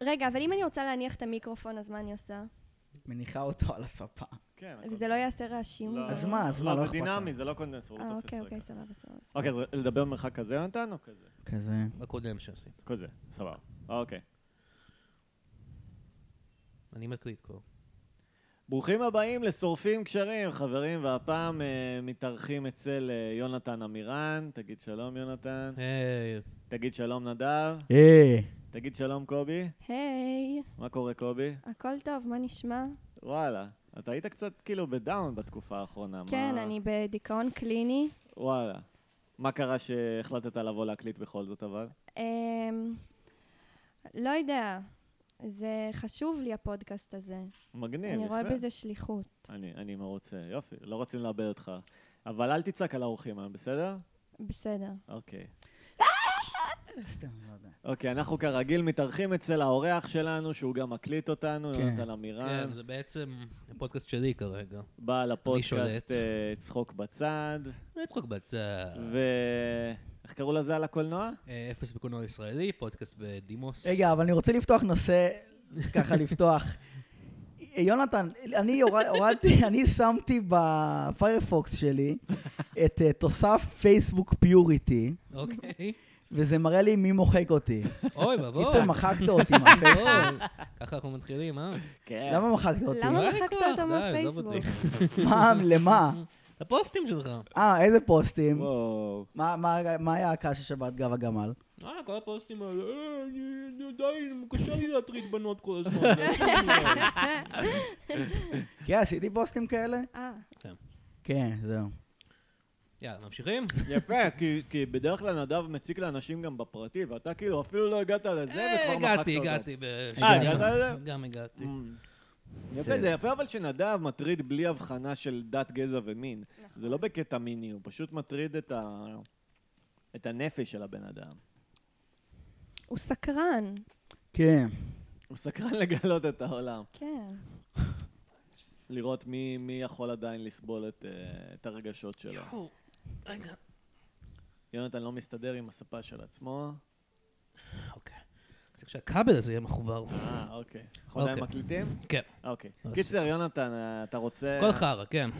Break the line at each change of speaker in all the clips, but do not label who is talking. רגע, אבל אם אני רוצה להניח את המיקרופון, אז מה אני עושה?
מניחה אותו על הספה.
כן. הכל-
וזה לא יעשה רעשים?
לא.
אז מה, אז מה, לא
לא, זה
אכפת לי.
דינמי, זה לא קונדנס, הוא לא
אה,
תופס
אוקיי,
רגע.
אוקיי, סבבה, סבבה. סבבה.
אוקיי, אז לדבר במרחק כזה נתן או כזה?
כזה.
בקודם שעשית.
כזה, סבבה. אוקיי.
אני מקליט כבר.
ברוכים הבאים לשורפים קשרים, חברים, והפעם אה, מתארחים אצל אה, יונתן עמירן. תגיד שלום, יונתן.
היי,
תגיד שלום, נדב.
אה,
תגיד שלום, קובי.
היי,
מה קורה, קובי?
הכל טוב, מה נשמע?
וואלה. אתה היית קצת כאילו בדאון בתקופה האחרונה. מה-
כן, אני בדיכאון קליני.
וואלה. מה קרה שהחלטת לבוא להקליט בכל זאת, אבל?
אמ, לא יודע, זה חשוב לי הפודקאסט הזה.
מגניב, כן, יפה.
אני רואה בזה שליחות.
אני, אני מרוצה, יופי, לא רוצים לאבד אותך. אבל אל תצעק על האורחים היום, בסדר?
בסדר.
אוקיי.
סתם, לא יודע.
אוקיי, אנחנו כרגיל מתארחים אצל האורח שלנו, שהוא גם מקליט אותנו,
כן.
יונתן עמירן,
כן, זה בעצם הפודקאסט שלי כרגע.
בעל הפודקאסט
שולט.
אה, צחוק בצד,
לא צחוק בצד.
ו... איך קראו לזה על הקולנוע?
אה, אפס בקולנוע ישראלי, פודקאסט בדימוס.
רגע, אבל אני רוצה לפתוח נושא, ככה לפתוח. יונתן, אני הורד- הורדתי, אני שמתי בפיירפוקס שלי את אה, תוסף פייסבוק פיוריטי,
אוקיי.
וזה מראה לי מי מוחק אותי.
אוי ואבוי.
קיצר, מחקת אותי מהפייסבוק.
אוי. ככה אנחנו מתחילים, אה?
כן.
למה מחקת אותי?
למה?
לא היה לי
מחקת
כוח,
אותם
די, עזוב
מהפייסבוק?
אותי.
מה, למה?
הפוסטים שלך.
אה, איזה פוסטים?
וואו.
מה- מה- מה היה הקש השבת גב הגמל?
אה, כל הפוסטים האלה, אה, אני אני עדיין, קשה לי להטריד בנות כל הזמן. זה עצוב לי.
כן, עשיתי פוסטים כאלה?
אה,
כן, זהו.
יאללה, ממשיכים?
יפה, כי, כי בדרך כלל נדב מציק לאנשים גם בפרטי, ואתה כאילו אפילו לא הגעת לזה,
אה,
וכבר מחקת אותו.
הגעתי, הגעתי. בשנייה.
אה, הגעת לזה? Mm.
גם הגעתי.
אמ, יפה, זה יפה אבל שנדב מטריד בלי הבחנה של דת, גזע ומין. זה לא בקטע מיני, הוא פשוט מטריד את ה... את הנפש של הבן אדם.
הוא סקרן.
כן.
הוא סקרן לגלות את העולם.
כן.
לראות מי, מי יכול עדיין לסבול את, אה, את הרגשות שלו.
יואו, רגע,
יונתן לא מסתדר עם הספה של עצמו.
אוקיי. צריך שהכבל הזה יהיה מחובר.
אה, אוקיי. אנחנו עדיין
אוקיי.
מקליטים?
כן,
אוקיי.
אז-
קיצר, יונתן, אה, אתה רוצה...
כל חרא, כן.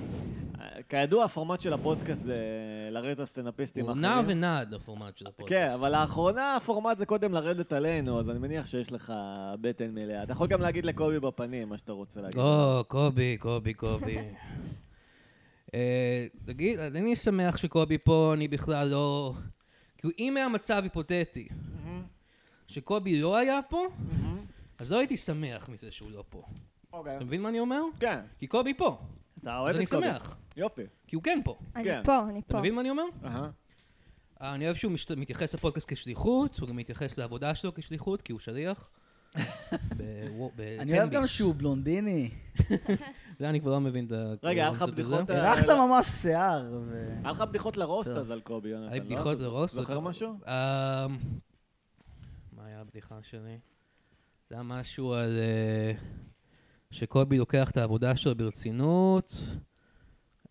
אה, כידוע, הפורמט של הפודקאסט זה לרדת על סטנדאפיסטים
הוא
אחרים.
נע ונד הפורמט של הפודקאסט.
כן, אבל לאחרונה הפורמט זה קודם לרדת עלינו, אז אני מניח שיש לך בטן מלאה. אתה יכול גם להגיד לקובי בפנים מה שאתה רוצה להגיד.
או, קובי, קובי, קובי. אה, תגיד, אני שמח שקובי פה, אני בכלל לא... כאילו, אם היה מצב היפותטי שקובי לא היה פה, אז לא הייתי שמח מזה שהוא לא פה.
אוקיי.
אתה מבין מה אני אומר?
כן,
כי קובי פה,
אתה
אז
אוהב
אני
את קובי.
שמח.
יופי.
כי הוא כן פה.
אני
כן.
פה, אני
אתה
פה.
מבין מה אני אומר?
אהה.
אה, אני אוהב שהוא משת... מתייחס לפודקאסט כשליחות, הוא גם מתייחס לעבודה שלו כשליחות, כי הוא שליח. בוו- בטנביס.
אני אוהב גם שהוא בלונדיני.
זה אני כבר לא מבין את ה...
רגע, היה לך
הקונספט
בדיחות
הזה.
אה,
הרחת
לא.
ממש שיער. ו-
היה לך בדיחות לרוסט אז על קובי, יונתן, לא?
היי אה, בדיחות
אתה
לרוסט.
זוכר משהו?
אה, מה היה הבדיחה שלי? זה היה משהו על... אה, שקובי לוקח את העבודה שלו ברצינות,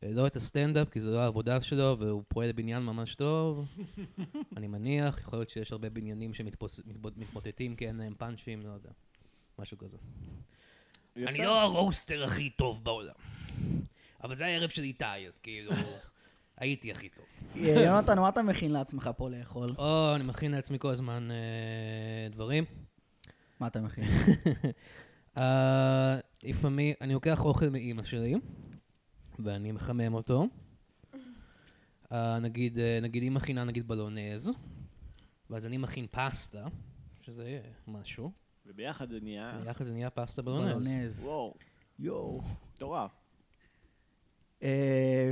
אה, לא את הסטנדאפ, כי זו לא העבודה שלו, והוא פועל בניין ממש טוב. אני מניח, יכול להיות שיש הרבה בניינים שמתמוטטים כי אין להם פאנצ'ים, לא יודע. משהו כזה.
יפה.
אני לא הרוסטר הכי טוב בעולם. אבל זה הערב של איתי, אז כאילו, הייתי הכי טוב.
יונתן, מה אתה מכין לעצמך פה לאכול?
או, אני מכין לעצמי כל הזמן אה, דברים.
מה אתה מכין?
אה, לפעמים, אני לוקח אוכל מאימא שלי, ואני מחמם אותו. אה, נגיד, אה, נגיד היא מכינה נגיד בלונז, ואז אני מכין פסטה, שזה אה, משהו.
וביחד זה נהיה...
ביחד זה נהיה פסטה בלונז.
אה. בלונז.
וואו,
יואו.
מטורף.
אה,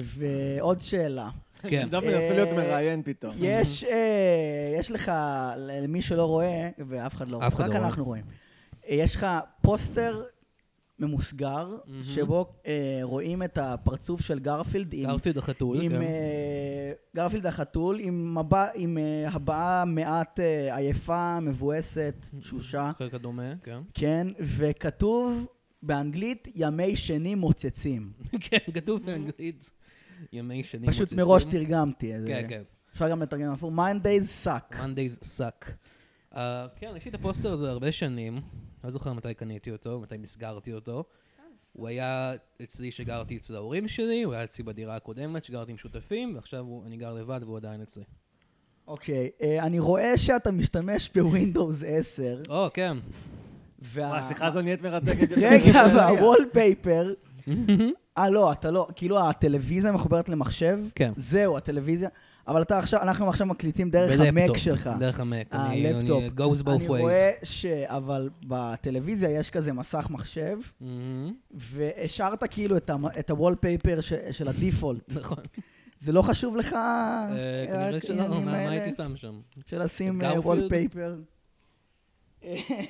ועוד שאלה.
כן.
אדם מנסה להיות מראיין פתאום.
יש אה, יש לך, למי שלא רואה, ואף אחד לא רואה,
אף אחד
רק
לא רואה.
אנחנו רואים. אה, יש לך פוסטר ממוסגר, שבו אה, רואים את הפרצוף של גרפילד עם
גרפילד החתול,
עם
כן.
אה, גרפילד החתול, עם מבע- עם אה, הבעה מעט אה, עייפה, מבואסת, תשושה,
חלק הדומה, כן.
כן, וכתוב באנגלית ימי שני מוצצים.
כן, כתוב באנגלית. ימי שני
פשוט
מוצצים.
מראש תרגמתי. אז,
כן,
אה,
כן.
אפשר גם לתרגם הפוך, Mondays suck.
אה, Mondays suck. Uh, כן, יש לי את הפוסטר הזה הרבה שנים. לא זוכר מתי קניתי אותו, מתי מסגרתי אותו. הוא היה אצלי שגרתי אצל ההורים שלי, הוא היה אצלי בדירה הקודמת שגרתי עם שותפים, ועכשיו הוא- אני גר לבד והוא עדיין אצלי.
אוקיי, אה, אני רואה שאתה משתמש בווינדוס 10.
או, כן.
וה-
וואי, השיחה הזו נהיית מרתקת. יותר
רגע,
ממה שאני יודע.
והוולפייפר... אה, לא, אתה לא, כאילו הטלוויזיה מחוברת למחשב?
כן.
זהו, הטלוויזיה. אבל אתה עכשיו, אנחנו עכשיו מקליטים דרך
בלפטופ,
המק שלך.
דרך המק. אני-
הלפטופ.
אני- it goes both
אני רואה
ways.
ש... אבל בטלוויזיה יש כזה מסך מחשב,
מהמם.
והשארת כאילו את המ- את הוולפייפר ש- של הדיפולט.
נכון.
זה לא חשוב לך?
אה,
רק
כנראה שלא,
העניינים
מה- מה
האלה?
הייתי שם שם?
שלשים
את גרפילד?
וולפייפר.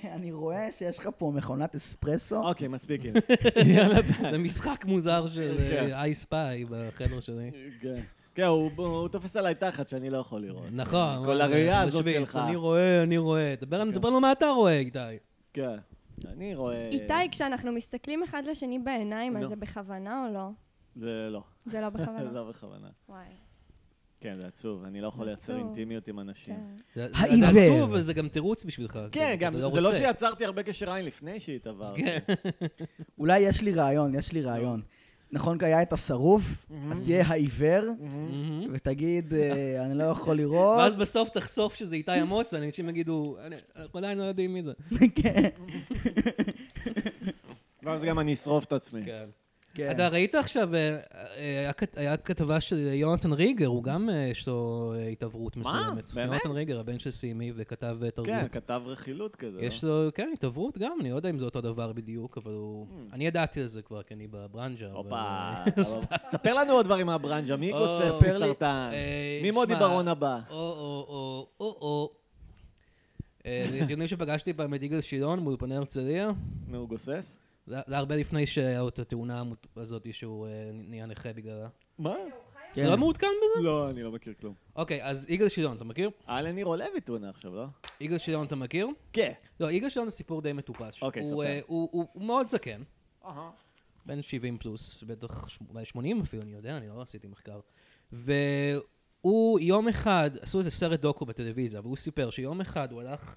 אני רואה שיש לך פה מכונת אספרסו.
אוקיי, מספיק. עם זה. יאללה, די.
זה משחק מוזר של
כן.
איי ספיי בחדר שלי.
כן. כן, הוא הוא תופס עליי תחת שאני לא יכול לראות.
נכון.
כל
מה זה,
הראייה
זה
הזאת
שוויץ,
שלך.
אני רואה, אני רואה. דבר לנו- תספר לנו מה אתה רואה, איתי.
כן. אני רואה...
איתי, כשאנחנו מסתכלים אחד לשני בעיניים,
אה, לא.
אז זה בכוונה או לא?
זה לא.
זה לא
זה
בכוונה.
לא בכוונה.
וואי,
כן, זה עצוב, אני לא יכול לייצר
עצוב.
אינטימיות עם אנשים.
כן.
זה- זה-
העיוור.
זה עצוב, וזה גם תירוץ בשבילך.
כן,
כאילו,
גם,
אתה לא
זה לא
רוצה.
שיצרתי הרבה קשר עין לפני שהתעברתי.
כן.
אולי יש לי רעיון, יש לי רעיון. נכון, כי היה את השרוף, אז תהיה העיוור,
מהמם.
ותגיד, אה, אני לא יכול לראות.
ואז בסוף תחשוף שזה איתי עמוס, ואנשים יגידו, "אני- אנחנו עדיין לא יודעים מי זה.
כן.
ואז גם אני אשרוף את עצמי.
כן.
כן.
אתה ראית עכשיו, אה, אה, הכת- היה כתבה של יונתן ריגר, הוא גם אה, יש לו אה, התעוורות
מה?
מסוימת.
באמת?
יונתן ריגר, הבן של סימי, וכתב אה, תרבות.
כן, כתב רכילות כזה. לא?
יש לו, כן, התעוורות גם, אני לא יודע אם זה אותו דבר בדיוק, אבל הוא... אני ידעתי על זה כבר, כי אני בברנז'ה. אבל-
Hmm. הופה. ספר לנו עוד דברים מהברנז'ה, מי גוסס
ספר
לי.
מסרטן?
אה,
מי מודי
תשמע,
ברון הבא?
או, או, או, או, או. אה, זה דיונים שפגשתי פעם את יגאל שילון באולפני הרצליה,
נו, הוא גוסס?
זה זה היה הרבה לפני שהיה לו את התאונה המות- הזאת שהוא אה, נהיה נכה בגללה.
מה?
כן.
אתה לא מעודכן בזה?
לא, אני לא מכיר כלום. אוקיי.
אוקיי, אז יגאל שילון, אתה מכיר?
היה לניר עולב איתונה עכשיו, לא?
יגאל שילון אתה מכיר?
כן.
לא, יגאל שילון זה סיפור די מטופש.
אוקיי,
הוא,
ספר.
אה, הוא, הוא, הוא מאוד זקן, בן 70 פלוס, בטח ש- אולי 80 אפילו, אני יודע, אני לא עשיתי מחקר. והוא יום אחד, עשו איזה סרט דוקו בטלוויזיה, והוא סיפר שיום אחד הוא הלך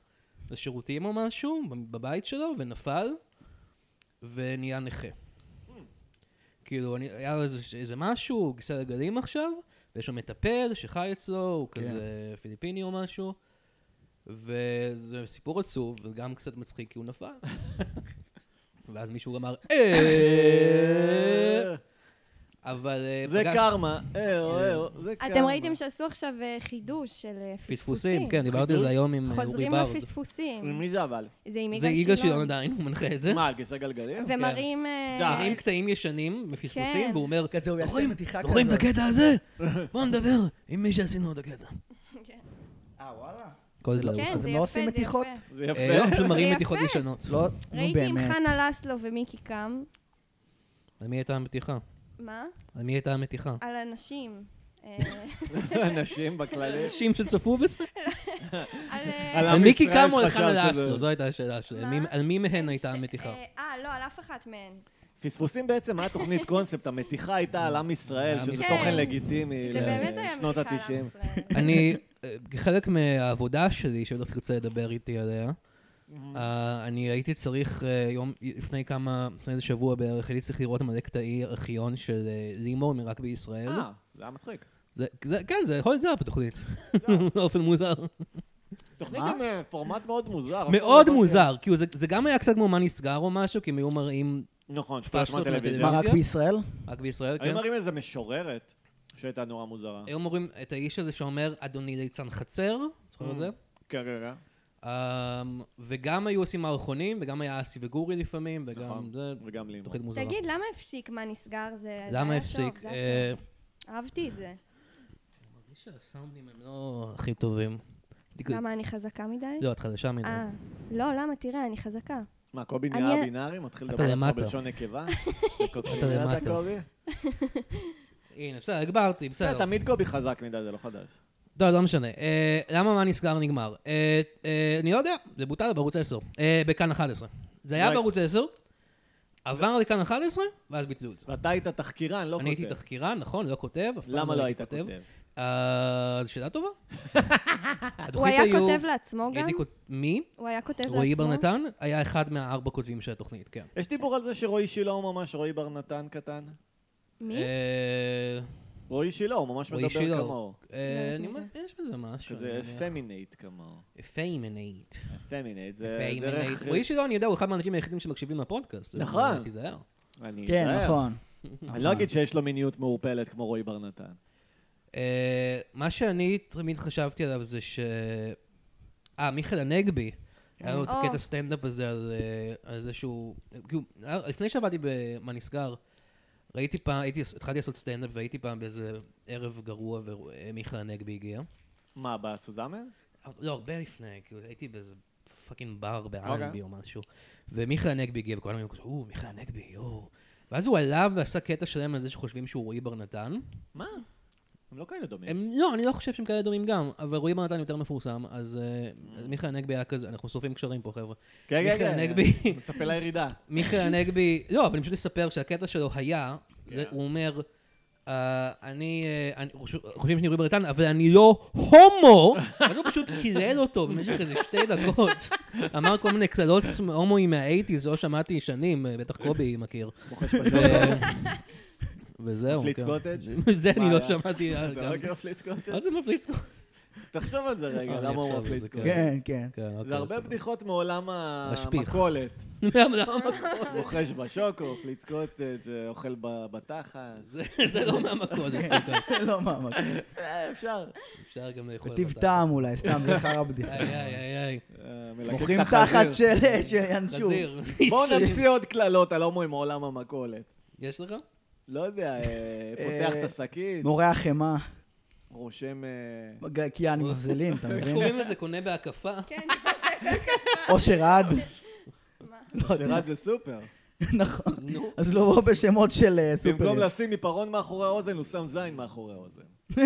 לשירותים או משהו בב- בבית שלו, ונפל, ונהיה נכה. כאילו, אני, היה לו איזה, איזה משהו, הוא כיסא רגלים עכשיו, ויש לו מטפל שחי אצלו, הוא
כן.
כזה פיליפיני או משהו, וזה סיפור עצוב, וגם קצת מצחיק כי הוא נפל. ואז מישהו אמר, "אה", אבל... אה,
זה
פגש-
קרמה. אה, אה, אה, זה קרמה.
אתם ראיתם שעשו עכשיו אה, חידוש של אה,
פספוסים, כן, דיברתי על זה היום עם אה, אורי
חוזרים
ברד.
לפספוסים.
מי זה אבל?
זה עם
זה
יגאל
יגאל שילון כן.
שילון.
עדיין, הוא מנחה את זה.
מה, על כיסא גלגלים?
ומראים... אה,
מראים קטעים ישנים מפספוסים,
כן.
והוא אומר,
כזה הוא יעשה
"זוכרים-
מתיחה
זוכרים את
כזאת."
הקטע הזה? בואו נדבר עם מי שעשינו את הקטע.
אה, וואלה.
כל
כן,
זה לרוץ.
זה
אז הם
יפה,
לא עושים
זה
מתיחות?
יפה.
זה
אה, לא,
יפה.
פשוט מראים
זה
מתיחות
יפה.
ישנות.
לא, נו
ראיתי עם
באמת.
חנה לסלו ומיקי קם.
על מי הייתה המתיחה?
מה?
על מי הייתה המתיחה?
על אנשים. אה,
לא.
אנשים בכללי.
אנשים שצפו בזה?
על אה,
על
על
עם
מיקי
ישראל
קמו, על
שחשב
חנה
שזה-
לסו, זו הייתה השאלה שלי. על
מה?
מי- על מי מהן הייתה
אה,
המתיחה?
אה, לא, על אף אחת מהן.
פספוסים בעצם היה תוכנית קונספט, המתיחה הייתה על עם ישראל,
עם
שזה
ישראל.
תוכן לגיטימי
זה באמת היה
לשנות
מלכה
ה-90.
לעם
לא,
ישראל.
אני, אה, כחלק מהעבודה שלי, שבטח תרצה לדבר איתי עליה, אה, אני הייתי צריך אה, יום, לפני כמה, לפני איזה שבוע בערך, הייתי צריך לראות מלא קטעי ארכיון של אה, לימור מרק בישראל.
אה, זה היה מצחיק.
זה- זה- כן, זה יכול להיות זה בתוכנית. באופן מוזר.
תוכנית
מה?
עם אה, פורמט מאוד מוזר. לא
מאוד מוזר, כאילו זה- זה גם היה קצת כמו מה נסגר או משהו, כי הם היו מראים
נכון, שטויות
פשלות
מהטלוויזיה.
מה, רק
טלוויזיה?
בישראל?
רק בישראל, כן? אה,
היו מראים איזה משוררת שהייתה נורא מוזרה.
היו מראים את האיש הזה שאומר, אדוני ליצן חצר, זוכר את זה?
כן, כן, כן.
אמ, וגם היו עושים מערכונים, וגם היה אסי וגורי לפעמים, וגם
נכון.
זה,
וגם לימור.
תוכנית מוזרה.
תגיד, למה הפסיק מה נסגר? זה זה
למה
היה טוב,
הפסיק?
זה
אה,
היה טוב. אהבתי את זה.
מרגיש שהסאונדים הם לא הכי טובים.
למה, אני חזקה מדי?
לא, את חדשה מדי.
אה, לא, למה? תראה, אני חזקה.
מה, קובי
אני-
נהיה בינארי? מתחיל
אתה
לדבר על עצמו
למטה.
בלשון נקבה?
אתה למטה.
קובי?
הנה, בסדר, הגברתי,
בסדר,
בסדר.
תמיד קובי חזק מדי, זה לא חדש.
לא, לא משנה. אה, למה מה נסגר נגמר? אה, אה, אני לא יודע, זה בוטל בערוץ 10, אה, בכאן 11. זה היה
רק-
בערוץ 10, עבר לכאן 11, ואז ביטלו את זה.
ואתה היית תחקירן, לא כותב.
אני הייתי תחקירן, נכון, לא כותב, אף פעם
למה לא היית
הייתי
כותב?
אה, זו שאלה טובה.
הוא
התוכנית
היה
היו-
כותב לעצמו גם?
הייתי כות- מי?
הוא היה כותב לעצמו?
רועי ברנתן היה אחד מהארבע כותבים של התוכנית, כן.
יש דיבור על זה שרועי שילה הוא ממש רועי בר נתן קטן?
מי?
אה,
רועי שילה הוא ממש
רועי שילה.
מדבר כמוהו.
אה,
לא יודעת
אני
מי זה.
אומר, יש בזה משהו. לא
כזה פמינט כמוהו.
פיימנייט.
פמינט זה
פיימנייט.
דרך...
רועי שילה, אני יודע, הוא אחד מהאנשים היחידים שמקשיבים לפודקאסט. אז,
נכון.
אה, תיזהר.
אני
כן,
אתאר.
נכון.
אני לא אגיד שיש לו מיניות מעורפלת כמו רועי בר נתן.
אה, מה שאני תמיד חשבתי עליו זה ש... אה, מיכאל הנגבי, היה לו את
או.
הקטע סטנדאפ הזה על אה, על זה שהוא... כאילו, היה- לפני שעבדתי ב"מה נסגר", ראיתי פעם, הייתי, התחלתי לעשות סטנדאפ והייתי פעם באיזה ערב גרוע ומיכאל הנגבי הגיע.
מה, בצוזמן?
לא, הרבה לפני, כאילו, הייתי באיזה פאקינג בר
אוקיי.
באלנבי או משהו. ומיכאל הנגבי הגיע, וכולם היו כזה, או, מיכאל הנגבי, יואו. ואז הוא עלה ועשה קטע שלם על זה שחושבים שהוא רועי בר נתן.
מה? הם לא כאלה דומים.
הם, לא, אני לא חושב שהם כאלה דומים גם, אבל רועי בר נתן יותר מפורסם, אז אה, אז מיכאל הנגבי היה כזה, אנחנו שורפים קשרים פה, חבר'ה.
כן, כן,
מיכאל
כן.
הנגבי.
מצפה לירידה.
מיכאל הנגבי, לא, אבל אני פשוט אספר שהקטע שלו היה,
כן.
זה- הוא אומר, אה, אני, אה, אני- חושב- חושבים שאני רועי ברטן, אבל אני לא הומו, אז הוא פשוט קילל אותו במשך איזה שתי דקות. אמר כל מיני קללות הומואים מהאייטיז, לא שמעתי שנים, אה, בטח קובי מכיר.
מוחש
ו-
פשוט.
וזהו.
לא, מפליץ
כן.
קוטג'?
זה אני
מה
לא
היה?
שמעתי. אה,
אתה
גם-
לא מפליץ קוטג'?
מה זה מפליץ קוטג'?
תחשוב על זה רגע,
אה, אני
למה הוא
אחשוב על
מפליץ
זה,
קוטג'?
כן, כן.
כן, אוקיי,
זה הרבה
בסדר.
בדיחות מעולם
השפיך.
המכולת.
למה- למה-
רוכש בשוקו, מפליץ קוטג', אוכל ב- בתחת.
זה- זה לא מהמכולת. כן.
לא מאמץ.
אה, אפשר.
אפשר גם לאכול.
בטיב
בטטה.
טעם אולי, סתם, זה חרא בדיחה.
איי, איי, איי, איי.
אה, מלקק
מוכרים
את
תחת
החזיר.
של של ינשוף.
חזיר.
בואו נמציא עוד קללות לא על הומואים מעולם המכולת.
יש לך?
לא יודע, אה, פותח
אה,
את השקית,
נורא חמאה,
רושם... אה,
קיאן מבזלים, אתה
לא-
איך
מבין?
קוראים לזה? קונה בהקפה?
כן,
אושר עד. לא יודע.
שרד זה סופר.
נכון.
נו.
אז לא בשמות של אה,
במקום
סופרים.
לשים עיפרון מאחורי האוזן, הוא שם זין מאחורי האוזן.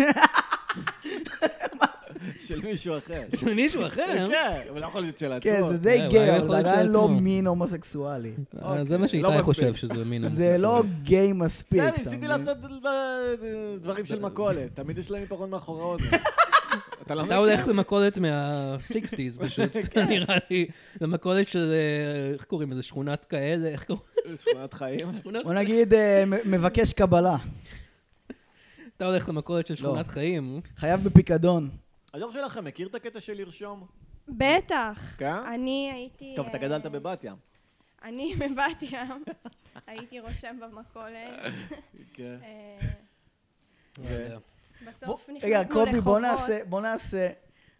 של מישהו אחר.
של מישהו אחר?
כן, אבל לא יכול להיות של
כן,
עצמו.
זה
אה,
די
הוא היה
גיי,
יכול
אבל זה
להיות של
עדיין לא
עצמו.
מין הומוסקסואלי.
אה, זה מה
אוקיי, לא
שאיתי חושב
מספיק.
שזה מין...
זה לא גיי מספיק.
בסדר,
אתה
ניסיתי
מבין?
לעשות ד- דברים של מכולת. תמיד יש להם עיפרון מאחורי האוזן. אתה לא
אתה
מבין?
הולך למכולת מה-60's פשוט,
כן.
נראה לי. למכולת של... אה, איך קוראים לזה? שכונת כאלה? איך קוראים לזה?
שכונת חיים.
שכונת-
בוא נגיד אה, מ- מבקש קבלה,
אתה הולך למכולת
לא.
של שכונת חיים.
חייב בפיקדון.
הדור שלכם מכיר את הקטע של לרשום?
בטח.
כן?
אני הייתי...
טוב, אתה
אה,
גדלת בבת ים.
אני מבת ים. הייתי רושם במכולת.
כן.
אה,
אה,
לא יודע.
בסוף
בוא-
נכנסנו לחובות.
רגע, קובי, בוא נעשה, בוא נעשה,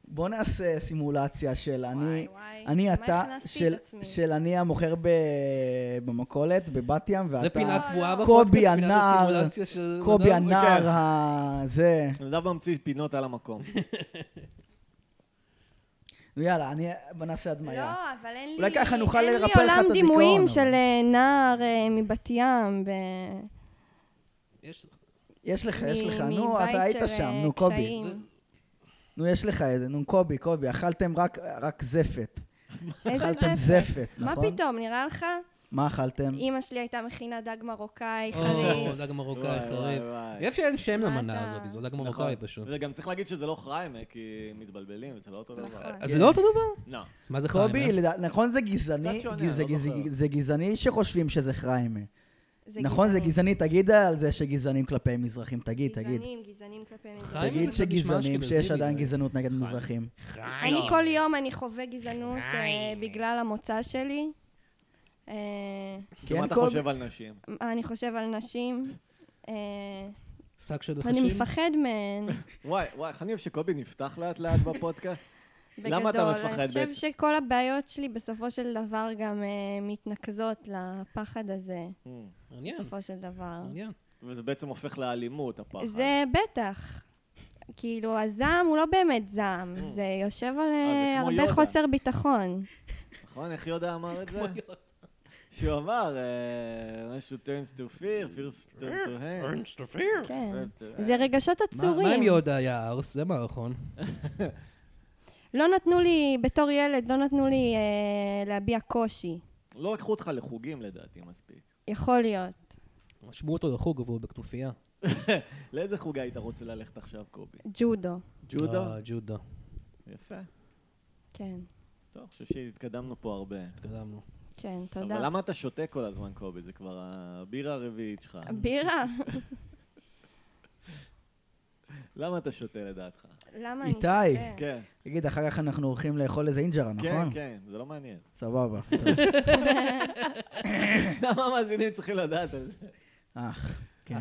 בוא נעשה סימולציה של אני,
וואי, וואי,
אני
מה
אתה,
הכנסתי
של-
את עצמי?
של אני המוכר ב- במכולת, בבת ים,
זה
ואתה
פינה קבועה
לא.
בפודקאסט?
קובי
פינת לא,
הנער,
הסימולציה של
קובי
אדם? אוקיי.
הנער ה... זה.
נדב ממציא פינות על המקום.
נו, יאללה, אני, בוא נעשה הדמיה.
לא, אבל אין לי...
אולי ככה נוכל לרפא
אין
לך
לי
את
עולם
הדיכאון,
דימויים
אבל.
של אה, נער אה, מבת ים. ב-
יש-
יש לך, יש
מ-
לך, נו,
מבית
אתה היית
של,
שם,
אה,
נו, קובי.
קשיים.
נו, יש לך איזה, נו, קובי, קובי, אכלתם רק- רק זפת. אכלתם
איזה זפת.
זפת,
מה
נכון? אוקיי.
פתאום, נראה לך?
מה אכלתם?
אימא שלי הייתה מכינה דג מרוקאי
אוקיי.
או,
חריף.
דג
וואי,
מרוקאי
וואי,
חריף.
וואי.
יפה שאין שם
מה
למנה
אתה-
הזאת, זה דג
נכון.
מרוקאי פשוט.
וגם צריך להגיד שזה לא חיים, כי מתבלבלים, זה לא אותו דבר.
נכון.
אז זה לא אותו דבר?
לא.
אז מה זה חיים?
קובי,
אה?
לדע- נכון זה גזעני,
קצת שונה,
גז-
לא
זה גז-
זוכר.
זה גזעני שחושבים שזה חריימה.
זה
נכון זה
גזעני.
גזעני, תגיד על זה שגזענים כלפי מזרחים, תגיד, תגיד.
גזענים, גזענים כלפי מזרחים.
חיים
תגיד
זה קצת נשמע
שגזענים, שיש
אשכנזי
עדיין
מדי.
גזענות נגד מזרחים.
לא.
אני כל יום אני חווה גזענות אה,
חיים.
בגלל המוצא שלי. אה,
מה
כן,
אתה
קובי?
חושב על נשים?
מה אני חושב על נשים. אה,
שק של
אני
נחשים?
מפחד מהן.
וואי, וואי, איך אני אוהב שקובי נפתח לאט לאט בפודקאסט?
בגדול.
למה אתה מפחד
אני חושב
בעצם?
שכל הבעיות שלי בסופו של דבר גם אה, מתנקזות לפחד הזה,
כן.
מעניין,
בסופו של דבר.
מעניין.
Hmm. וזה בעצם הופך לאלימות, הפחד.
זה בטח. כאילו, הזעם הוא לא באמת זעם, זה יושב על אה,
זה כמו
הרבה
יודה.
חוסר ביטחון.
נכון? איך יודה אמר את זה? שהוא אמר, אה, משהו turns to fear, fears turn to hand.
כן.
אה,
זה רגשות
מה מה
עצורים.
עם יהודה היה ארס? זה מערכון.
לא נתנו לי, בתור ילד, לא נתנו לי אה, להביע קושי.
לא לקחו אותך לחוגים לדעתי מספיק.
יכול להיות.
משמו אותו לחוג והוא בכנופיה.
לאיזה חוג היית רוצה ללכת עכשיו, קובי?
ג'ודו,
ג'ודו?
אה, ג'ודו.
יפה.
כן,
טוב, אני חושב שהתקדמנו פה הרבה.
התקדמנו.
כן,
אבל
תודה.
למה אתה שותה כל הזמן, קובי? זה כבר הבירה הרביעית שלך.
בירה,
למה אתה שותה לדעתך?
למה אני
איתי.
שותה?
כן,
תגיד, אחר כך אנחנו הולכים לאכול איזה אינג'רה,
כן,
נכון?
כן, זה לא מעניין.
סבבה.
למה המאזינים צריכים לדעת על זה?
אך, כן.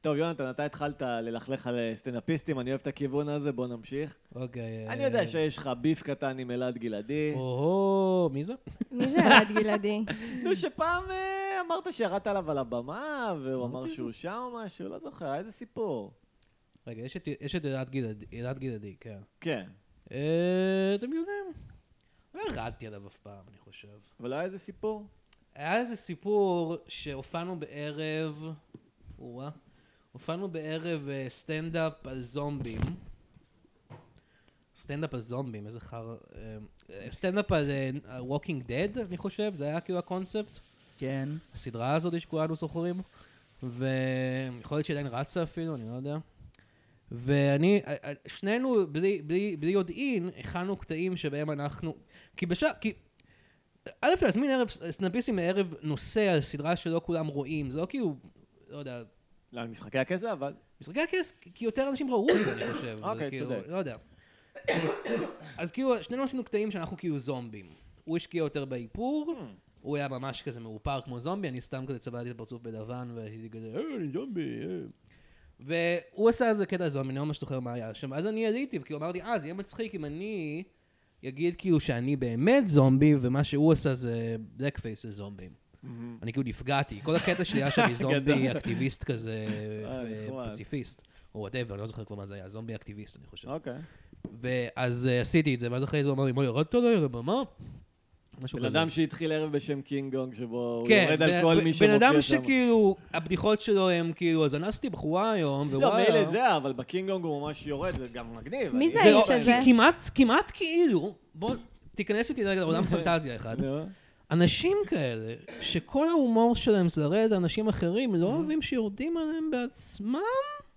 טוב, יונתן, אתה התחלת ללכלך על סטנדאפיסטים, אני אוהב את הכיוון הזה, בוא נמשיך.
אוקיי.
אני
אה,
יודע שיש לך ביף קטן עם אלעד גלעדי.
או-הו, מי זה?
מי זה אלעד גלעדי?
נו, שפעם אה, אמרת שירדת עליו על הבמה, והוא אמר שהוא שם או משהו, לא זוכר, איזה סיפור.
רגע, יש את- יש את אלעד גלעדי- אלעד גלעדי, כן.
כן,
אה, אתם יודעים. לא ירדתי עליו אף פעם, אני חושב.
אבל לא היה איזה סיפור?
היה איזה סיפור שהופענו בערב, או-אה, הופענו בערב אה, סטנדאפ על זומבים. סטנדאפ על זומבים, איזה חר... אה, אה, סטנדאפ על אה, על Walking Dead, אני חושב, זה היה כאילו הקונספט.
כן.
הסדרה הזאת שכולנו זוכרים, ויכול להיות שהיא עדיין רצה אפילו, אני לא יודע. ואני, שנינו בלי, בלי, בלי יודעין, הכנו קטעים שבהם אנחנו, כי בשעה, כי, א', להזמין ערב, סטנדאפיסטים לערב נושא על סדרה שלא כולם רואים, זה לא כאילו, לא יודע,
לא, על משחקי הכסף, אבל...
משחקי הכס, כי יותר אנשים ראו את זה, אני חושב. זה
אוקיי,
כאילו,
צודק.
לא יודע. אז כאילו, שנינו עשינו קטעים שאנחנו כאילו זומבים. הוא השקיע יותר באיפור,
Hmm.
הוא היה ממש כזה מעופר כמו זומבי, אני סתם כזה צבעתי את הפרצוף בלבן, והייתי כזה, אה, אני זומבי, אה. והוא עשה איזה קטע זומבי, אני לא ממש זוכר מה היה שם, אז אני עליתי, וכאילו אמרתי, אה, זה יהיה מצחיק אם אני אגיד כאילו שאני באמת זומבי, ומה שהוא עשה זה black face של זומבים. אני כאילו נפגעתי, כל הקטע שלי היה שאני זומבי אקטיביסט כזה,
אה, נחמד.
פציפיסט, או וואטאבר, אני לא זוכר כבר מה זה היה, זומבי אקטיביסט, אני חושב.
אוקיי.
ואז אה, עשיתי את זה, ואז אחרי זה הוא אמר לי, מה, ירדת עליי על הבמה? משהו
בן
כזה.
אדם שהתחיל ערב בשם קינג גונג, שבו הוא
כן,
יורד
בן-
על כל מי
בן
שמופיע שם.
אדם שכאילו, הבדיחות שלו הם כאילו, אז אנסתי בחורה היום,
לא,
ווואלה.
מילא זה, אבל בקינג גונג הוא ממש יורד, זה גם מגניב.
מי
אני-
זה האיש
לא-
הזה?
כי- כמעט, כמעט כאילו, בוא, תיכנס איתי רגע לעולם פנטזיה אחד.
נו.
אנשים כאלה, שכל ההומור שלהם זה לרדת לאנשים אחרים,
Mm-hmm.
לא אוהבים שיורדים עליהם בעצמם?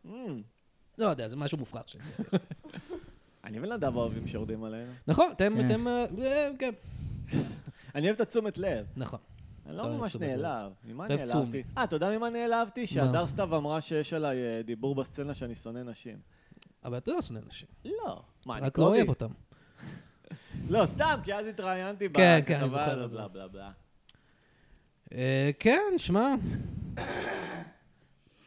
אמ,
לא יודע, זה משהו מופרך של זה.
אני ונדב אוהבים שיורדים עלינו.
נכון, אתם,
כן.
אתם, אה, אה, כן,
אני אוהב את התשומת לב.
נכון.
אני לא
אתה אוהב
ממש
תשומת לב.
נעלב. ממה
אתה אוהב תשום.
נעלבתי? אה, אתה יודע ממה נעלבתי? שהדר סתיו אמרה שיש עליי אה, דיבור בסצנה שאני שונא נשים.
אבל אתה לא שונא נשים,
לא. מה, אני
רק לא אוהב
קובי?
אותם.
לא, סתם, כי אז התראיינתי
כן, כן, אני
בכתבה
זוכר
הזאת,
את זה.
בלה בלה בלה.
אה, כן, שמע,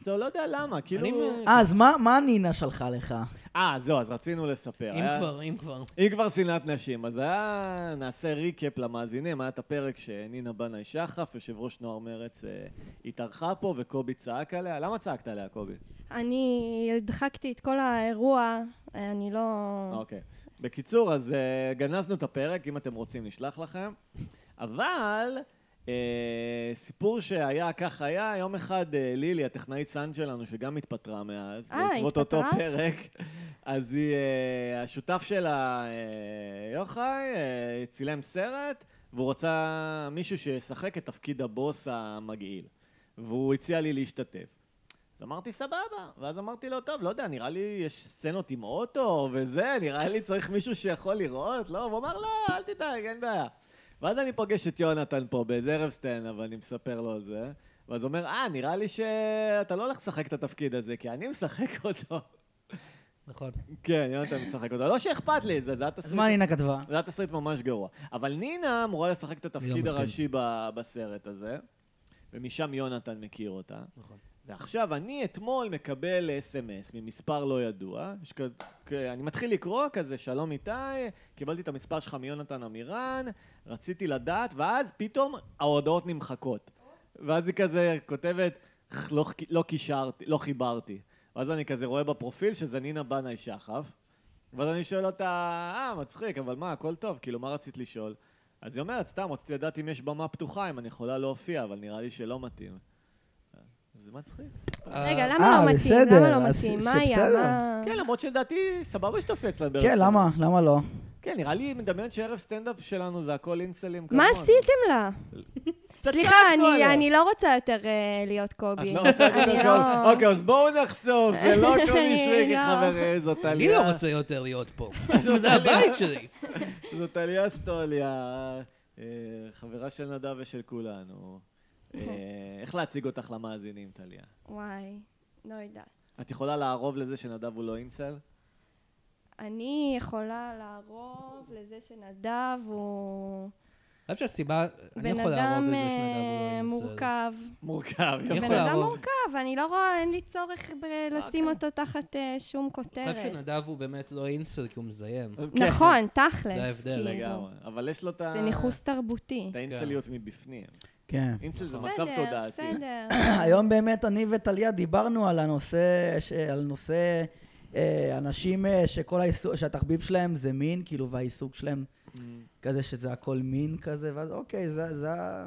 זהו, לא יודע למה,
אני
כאילו...
מ-
אה, אז מה- מה נינה שלחה לך?
אה, זהו, אז רצינו לספר.
אם
היה-
כבר, אם כבר.
אם כבר שנאת נשים, אז היה... נעשה ריקאפ למאזינים, היה את הפרק שנינה בנאי שחף, יושב ראש נוער מרצ, אה, התארחה פה, וקובי צעק עליה. למה צעקת עליה, קובי?
אני הדחקתי את כל האירוע, אה, אני לא...
אוקיי. בקיצור, אז אה, גנזנו את הפרק, אם אתם רוצים נשלח לכם. אבל אה, סיפור שהיה כך היה, יום אחד אה, לילי, הטכנאית סאונד שלנו, שגם התפטרה מאז,
אה,
בעקבות אותו
התפטרה?
פרק, אז היא, אה, השותף שלה, אה, יוחאי, אה, צילם סרט, והוא רצה מישהו שישחק את תפקיד הבוס המגעיל. והוא הציע לי להשתתף. אז אמרתי, סבבה. ואז אמרתי לו, טוב, לא יודע, נראה לי יש סצנות עם אוטו וזה, נראה לי צריך מישהו שיכול לראות, לא? הוא אמר, לא, אל תדאג, אין בעיה. ואז אני פוגש את יונתן פה באיזה ערב סטנדאפ, ואני מספר לו על זה, ואז הוא אומר, אה, נראה לי שאתה לא הולך לשחק את התפקיד הזה, כי אני משחק אותו.
נכון.
כן, יונתן משחק אותו. לא שאכפת לי, זה, זה היה
אז מה
תסריט
נינה כתבה?
זה היה תסריט ממש גרוע. אבל נינה אמורה לשחק את התפקיד
לא מסכים.
הראשי ב- בסרט הזה, ומשם יונתן מכיר אותה.
נכון.
ועכשיו, אני אתמול מקבל אס.אם.אס ממספר לא ידוע. יש כ... כ... אני מתחיל לקרוא כזה, שלום איתי, קיבלתי את המספר שלך מיונתן עמירן, רציתי לדעת, ואז פתאום ההודעות נמחקות. ואז היא כזה כותבת, "ח, לא, ח- לא קישרתי, לא חיברתי. ואז אני כזה רואה בפרופיל שזה נינה בנאי שחף. ואז אני שואל אותה, אה, מצחיק, אבל מה, הכל טוב, כאילו, מה רצית לשאול? אז היא אומרת, סתם, רציתי לדעת אם יש במה פתוחה, אם אני יכולה להופיע, אבל נראה לי שלא מתאים. זה מצחיק.
רגע,
אה,
למה
אה,
לא מתאים?
בסדר,
למה לא
אז
מתאים?
ש-
מה היה?
שבסדר.
מה...
כן, למרות שלדעתי, סבבה שתופיע אצלם בערב
כן,
סטנדאפ.
למה? למה לא?
כן, נראה לי מדמיין שערב סטנדאפ שלנו זה הכל אינסלים
מה
כמונו.
עשיתם לה?
קצת
סליחה,
צעקנו
אני-
עליה.
אני לא רוצה יותר אה, להיות קובי.
את לא רוצה לתת
אני
הכל?
לא-
אוקיי, אז בואו נחשוף, זה לא קובי
אני
שריקי
לא.
חברי, זאת
אני
עלייה.
לא רוצה יותר להיות פה. זה הבית שלי.
זאת עלייה סטוליה, אה, חברה של נדב ושל כולנו. אה, איך להציג אותך למאזינים, טליה?
וואי, לא יודעת.
את יכולה לערוב לזה שנדב הוא לא אינסל?
אני יכולה לערוב לזה שנדב הוא
אני חושב שהסיבה, אני
בן
יכול לערוב
אדם
לזה שנדב הוא
אה,
לא אינסל.
מורכב.
מורכב,
יכול
בן
יפה.
אדם
לערוב.
מורכב, אני לא רואה, אין לי צורך
אה, כן.
ב- לשים אותו תחת אה, שום
אני חושב
כותרת.
שנדב הוא באמת לא אינסל, כי הוא מזיין.
אה,
אז כן,
נכון, תכלס.
זה ההבדל,
כאילו.
לגמרי. אבל יש לו את ה...
זה ניכוס תרבותי.
את האינסליות מבפנים.
כן.
אינסל זה מצב
בסדר,
תודעתי.
בסדר.
היום באמת אני וטליה דיברנו על הנושא, ש- על נושא אה, אנשים אה, שכל העיסוק, שהתחביב שלהם זה מין, כאילו, והעיסוק שלהם
Mm.
כזה שזה הכל מין כזה, ואז אוקיי, זה... זה ה-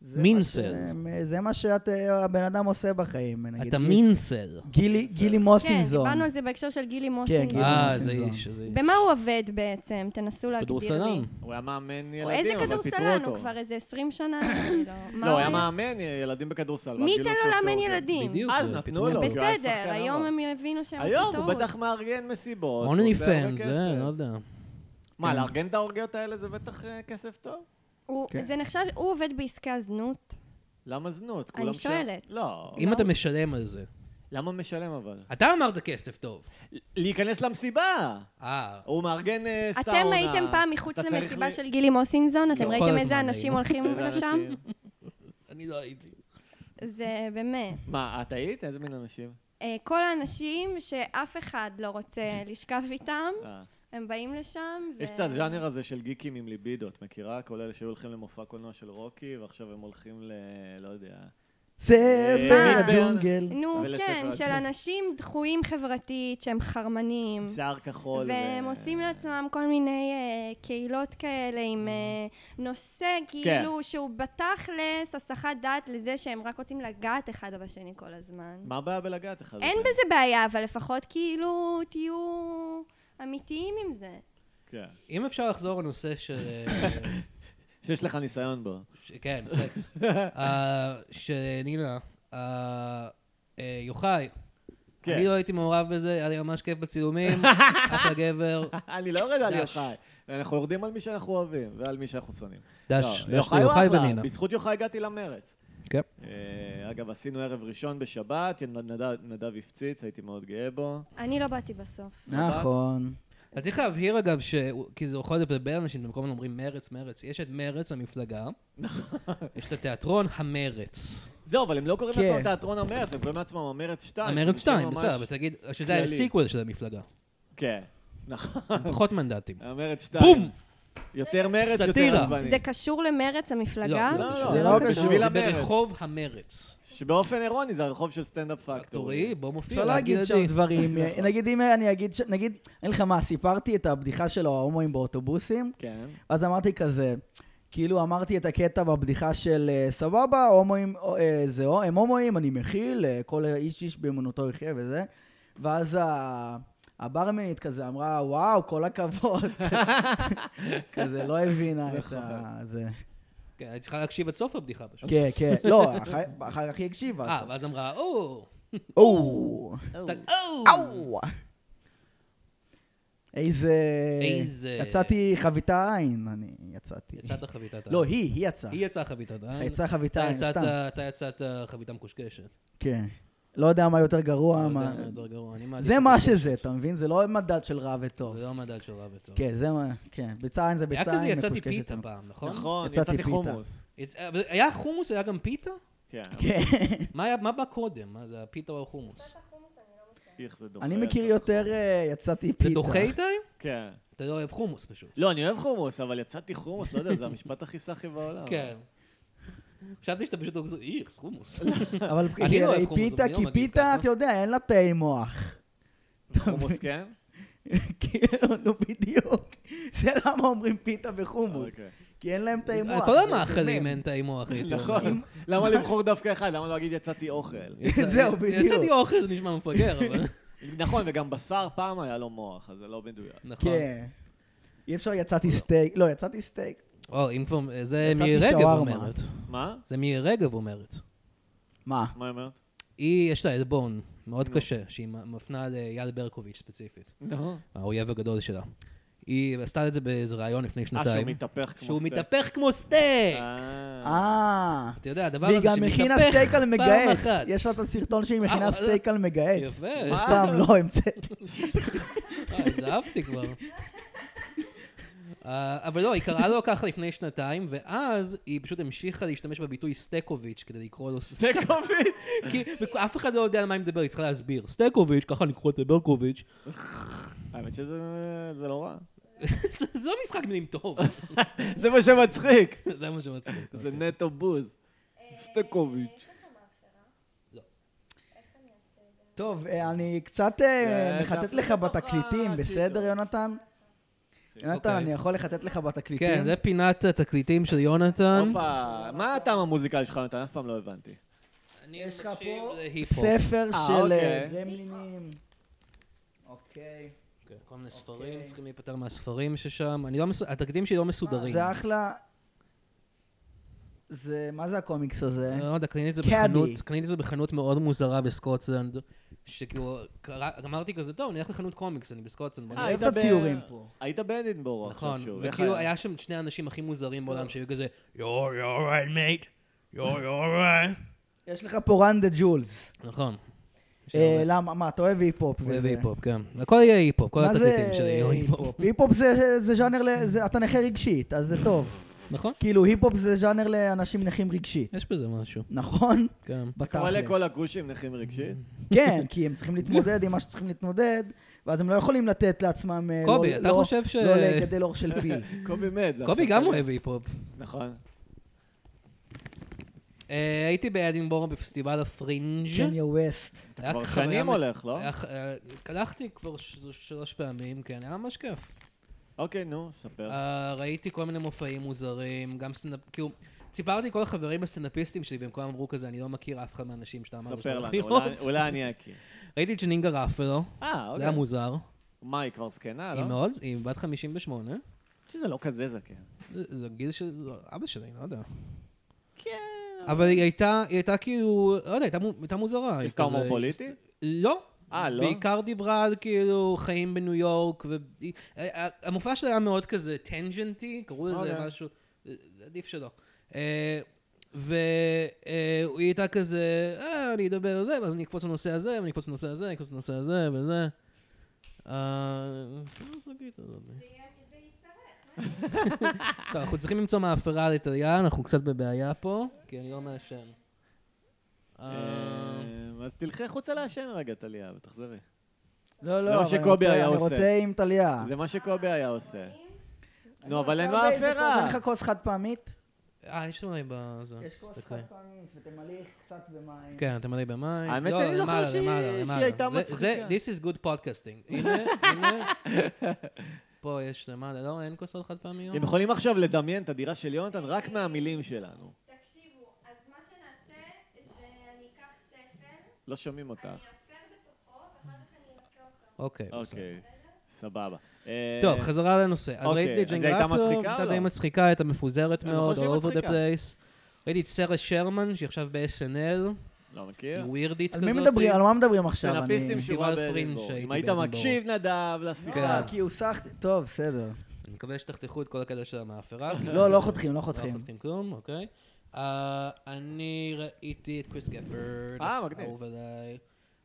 זה מה
מינסל.
ש- זה מה שהבן אדם עושה בחיים. נגיד,
אתה
גיל-
מינסל.
גילי, גילי
כן,
מוסינזון.
דיברנו על זה בהקשר של גילי
גילי
מוסינגר.
אה,
מוסינזון.
זה איש, זה איש.
במה הוא עובד בעצם? תנסו להגדיר לי.
כדורסלן.
הוא היה מאמן
או איזה
ילדים, אבל פיטרו
כדורסלן, הוא
אותו.
כבר איזה 20 שנה, אני לא... מה
לא, הוא היה מאמן ילדים בכדורסל. ואז
מי
גילו
ייתן
שהוא
לו
עושה כן. אה,
לאמן
אותו.
ילדים?
בדיוק.
אז
זה
נתנו
פתאום.
לו. כי הוא היה
בסדר,
שחקן
היום
רמה.
הם הבינו שהם עשו טעות.
היום הוא בטח מארגן מסיבות. הוא
אונלי
עושה הרבה
פן,
כסף.
זה, לא כן. יודע.
מה, לארגן את האורגיות האלה זה בטח אה, כסף טוב?
הוא-
כן.
זה נחשב, הוא עובד בעסקי הזנות.
למה זנות?
אני
כולם שם-
שואלת.
לא.
אם אתה משלם על זה.
למה משלם אבל?
אתה אמרת כסף טוב.
להיכנס למסיבה!
אה,
הוא מארגן אה, סאונה.
אתם הייתם פעם מחוץ
אז אתה צריך
למסיבה
ל-
של גילי מוסינזון? אתם
לא,
ראיתם
כל
איזה
הזמן
אנשים
היינו.
הולכים
איזה
לשם?
אנשים?
אני לא הייתי.
זה באמת.
מה, את היית? איזה מין אנשים?
אה, כל האנשים שאף אחד לא רוצה לשכב איתם,
אה.
הם באים לשם. ו-
יש את הז'אנר הזה של גיקים עם ליבידו, את מכירה? כל אלה שהיו הולכים למופע קולנוע של רוקי, ועכשיו הם הולכים ל... לא יודע.
ספר
מה?
הג'ונגל.
נו,
ולספר
כן,
על
של
זה.
אנשים דחויים חברתית, שהם חרמנים.
עם שיער כחול. ו-
Mm. והם עושים לעצמם כל מיני אה, קהילות כאלה עם אה, נושא כאילו שהוא בתכלס הסחת דעת לזה שהם רק רוצים לגעת אחד בשני כל הזמן.
מה הבעיה בלגעת אחד?
אין
בשני?
בזה בעיה, אבל לפחות כאילו תהיו אמיתיים עם זה.
כן.
אם אפשר לחזור לנושא של... אה,
שיש לך ניסיון בו.
ש- כן, סקס. אה, של נינה. אה, אה, יוחאי,
כן.
אני לא הייתי מעורב בזה, היה לי ממש כיף בצילומים, אחלה גבר.
אני לא יורד על
דש.
יוחאי. אנחנו יורדים על מי שאנחנו אוהבים ועל מי שאנחנו שונאים.
דש,
לא,
דש
יוחאי הוא
ליוחאי
אחלה,
ונינה.
בזכות יוחאי הגעתי למרץ.
כן.
אה, אגב, עשינו ערב ראשון בשבת, נדב- נדב הפציץ, הייתי מאוד גאה בו.
אני לא באתי בסוף.
נכון.
אז צריך להבהיר אגב, ש... כי זה יכול לבלבל אנשים, במקום הם אומרים מרץ, מרץ. יש את מרץ, המפלגה. נכון. יש את התיאטרון המרץ.
זהו, אבל הם לא קוראים
כן.
לעצמם תיאטרון המרץ, הם קוראים לעצמם המרץ 2.
המרץ 2, בסדר, אבל תגיד, שזה היה
כללי.
סיקוול של המפלגה.
כן, נכון.
פחות מנדטים.
המרץ 2.
בום!
יותר מרץ, יותר
סאטירה.
עצבני.
זה קשור למרץ המפלגה?
לא,
לא, לא,
זה לא
זה
קשור.
בשביל
זה
המרץ.
ברחוב המרץ.
שבאופן אירוני זה הרחוב של סטנדאפ פקטורי.
פקטורי, בו מופיע
אפשר להגיד שם דברים,
נכון.
נגיד אם אני אגיד, ש- נגיד, אני לך מה, סיפרתי את הבדיחה שלו, ההומואים באוטובוסים,
כן.
אז אמרתי כזה, כאילו אמרתי את הקטע בבדיחה של אה, סבבה, הומואים, אה, זה, הו- הם הומואים, אני מכיל, אה, כל איש איש באמונתו יחיה וזה, ואז ה... הברמנית כזה אמרה, וואו, כל הכבוד. כזה, לא הבינה
נכון.
את ה... זה.
כן, היא צריכה להקשיב עד סוף הבדיחה פשוט.
כן, כן. לא, אחר אחר כך היא הקשיבה.
אה, ואז אמרה, או!
או,
סתם, אה, "או".
או. איזה...
איזה-
יצאתי חביתה עין, אני יצאתי.
יצאת חביתת
לא, היא, היא יצאה.
היא יצאה חביתת
אתה
העין.
יצא חביתה עין,
אה, יצאת-
סתם.
אתה יצאת חביתה מקושקשת.
כן. לא יודע מה יותר גרוע,
לא
מה...
יודע, יותר גרוע, אני מעדיף
זה מה
מקושקשת.
שזה, אתה מבין? זה לא מדד של רע וטוב.
זה לא מדד של רע וטוב.
כן, זה מה... כן, ביצה עין זה
היה
ביצה
כזה
עין
יצאתי
מקושקשת.
פיתה פעם, נכון?
נכון,
יצאתי
יצאתי
פיתה.
חומוס.
יצ- אבל היה חומוס, היה גם פיתה?
כן,
כן.
מה היה- מה בא קודם? מה זה, הפיתה או החומוס?
איך זה דוחה.
לא
אני מכיר
יצאתי-
יותר אה, יצאתי פיתה.
נכון. זה דוחה איתי?
כן.
אתה לא אוהב חומוס פשוט.
לא, אני אוהב חומוס, אבל יצאתי חומוס, לא יודע, זה המשפט הכי סאחי
אה.
בעולם.
כן. חשבתי שאתה פשוט אוגזר, איכס, חומוס.
אבל
לא
כי-
אוהב
היא
חומוס,
פיתה,
אני לא
כי
מגיב
פיתה,
ככה.
אתה יודע, אין לה תאי מוח.
חומוס כן?
כאילו, נו, בדיוק. זה למה אומרים פיתה וחומוס.
אוקיי.
כי אין להם תאי מוח.
על אה, כל
זה
המאכלים
מדמם.
אין תאי מוח, הייתי אומר.
נכון. למה לבחור דווקא אחד? למה לא להגיד יצאתי אוכל?
יצא-
זהו, בדיוק.
יצאתי אוכל, זה נשמע מפגר, אבל...
נכון, וגם בשר פעם היה לו מוח, אז זה לא מדויק.
נכון.
כן. אי אפשר יצאתי סטייק, לא, יצאתי סטייק.
או, אם כבר, זה
יצאתי
מירי רגב
שווארמה.
אומרת.
מה?
זה מירי רגב אומרת.
מה?
מה היא אומרת?
היא, יש לה עלבון מאוד
נו.
קשה, שהיא מפנה לאייל ברקוביץ' ספציפית,
נכון.
האויב הגדול שלה. היא עשתה את זה באיזה ראיון לפני
אה, שהוא
שנתיים.
מתהפך כמו
שהוא
סטייק.
מתהפך כמו סטייק!
אה.
אה.
אתה יודע, הדבר הזה
והיא
שמתהפך
גם הכינה סטייק על
פעם
מגהץ.
אחת.
יש לה את הסרטון שהיא מכינה
אה,
סטייק על מגהץ.
יפה,
מה?
סתם, לא המצאתי.
אה, אז אהבתי כבר. אה, אבל לא, היא קראה לו ככה לפני שנתיים, ואז היא פשוט המשיכה להשתמש בביטוי סטקוביץ' כדי לקרוא לו סטייק.
סטייק
כי אף אחד לא יודע על מה היא מדברת, היא צריכה להסביר. סטקוביץ', ככה אני קורא את ברקוביץ'.
האמת שזה זה לא רע.
זה זה לא משחק מילים טוב.
זה מה שמצחיק.
זה מה שמצחיק.
זה נטו בוז. סטקוביץ'.
טוב, אה, אני קצת אה,
כן,
מחטט
דפק
לא
לך
בתוך
בתקליטים, בסדר,
הצ'יטוס.
יונתן? יונתן,
אוקיי.
אני יכול לחטט לך בתקליטים?
כן, זה פינת התקליטים של יונתן.
הופה, מה הטעם המוזיקלי שלך, נתן? אף פעם לא הבנתי.
אני
יש לך
מקשיב
פה
להיפ-הופ.
ספר
אה,
של
אוקיי.
אה, גרמלינים. אוקיי.
כן, כל מיני ספרים,
אוקיי.
צריכים להיפטר מהספרים ששם. אני לא מס- התקליטים שלי לא מסודרים.
אה, זה אחלה... זה, מה זה הקומיקס הזה?
לא יודע, קניתי את זה
קאדי.
בחנות, קניתי את זה בחנות מאוד מוזרה בסקוטלנד, שכאילו, קרא- אמרתי כזה, טוב, אני הולך לחנות קומיקס, אני בסקוטלנד. בוא
אה,
נראה."
אוהב את
היית ב-
הציורים פה.
היית באדינבורו עכשיו
נכון,
שוב. איך
וכאילו היה שם שני האנשים הכי מוזרים בעולם, שהיו כזה, יור, יור, מייט, יור, יור,
יש לך פה רן דה ג'ולס.
נכון.
אה, למה? מה, אתה אוהב היפ-הופ וזה.
זה היפ-הופ, כן. הכל יהיה היפ-הופ, כל
מה זה
התקליטים שלי יהיו היפ-הופ.
היפ-הופ? היפ-הופ זה- זה ז'אנר, ל- זה- אתה נכה רגשית, אז זה טוב.
נכון,
כאילו, היפ-הופ זה ז'אנר לאנשים נכים רגשית,
יש בזה משהו,
נכון?
כן.
אתה מלא
בתכל'ס.
כל הגושים נכים רגשית?
כן, כי הם צריכים להתמודד עם מה שצריכים להתמודד, ואז הם לא יכולים לתת לעצמם... אה,
קובי,
לא-
אתה
לא-
חושב ש-
לא לגדל אור של פיל.
קובי מת. זה
כן. קובי
עכשיו
גם
כזה.
אוהב היפ-הופ.
נכון.
אה, הייתי באדינבורג בפסטיבל הפרינג'.
ג'ניה ווסט.
אתה
היה
כבר
חוויה
שנים
מ-
הולך, לא?
היה ח- אה, הלכתי כבר ש- שלוש פעמים, כן, היה ממש כיף.
אוקיי, נו, ספר.
אה, ראיתי כל מיני מופעים מוזרים, גם סטנדאפ, כאילו, סיפרתי לכל החברים הסטנדאפיסטים שלי, והם כולם אמרו כזה, אני לא מכיר אף אחד מהאנשים שאתה אמרת שאתה
ספר
הולך
לנו, אולי-
לראות.
אולי אני אכיר.
ראיתי את ג'נינגה רפלו,
אה,
זה היה
אוקיי.
מוזר.
מה, היא כבר זקנה,
היא
לא?
מאוד, היא בת 58.
שזה לא כזה זקן.
זה זה גיל של אבא שלי, לא יודע.
כן.
אבל היא הייתה, היא הייתה כאילו, לא יודע, הייתה מו- הייתה מוזרה. היא
עשתה
כזה-
הומור פוליטי?
לא.
אה, לא?
בעיקר דיברה על כאילו חיים בניו יורק, והמופע שלה היה מאוד כזה טנג'נטי, קראו לזה
אוקיי.
משהו, אה, עדיף שלא. אה, והיא הייתה כזה, אה, אני אדבר על זה, ואז אני אקפוץ לנושא הזה, ואני אקפוץ לנושא הזה, אני אקפוץ לנושא הזה, וזה. אה, לא סגרית, לא יודע. טוב, אנחנו צריכים למצוא מאפרה לטליה, אנחנו קצת בבעיה פה, כי אני לא מעשן. אה,
אה, אז תלכי החוצה לעשן רגע, טליה, ותחזרי.
לא,
זה
לא,
מה
אבל אני
שקובי
רוצה-
היה
אני
עושה.
רוצה עם טליה. אה,
זה מה שקובי היה עושה. נו, אבל אין
אפשר באיזה כוס,
מאפרה.
אין לך כוס חד פעמית?
אה, יש לי בזה.
יש כוס
תסתכלי.
חד פעמית, ותמלאי קצת במים.
כן, אתה מלא במים.
האמת שאני זוכר
למעלה,
שהיא-
למעלה,
שהיא
למעלה.
הייתה
זה-
מצחיקה.
זה, this is good podcasting. הנה, הנה. פה יש למעלה, לא, אין כוסות חד פעמיות.
אתם יכולים עכשיו לדמיין את הדירה של יונתן רק מהמילים שלנו.
תקשיבו, אז מה שנעשה זה אני אקח ספר,
לא שומעים
אני
אותך.
אפר בתוכו, ואחר כך אני אקרא אותו.
אוקיי, בסדר.
אוקיי, סבבה. אה,
טוב, חזרה לנושא. אז
אוקיי,
ראיתי את
אז היא
ג'ינג
הייתה
רפלו,
מצחיקה או
הייתה
לא?
די מצחיקה, הייתה מפוזרת
אני זוכר
מאוד, all
שהיא
over the
מצחיקה.
place. ראיתי את סרה שרמן, שהיא עכשיו ב-SNL,
לא
היא
מכיר?
ווירדית
על
כזאת.
מי מדברים? על מה מדברים עכשיו? אני- לא-
סטנאפיסטים
אני-
שהוא ראה
פסטיבל פרינג'
באדינבורג. אם
שהייתי
היית
באדינבורג.
מקשיב, נדב,
אה,
לשיחה.
כן.
כי הוסחתי... טוב, בסדר.
אני מקווה שתחתכו את כל הקטע של המאפרה. כי
לא, לא חותכים, לא
לא
חותכים.
חותכים כלום, אוקיי. אה, אני ראיתי את קריס גפרד.
אה, מגניב.
אהוב עליי.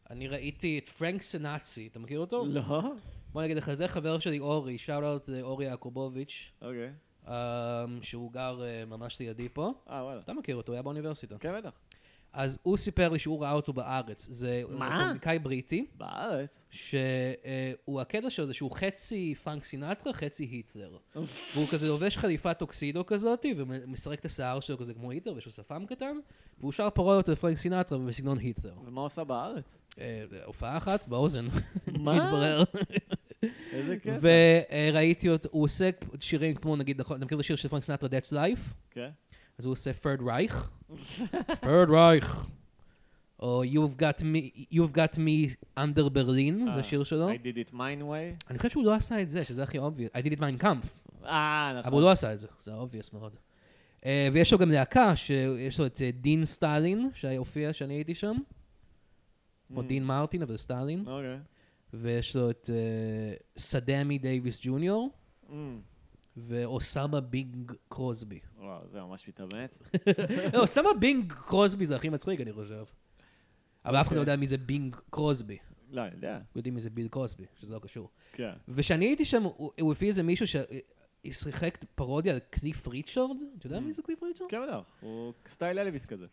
אני ראיתי את פרנק סנאצי, אתה מכיר אותו?
לא?
בוא נגיד לך, זה חבר שלי אורי, שאוט אאוט לאורי יעקובוביץ',
אוקיי.
אה, שהוא גר אה, ממש לידי פה.
אה, וואלה.
אתה מכיר אותו, הוא היה באוניברסיטה.
כן, בטח.
אז הוא סיפר לי שהוא ראה אותו בארץ. זה
מה?
קומיקאי בריטי,
בארץ.
שהוא, הקטע שלו זה שהוא חצי פרנק סינטרה, חצי היטלר. והוא כזה לובש חליפת טוקסידו כזאת, ומסרק את השיער שלו כזה כמו היטלר, ויש לו שפם קטן, והוא שר פרודות על פרנק סינטרה ובסגנון היטלר.
ומה עושה בארץ?
אה, הופעה אחת באוזן,
מה?
מתברר.
איזה כיף.
וראיתי אותו, הוא עושה שירים כמו נגיד, נכון, אתה מכיר את השיר של פרנק סינטרה, That's Life?
כן.
אז הוא עושה third reich. third reich. או You've Got Me, You've Got Me Under Berlin, זה
אה,
השיר שלו.
I did it mine way.
אני חושב שהוא לא עשה את זה, שזה הכי obvious. I did it mine kampf.
אה, נכון.
אבל הוא לא עשה את זה, זה obvious מאוד. Uh, אה, ויש לו גם להקה, שיש לו את אה, דין סטלין, שהופיע שאני הייתי שם, או דין מרטין, אבל סטלין,
אוקיי.
ויש לו את אה, סדאמי דייוויס ג'וניור,
Mm.
ואוסמה בינג קרוסבי.
וואו, זה ממש מתאמץ.
לא, אוסמה בינג קרוסבי זה הכי מצחיק, אני חושב. אבל אף אחד לא יודע מי זה בינג קרוסבי.
לא, אני יודע.
יודעים מי זה ביל קרוסבי, שזה לא קשור.
כן.
וכשאני הייתי שם, הוא הוא הביא איזה מישהו ששיחק פרודיה על קליף ריצ'רד, אתה יודע מי זה קליף ריצ'רד?
כן בטח, הוא סטייל אלוויס כזה.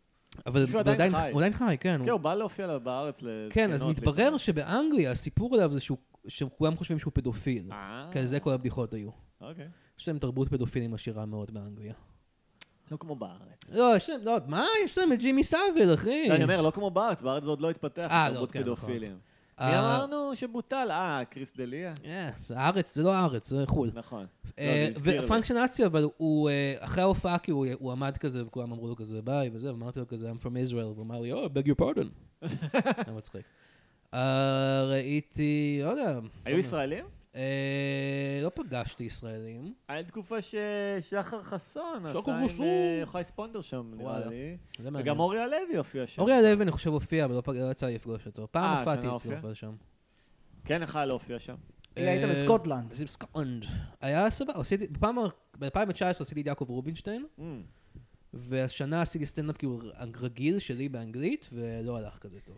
אבל
שהוא
הוא
עדיין
עדיין
חי.
הוא עדיין חי, כן. הוא-
כן, לא, הוא בא להופיע לה בארץ לזקנות.
כן, אז מתברר
לפעמים.
שבאנגליה הסיפור עליו זה שהוא, שכולם חושבים שהוא פדופיל.
אה.
כן, זה כל הבדיחות היו.
אוקיי.
יש להם תרבות פדופילים עשירה מאוד באנגליה.
לא כמו בארץ.
לא, יש להם, לא, מה? יש להם את ג'ימי סאביל, אחי.
אני אומר, לא כמו בארץ, בארץ זה עוד לא התפתח,
אה, לא,
תרבות
כן, נכון.
פדופילים. מי
אה,
אמרנו שבוטל? אה, קריס דליה?
אה, זה הארץ, זה לא הארץ, זה חו"ל.
נכון. לא,
אה,
זה הזכיר לי.
ופונקשנציה, אבל הוא, אה, אחרי ההופעה, כי הוא הוא עמד כזה, וכולם אמרו לו כזה, ביי, וזה, ואמרתי לו כזה, I'm from Israel, והוא אמר לי, Oh, I beg your pardon. היה מצחיק. אה, ראיתי, לא יודע.
היו ישראלים?
אה, לא פגשתי ישראלים.
היה תקופה ששחר חסון עשה
שחר
עם
חסון.
אה, יוחאי ספונדר שם, נראה
וואלה.
לי.
זה מעניין.
וגם אורי הלוי הופיע שם.
אורי הלוי, אני חושב, הופיע, אבל לא פג- לא יצא לי לפגוש אותו. פעם
אה,
הופעתי
שנה
אצלו,
הופיע?
אבל שם.
כן, יכול היה להופיע שם.
אה, היית
אה,
בסקוטלנד.
זה בסקוטלנד. היה סבבה, עשיתי, בפעם, ה- ב-2019 עשיתי את יעקב רובינשטיין,
Mm.
והשנה עשיתי סטנדאפ כאילו רגיל שלי באנגלית, ולא הלך כזה טוב.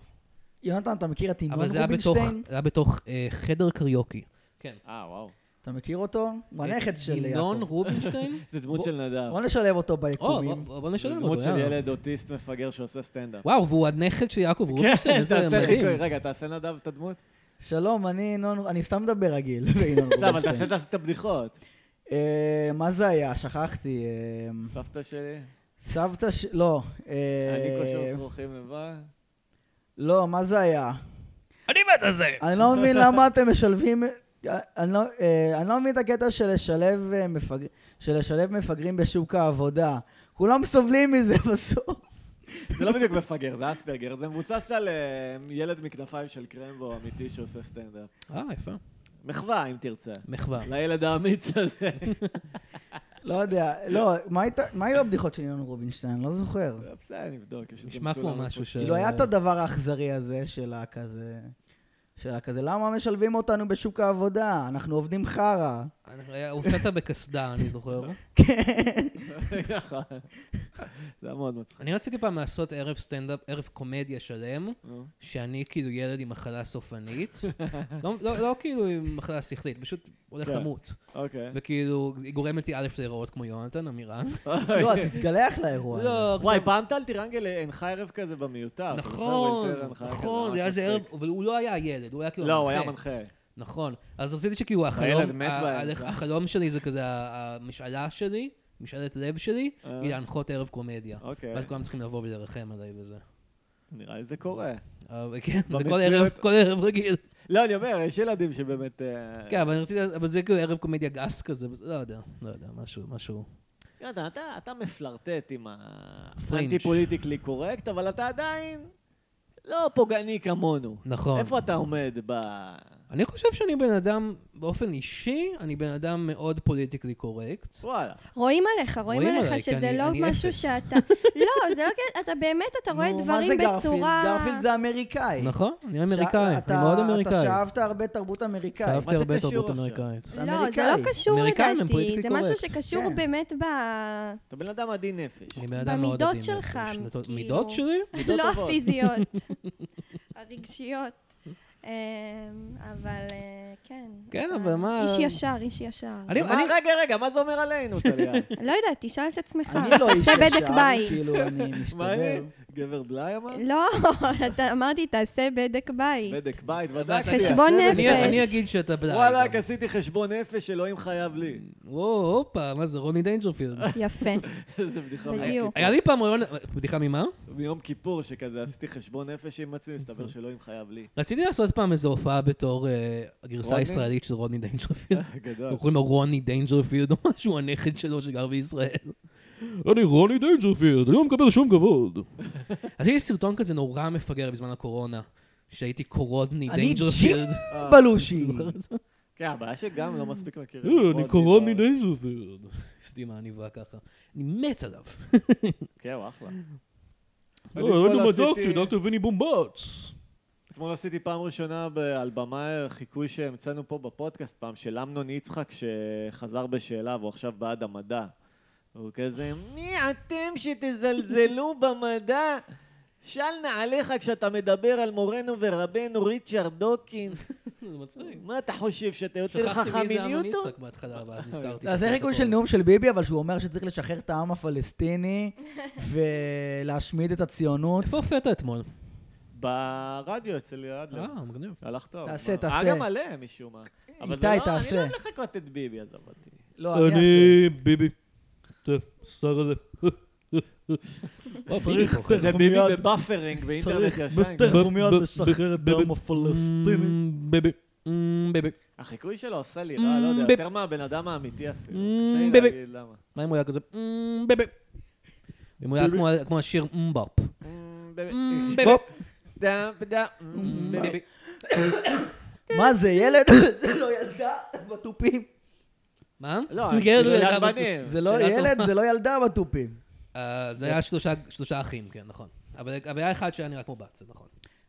יונתן, אתה מכיר את ינון
אבל זה היה בתוך,
רובינשטיין?
זה היה בתוך אה, חדר קריוקי. כן.
אה, וואו.
אתה מכיר אותו? הוא הנכד של
אה, ינון
יעקב.
רובינשטיין?
זה דמות
בוא-
של נדב.
בוא נשלב אותו
או,
ביקומים.
בוא- בוא
זה
נשלם
דמות
אותו.
של
יאללה.
ילד אוטיסט מפגר שעושה סטנדאפ.
וואו, והוא הנכד של יעקב רובינשטיין?
כן,
איזה
תעשה
מדהים.
חיקוי. רגע, תעשה נדב את הדמות.
שלום, אני ינון, אני סתם מדבר רגיל. וינון
בסדר, אבל תעשה
רובינשטיין.
תעשה את הבדיחות.
אה, מה זה היה? שכחתי. אה,
סבתא שלי,
סבתא ש... לא. אה,
אני כושר שרוכים לבד.
לא, מה זה היה?
אני מת על זה!
אני לא מבין למה אתם משלבים... אה, אני לא, אה, אני לא מבין את הקטע של לשלב, אה, מפג... של לשלב מפגרים בשוק העבודה. כולם סובלים מזה בסוף.
זה לא בדיוק מפגר, זה אספרגר. זה מבוסס על אה, ילד מכנפיים של קרמבו אמיתי שעושה סטנדאפ.
אה, יפה.
מחווה, אם תרצה.
מחווה.
לילד האמיץ הזה.
לא יודע, לא, מה, היית, מה היו הבדיחות של ינון רובינשטיין? לא זוכר.
בסדר, נבדוק. יש את
נשמע
המצולם
כמו משהו
הזה.
ש...
כאילו, היה את הדבר האכזרי הזה של הכזה... של הכזה, למה משלבים אותנו בשוק העבודה? אנחנו עובדים חרא.
היה- הופעת בקסדה, אני זוכר.
כן.
נכון. זה היה מאוד מצחיק.
אני רציתי פעם לעשות ערב סטנדאפ, ערב קומדיה שלם,
נו.
שאני כאילו ילד עם מחלה סופנית. לא- לא לא כאילו עם מחלה שכלית, פשוט הולך
כן.
למות.
אוקיי.
וכאילו, היא גורמת לי א' להיראות כמו יונתן, אמירן.
לא, אז תתגלח לאירוע. הזה.
לא,
וואי, פעם טל טירנגל הנחה ערב כזה במיותר. אה, אתה זוכר?
נכון,
ווילטר הנחה כזה, ממש
נכון, זה היה איזה ערב,
מצחיק.
אבל הוא לא היה ילד, הוא היה כאילו
לא, הוא היה מנחה.
נכון. אז רציתי שכאילו
הילד
החלום,
מת
ה-
באמצע.
ה- החלום שלי זה כזה, ה- המשאלה שלי, משאלת לב שלי,
אה.
היא להנחות ערב קומדיה.
אוקיי.
ואז כולם צריכים לבוא ולרחם עליי וזה.
נראה לי זה קורה.
אבל כן, זה כל
במציאות-
ערב, כל ערב רגיל.
לא, אני אומר, יש ילדים שבאמת... אה,
כן, אבל אני רציתי, אבל זה כאילו ערב קומדיה גס כזה, וזה- לא יודע, לא יודע, משהו, משהו.
יונתן, אתה, אתה מפלרטט עם
פרינג'.
האנטי פוליטיקלי קורקט, אבל אתה עדיין לא פוגעני כמונו.
נכון.
איפה אתה עומד ב...
אני חושב שאני בן אדם, באופן אישי, אני בן אדם מאוד פוליטיקלי קורקט.
וואלה.
רואים עליך, רואים
רואים עליי,
עליך
כי
שזה
אני-
לא
אני
משהו
אפס.
שאתה... לא, זה לא כ... אתה באמת, אתה רואה
נו, מה זה
דברים
גרפילד?
בצורה...
גרפילד זה אמריקאי.
נכון, אני
שא-
אמריקאי,
אתה-
אני מאוד אמריקאי.
אתה שאבת הרבה תרבות
כן,
אמריקאית.
אהבתי הרבה
קשור
תרבות
עכשיו?
אמריקאית.
זה
לא, זה
אמריקאי.
לא קשור
אמריקאים הם
לדעתי,
politically
זה משהו
correct.
שקשור
כן.
באמת ב...
אתה בן אדם עדין נפש.
אני בן אדם מאוד
במידות
עדין
שלך,
נפש. מידות-
כאילו.
מידות שלי?
מידות
לא
טובות.
הפיזיות, הרגשיות. אמ, אבל אה, כן.
כן,
אתה
אבל מה-
איש ישר, איש ישר.
אני-
מה, אה, רגע, רגע, מה זה אומר עלינו, טליה?
לא יודעת, תשאל את עצמך.
אני לא איש
תעשה בדק
ישר,
בית.
כאילו, אני
מה אני?
משתדל.
גבר בלאי אמר?
לא, אתה- אמרתי, תעשה בדק בית.
בדק בית, ודאי.
אני-
חשבון
אני-
נפש.
אני אגיד שאתה בלעי.
וואלכ, עשיתי חשבון נפש, אלוהים חייב לי.
וואו, הופה, מה זה, רוני דיינג'רפילד.
יפה,
איזה בדיחה.
בדיוק.
היה לי פעם רעיון, בדיחה ממה?
מיום כיפור שכזה עשיתי חשבון נפש עם עצמי, הסתבר שאלוהים חייב לי.
רציתי לעשות פעם איזו הופעה בתור אה, הגרסה
רוני?
הישראלית של רוני דיינג'רפילד.
גדול.
קוראים לו רוני דיינג'רפילד או משהו, הנכד שלו שגר בישראל. אני רוני דיינג'רפילד, אני לא מקבל שום כבוד. אז יש לי סרטון כזה נורא מפגר בזמן הקורונה, שהייתי קורודני
אני
דיינג'רפילד.
ג'ים בלושי.
זוכר את זה?
כן, הבעיה שגם לא מספיק מכירים.
אה, אני
עוד
קורן
דיבר.
מדי סופר. יש לי מעניבה ככה. אני מת עליו.
כן, הוא אחלה.
אה,
אני אתמול
אין לו
עשיתי-
מדוקטור, דוקטור ויני בומבוץ.
אתמול עשיתי פעם ראשונה ב- על במה חיקוי שהמצאנו פה בפודקאסט פעם, של אמנון יצחק שחזר בשאלה והוא עכשיו בעד המדע. הוא כזה, מי אתם שתזלזלו במדע? של נעליך כשאתה מדבר על מורנו ורבנו ריצ'רד דוקינס.
זה מצחיק.
מה אתה חושב, שאתה יותר
שכחתי
חכם
מי זה אמנון
מניוטון?
יצחק בהתחלה, ואז נזכרתי.
אז זה
שזה
חיקוי
אותו.
של נאום של ביבי, אבל שהוא אומר שצריך לשחרר את העם הפלסטיני ולהשמיד את הציונות.
איפה הופעת אתמול?
ברדיו אצל
לא.
אדלר.
אה, מגניב.
הלך טוב.
תעשה,
מה?
תעשה.
היה גם עליהם משום מה. אבל זה
איתי,
לא- אני
תעשה.
לא אוהב לחכות את ביבי, עזוב אותי.
לא, אני אעשה.
אני ביבי. טוב, שר הזה.
צריך
זה ביבי בבאפרינג באינטרנט ישן.
בתחומיות
ב- ב-
לשחרר את
ב-
העם
ב-
הפלסטיני.
Mm, ביבי. ביבי.
החיקוי שלו עושה לי רע, לא
ביבי.
יודע, יותר מהבן אדם האמיתי אפילו.
Mm,
קשה לי
ביבי.
להגיד למה.
מה אם הוא היה כזה? "מ, ביבי. אם הוא היה כמו- כמו השיר מבופ.
Mm, ביבי.
ביבי. Mm,
דם, דם, mm, ביבי.
ביבי.
מה זה, ילד? זה לא ילדה בתופים.
מה?
לא,
כן, זה
שלילת
גם-
בנים.
זה לא
שאלה טובה.
ילד, זה לא ילדה בתופים.
אה, זה היה שלושה- שלושה אחים, כן, נכון. אבל אבל היה אחד שהיה נראה כמו בת, זה נכון.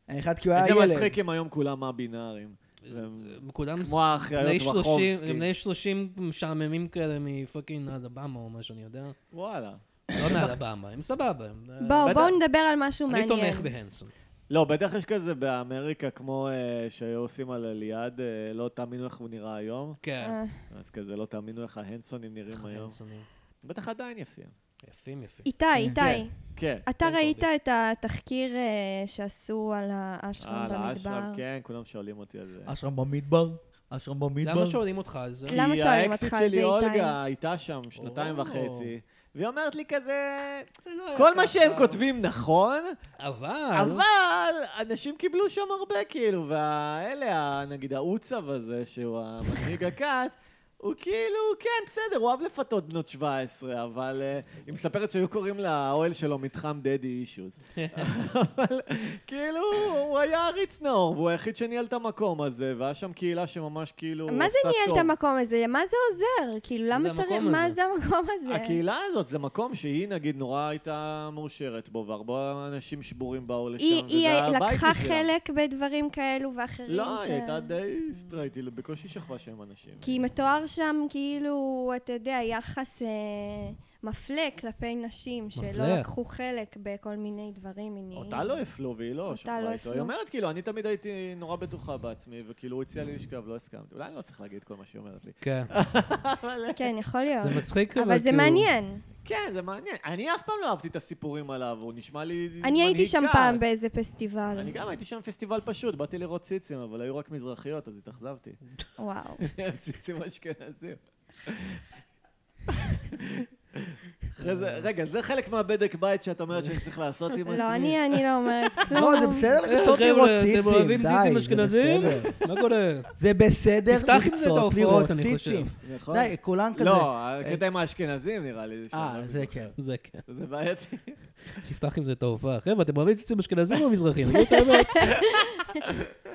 אחד כי הוא היה
איזה
ילד.
מצחיק אם היום כולם א-בינאריים. והם-
הם כולם
כמו האחיות
בני 30
ווחובסקי.
הם בני 30 משעממים כאלה מפאקינג אלבמה או משהו, אני יודע.
וואלה.
לא מאלבמה, הם סבבה. הם-
בואו,
בטח.
בואו נדבר על משהו
אה, אני
מעניין.
תומך בהנסון.
לא, בטח יש כזה באמריקה, כמו אה, שהיו עושים על אליעד, אה, לא תאמינו איך הוא נראה היום.
כן.
אה,
אז כזה, לא תאמינו איך ההנסונים נראים היום.
הנסונים.
בטח עדיין יפים.
יפים, יפים.
איתי, איתי,
כן.
אתה
כן,
ראית
קורדי.
את התחקיר אה, שעשו על האשרם
אה, על האשרם,
במדבר?
כן, כולם שואלים אותי על זה.
אשרם במדבר? אשרם במדבר?
למה שואלים אותך על זה?
למה שואלים אותך על זה,
כי האקסיט שלי
איתי?
אולגה הייתה שם שנתיים
או.
וחצי, והיא אומרת לי כזה, כל מה שהם כותבים נכון,
אה.
אבל...
אבל אנשים קיבלו שם הרבה, כאילו, והאלה, ה- נגיד האוצב הזה, שהוא המנהיג הכת, הוא כאילו, כן, בסדר, הוא אהב לפתות בנות 17, אבל אה, היא מספרת שהיו קוראים לאוהל שלו מתחם דדי אישוז. אבל כאילו, הוא היה עריץ נאור, והוא היחיד שניהל את המקום הזה, והיה שם קהילה שממש כאילו...
מה זה
עשתה
ניהל
טוב.
את המקום הזה? מה זה עוזר? כאילו, למה
המקום
צריך...
הזה.
מה זה המקום הזה?
הקהילה הזאת זה מקום שהיא נגיד נורא הייתה מאושרת בו, והרבה אנשים שבורים באו לשם,
היא-
וזה
היא
היה הבית
לקחה
בשבילם.
חלק בדברים כאלו ואחרים
לא,
ש-
היא הייתה די סטרייט, היא בקושי שכבה שהם אנשים.
כי מתואר שם כאילו, אתה יודע, יחס אה, מפלה כלפי נשים שלא
מפלה.
לקחו חלק בכל מיני דברים מיניים.
אותה לא הפלו והיא לא
אותה
שכבה
לא
איתו. היא
הפלו.
אומרת, כאילו, אני תמיד הייתי נורא בטוחה בעצמי, וכאילו, הוא הציע לי לשכב, לא הסכמתי. אולי אני לא צריך להגיד כל מה שהיא אומרת לי.
כן.
אבל אה,
כן, יכול להיות.
זה מצחיק,
אבל זה
כאילו-
מעניין.
כן, זה מעניין. אני אף פעם לא אהבתי את הסיפורים עליו, הוא נשמע לי מנהיג
אני הייתי שם
קהל.
פעם באיזה פסטיבל.
אני גם הייתי שם פסטיבל פשוט, באתי לראות ציצים, אבל היו רק מזרחיות, אז התאכזבתי.
וואו.
ציצים אשכנזים. אחרי זה- רגע, זה חלק מהבדק בית שאת אומרת שאני צריך לעשות עם עצמי?
לא, אני אני לא אומרת כלום.
לא, זה בסדר לרצות
חבר'ה,
לראות
אתם
ציצים,
אוהבים ציצים
די, זה
אשכנזים?
בסדר.
מה קורה?
זה בסדר
תפתח עם זה את
לרצות
ההופעות,
לראות
אני חושב.
ציצים.
נכון?
די, כולם כזה.
לא, הקטע עם האשכנזים נראה לי. שם,
אה,
לא
זה
בדיוק.
כן.
זה כן.
זה בעייתי.
תפתח עם זה את ההופעה. חבר'ה, אתם אוהבים ציצים אשכנזים או מזרחים? תגידו את האמת.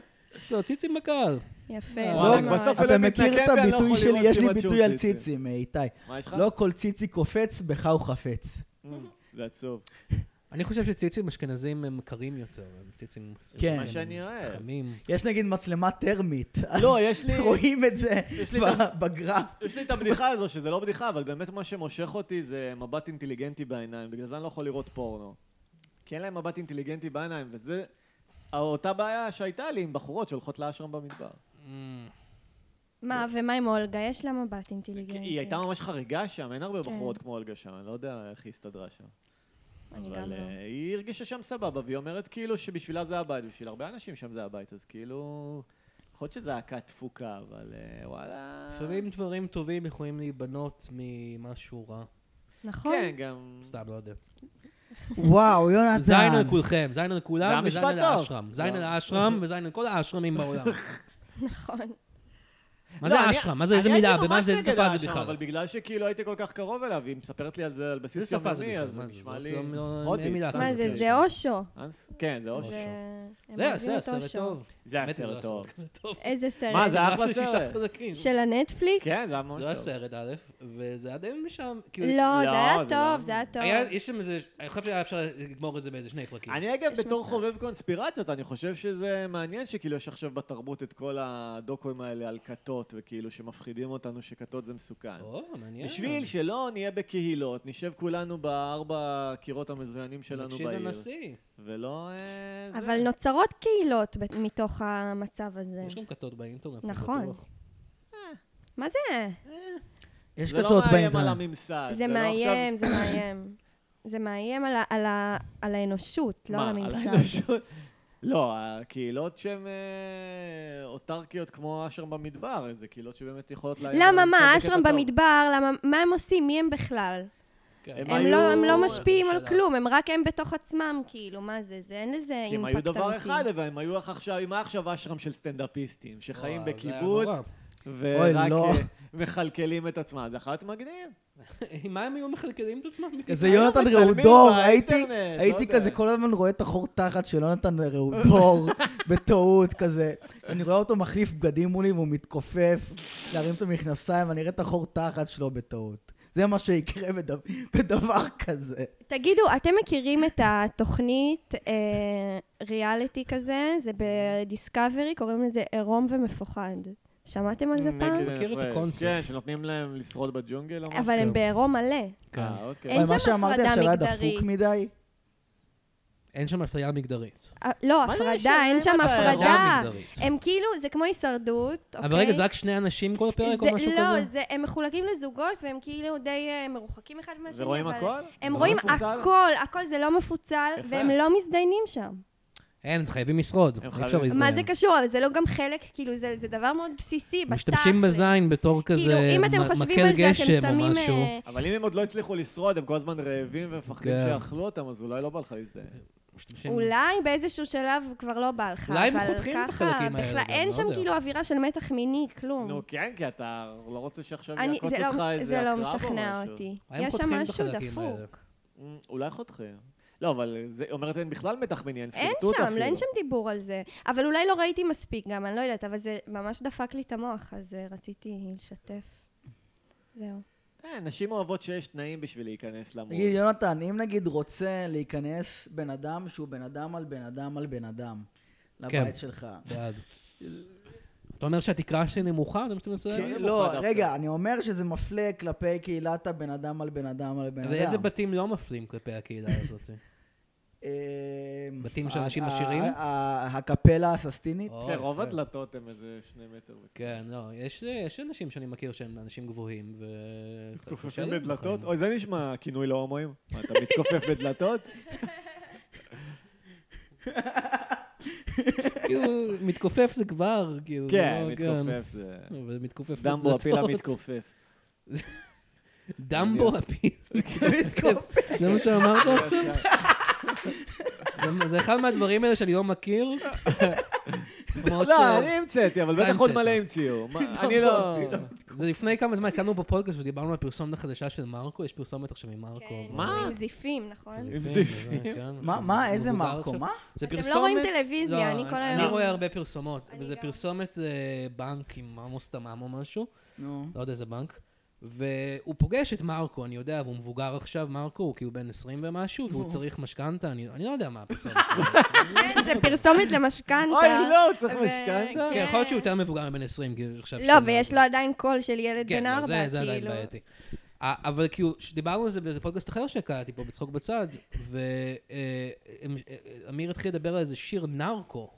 יש לו לא, ציצים בקהל.
יפה.
וואו,
לא
רק
מאוד.
בסוף-
אתה
אלוהים
מכיר
מתנקם
את
בי, אני לא
הביטוי
יכול
שלי,
לראות
יש לי
כמעט שום
ביטוי על
ציצים.
ציצים, אה, איתי.
מה יש לך? Mm,
לא כל ציצי קופץ, בך הוא חפץ.
זה עצוב.
אני חושב שציצים אשכנזים הם קרים יותר. הם ציצים...
כן.
מה שאני אוהב.
חמים.
יש נגיד מצלמה טרמית. אז
לא, יש לי...
רואים את זה
יש לי
ב-
גם-
בגרף.
יש לי את הבדיחה הזו, שזה לא בדיחה, אבל באמת מה שמושך אותי זה מבט אינטליגנטי בעיניים, בגלל זה אני לא יכול לראות פורנו. כי אין להם מבט אינטליגנטי בעיניים, וזה אותה בעיה שהייתה לי עם בחורות שהולכות לאשרם במדבר. אה.
מה, ומה עם אולגה? יש לה מבט
כי
אינטליגנטי.
היא הייתה ממש חריגה שם, אין הרבה
כן.
בחורות כמו אולגה שם, אני לא יודע איך היא הסתדרה שם.
אני
אבל
גם לא.
אה, היא הרגישה שם סבבה, והיא אומרת כאילו שבשבילה זה הבית, בשביל הרבה אנשים שם זה הבית, אז כאילו... יכול להיות שזו להקה תפוקה, אבל אה, וואלה...
לפעמים דברים טובים יכולים להיבנות ממשהו רע.
נכון?
כן, גם...
סתם, לא יודע.
וואו, יונתן.
זין על כולכם, זין על
זה
כולם
המשפט
וזין על
טוב.
האשרם. זין על
לא.
האשרם וזין על כל האשרמים בעולם.
נכון.
מה
לא,
זה
אני-
האשרם? מה זה,
אני
איזה
הייתי
מילה?
ממש
במה זה, איזה
נגד
שפה זה
האשרם,
בכלל?
אבל בגלל שכאילו הייתי כל כך קרוב אליו, היא מספרת לי על זה על בסיס
איזה שפה זה
יומיומי, אז
בכלל? מה
זה
זה?
נשמע לי...
זה לא- לא- אין
הודית,
מילה.
מה זה,
סנסקריט.
זה אושו.
אנס- כן, זה אושר.
זה- הם
זה,
אוהבים
זה
את
הסרט
אושו.
טוב.
זה זה היה
האמת היא,
סרט טוב.
כזה טוב.
איזה סרט.
מה, זה היה אחלה
של שישה
סרט.
חלקים.
של הנטפליקס?
כן, זה היה ממש
זה היה
טוב.
סרט א', וזה היה די משם, כאילו...
לא, זה
לא,
היה
זה לא.
טוב, זה היה טוב.
היה, יש שם איזה, אני חושב שהיה אפשר לגמור את זה באיזה שני פרקים.
אני אגב,
יש
בתור
מצב.
חובב קונספירציות, אני חושב שזה מעניין שכאילו יש עכשיו בתרבות את כל הדוקוים האלה על כתות, וכאילו שמפחידים אותנו שכתות זה מסוכן.
אוקיי.
או, מעניין.
בשביל שלא נהיה בקהילות, נשב כולנו בארבע קירות המזוינים שלנו
נקשיב
בעיר,
לנשיא.
ולא... אה, זה.
אבל נוצרות קהילות בת- מתוך המצב הזה.
יש גם כתות באינטרנט.
נכון.
בטוח.
מה זה?
יש
זה לא
כתות
מאיים על
באינטרנט.
הממסד.
זה
לא
מאיים, זה מאיים. זה מאיים על ה- על ה- על האנושות,
עכשיו-
לא על
מה,
הממסד.
האנושות? לא, הקהילות שהן אה, אוטרקיות כמו אשרם במדבר, זה קהילות שבאמת יכולות לאיים על
למה,
הממסד
מה,
בקטע
אשרם
טוב.
במדבר, למה, מה הם עושים? מי הם בכלל?
כן.
הם
הם
היו-
לא- הם לא משפיעים על
הממשלה.
כלום, הם רק הם בתוך עצמם, כאילו, מה זה? זה אין לזה
כי הם
אימפקט
היו
אמיתי.
דבר אחד, אבל הם היו איך עכשיו, מה עכשיו אשרם של סטנדאפיסטים, שחיים
וואו, זה היה
בקיבוץ,
נורא.
אוי,
ורק
לא.
אה, מכלכלים את עצמם, זה יכול להיות מגניב.
מה הם היו מכלכלים את עצמם?
איזה
היו
יונתן
מצלמים
ראודור,
באינטרנט,
הייתי-
לא
הייתי
יודע.
כזה כל הזמן רואה את החור תחת של יונתן ראודור, בטעות כזה. אני רואה אותו מחליף בגדים מולי והוא מתכופף להרים את המכנסיים, אני אראה את החור תחת שלו בטעות. זה מה שיקרה בדב- בדבר כזה.
תגידו, אתם מכירים את התוכנית אה, ריאליטי כזה? זה בדיסקאברי, קוראים לזה עירום ומפוחד. שמעתם על זה
Naked
פעם?
and
מכיר את
Afraid.
הקונספט.
כן, שנותנים להם לשרוד בג'ונגל או משהו.
אבל הם בעירום מלא.
כן.
אה, אוקיי.
אין
וואי, מה
שם
שאמרתי
הפרדה
עכשיו היה
מגדרית.
דפוק מדי.
אין שם אפליה מגדרית.
אה, לא,
מה זה
הפרדה,
משנה?
אין שם
מה הבעיה?
הפרדה.
אה, מגדרית.
הם כאילו, זה כמו הישרדות, אוקיי?
אבל רגע, זה רק שני אנשים כל פרק או
זה-
משהו
לא,
כזה?
זה, הם מחולקים לזוגות והם כאילו די אה, מרוחקים אחד מהשני.
ורואים
אבל-
הכל?
הם
זה
רואים
לא מפוצל?
הכל, הכל זה לא מפוצל,
יפה.
והם לא מזדיינים שם.
אין, הם חייבים לשרוד. אי
הם
אפשר
חייבים לשרוד.
להזדיין.
מה זה קשור? אבל זה לא גם חלק, כאילו, זה זה דבר מאוד בסיסי, בתכלס.
משתמשים בזין בתור כזה
כאילו, אם אתם
מ-
חושבים
מקל
על זה, אתם
גשם או
שמים...
משהו.
אה,
אבל אם הם עוד לא הצליחו לשרוד, הם כל הזמן רעבים ומפחדים
כן.
שיאכלו אותם, אז אולי לא בא לך להזדהן.
משתמשים-
אולי באיזשהו שלב כבר לא בא לך,
אולי הם
אבל
חותכים
ככה,
בחלקים האלה
בכלל
גם,
אין
לא
שם
יודע.
כאילו אווירה של מתח מיני, כלום.
נו, כן, כי אתה לא רוצה שעכשיו
אני-
יעקוץ
זה לא-
אותך איזה
זה
הקרב
לא
או משהו.
משכנע אותי.
האם
יש שם
חותכים
משהו
בחלקים האלה?
דפוק.
אמ, אולי חותכים. לא, אבל זה אומרת אין בכלל מתח מיני, אין
אין
שרטוט
שם,
אפילו.
לא, אין שם דיבור על זה. אבל אולי לא ראיתי מספיק גם, אני לא יודעת, אבל זה ממש דפק לי את המוח, אז אה, רציתי לשתף. זהו.
אה, נשים אוהבות שיש תנאים בשביל להיכנס למור.
נגיד, יונתן, אם נגיד רוצה להיכנס בן אדם שהוא בן אדם על בן אדם על בן אדם,
כן.
לבית שלך.
בעד. אתה אומר שהתקרה שלי נמוכה? זה מה שאתה מנסה
כן.
להגיד?
לא,
דווקא.
רגע, אני אומר שזה מפלה כלפי קהילת הבן אדם על בן אדם על בן אדם.
ואיזה בתים לא מפלים כלפי הקהילה הזאת?
אה,
בתים של
ה-
אנשים
ה-
עשירים?
ה- ה- הקפלה הססטינית?
או,
כן, רוב
יפה.
הדלתות הם איזה שני מטר.
כן, לא, יש יש אנשים שאני מכיר שהם אנשים גבוהים, ו... נכון.
מתכופפים
קשה לי
בדלתות?
בחיים.
אוי, זה נשמע כינוי להומואים. מה, אתה מתכופף בדלתות?
כאילו, מתכופף זה כבר, כאילו... זה
כן,
לא-
מתכופף זה...
אבל מתכופף
דמבו
בדלתות.
הפילה מתכופף.
דמבו הפיל. זה מה שאמרת? זה- זה אחד מהדברים האלה שאני לא מכיר. כמו
לא,
ש-
אני המצאתי, אבל
אתה
בטח עוד
המצאת.
מלא המציאו. מה, אני לא...
זה לפני כמה זמן הקלנו בפודקאסט ודיברנו על פרסומת החדשה של מרקו, יש פרסומת עכשיו עם מרקו.
כן,
מה?
עם זיפים, נכון?
זיפים.
זיפים,
זיפים.
אוקיי. זה, כן.
מה- מה, איזה
מבוגר
מרקו?
עכשיו.
מה?
זה
אתם
פרסומת...
לא רואים טלוויזיה, אני כל
אני
היום...
רואה הרבה פרסומות,
אני
וזה
גם.
פרסומת אה, בנק עם עמוס תמם או משהו,
נו.
לא יודע איזה בנק, והוא פוגש את מרקו, אני יודע, והוא מבוגר עכשיו, מרקו הוא כאילו בן 20 ומשהו, והוא צריך משכנתה, אני אני לא יודע מה הפרסומת.
כן, זה פרסומת למשכנתה.
אוי, לא, הוא צריך
ו-
משכנתה?
כן, יכול להיות שהוא יותר מבוגר מבן 20, כאילו עכשיו...
לא,
שאתה-
ויש לו עדיין קול של ילד
כן,
בן
לא,
ארבע,
זה-
כאילו.
זה עדיין בעייתי. א- אבל כאילו, דיברנו על זה באיזה פודקאסט אחר שקראתי פה, בצחוק בצד, אה, ואמיר התחיל לדבר על איזה שיר נרקו.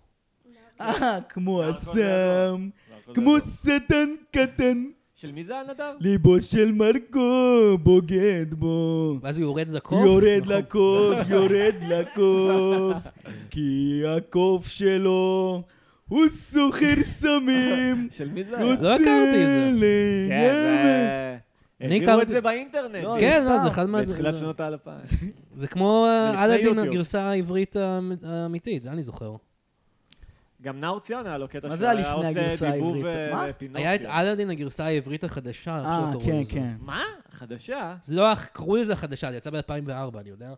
אה, כמו
מרקו
עצם, כמו שטן קטן,
לא, של מי זה הנדב?
ליבו של מרקו בוגד בו.
ואז הוא יורד לקוף.
יורד
נכון.
לקוף, יורד לקוף, כי הקוף שלו הוא סוחר סמים.
של מי זה? היה?
לא הכרתי את זה.
זה.
כן, זה...
אני
העבירו את
הכרתי.
זה באינטרנט.
לא,
כן, לא,
סתם.
זה אחד מה...
בתחילת שנות האלפיים.
זה כמו
לפני
אלאדין,
יוטיוב.
הגרסה העברית האמ- האמיתית, זה אני זוכר.
גם נאור ציון היה לו קטע
מה
שהוא
זה
היה
הלפני הגרסה
עושה דיבוב
העברית?
אה,
מה?
לפינוקיו.
היה את אלאדין, הגרסה העברית החדשה, איך
אה,
שלא קראו
כן,
לזה.
כן.
מה? חדשה?
זה לא, קראו לזה החדשה, זה יצא ב-2004, אני יודע.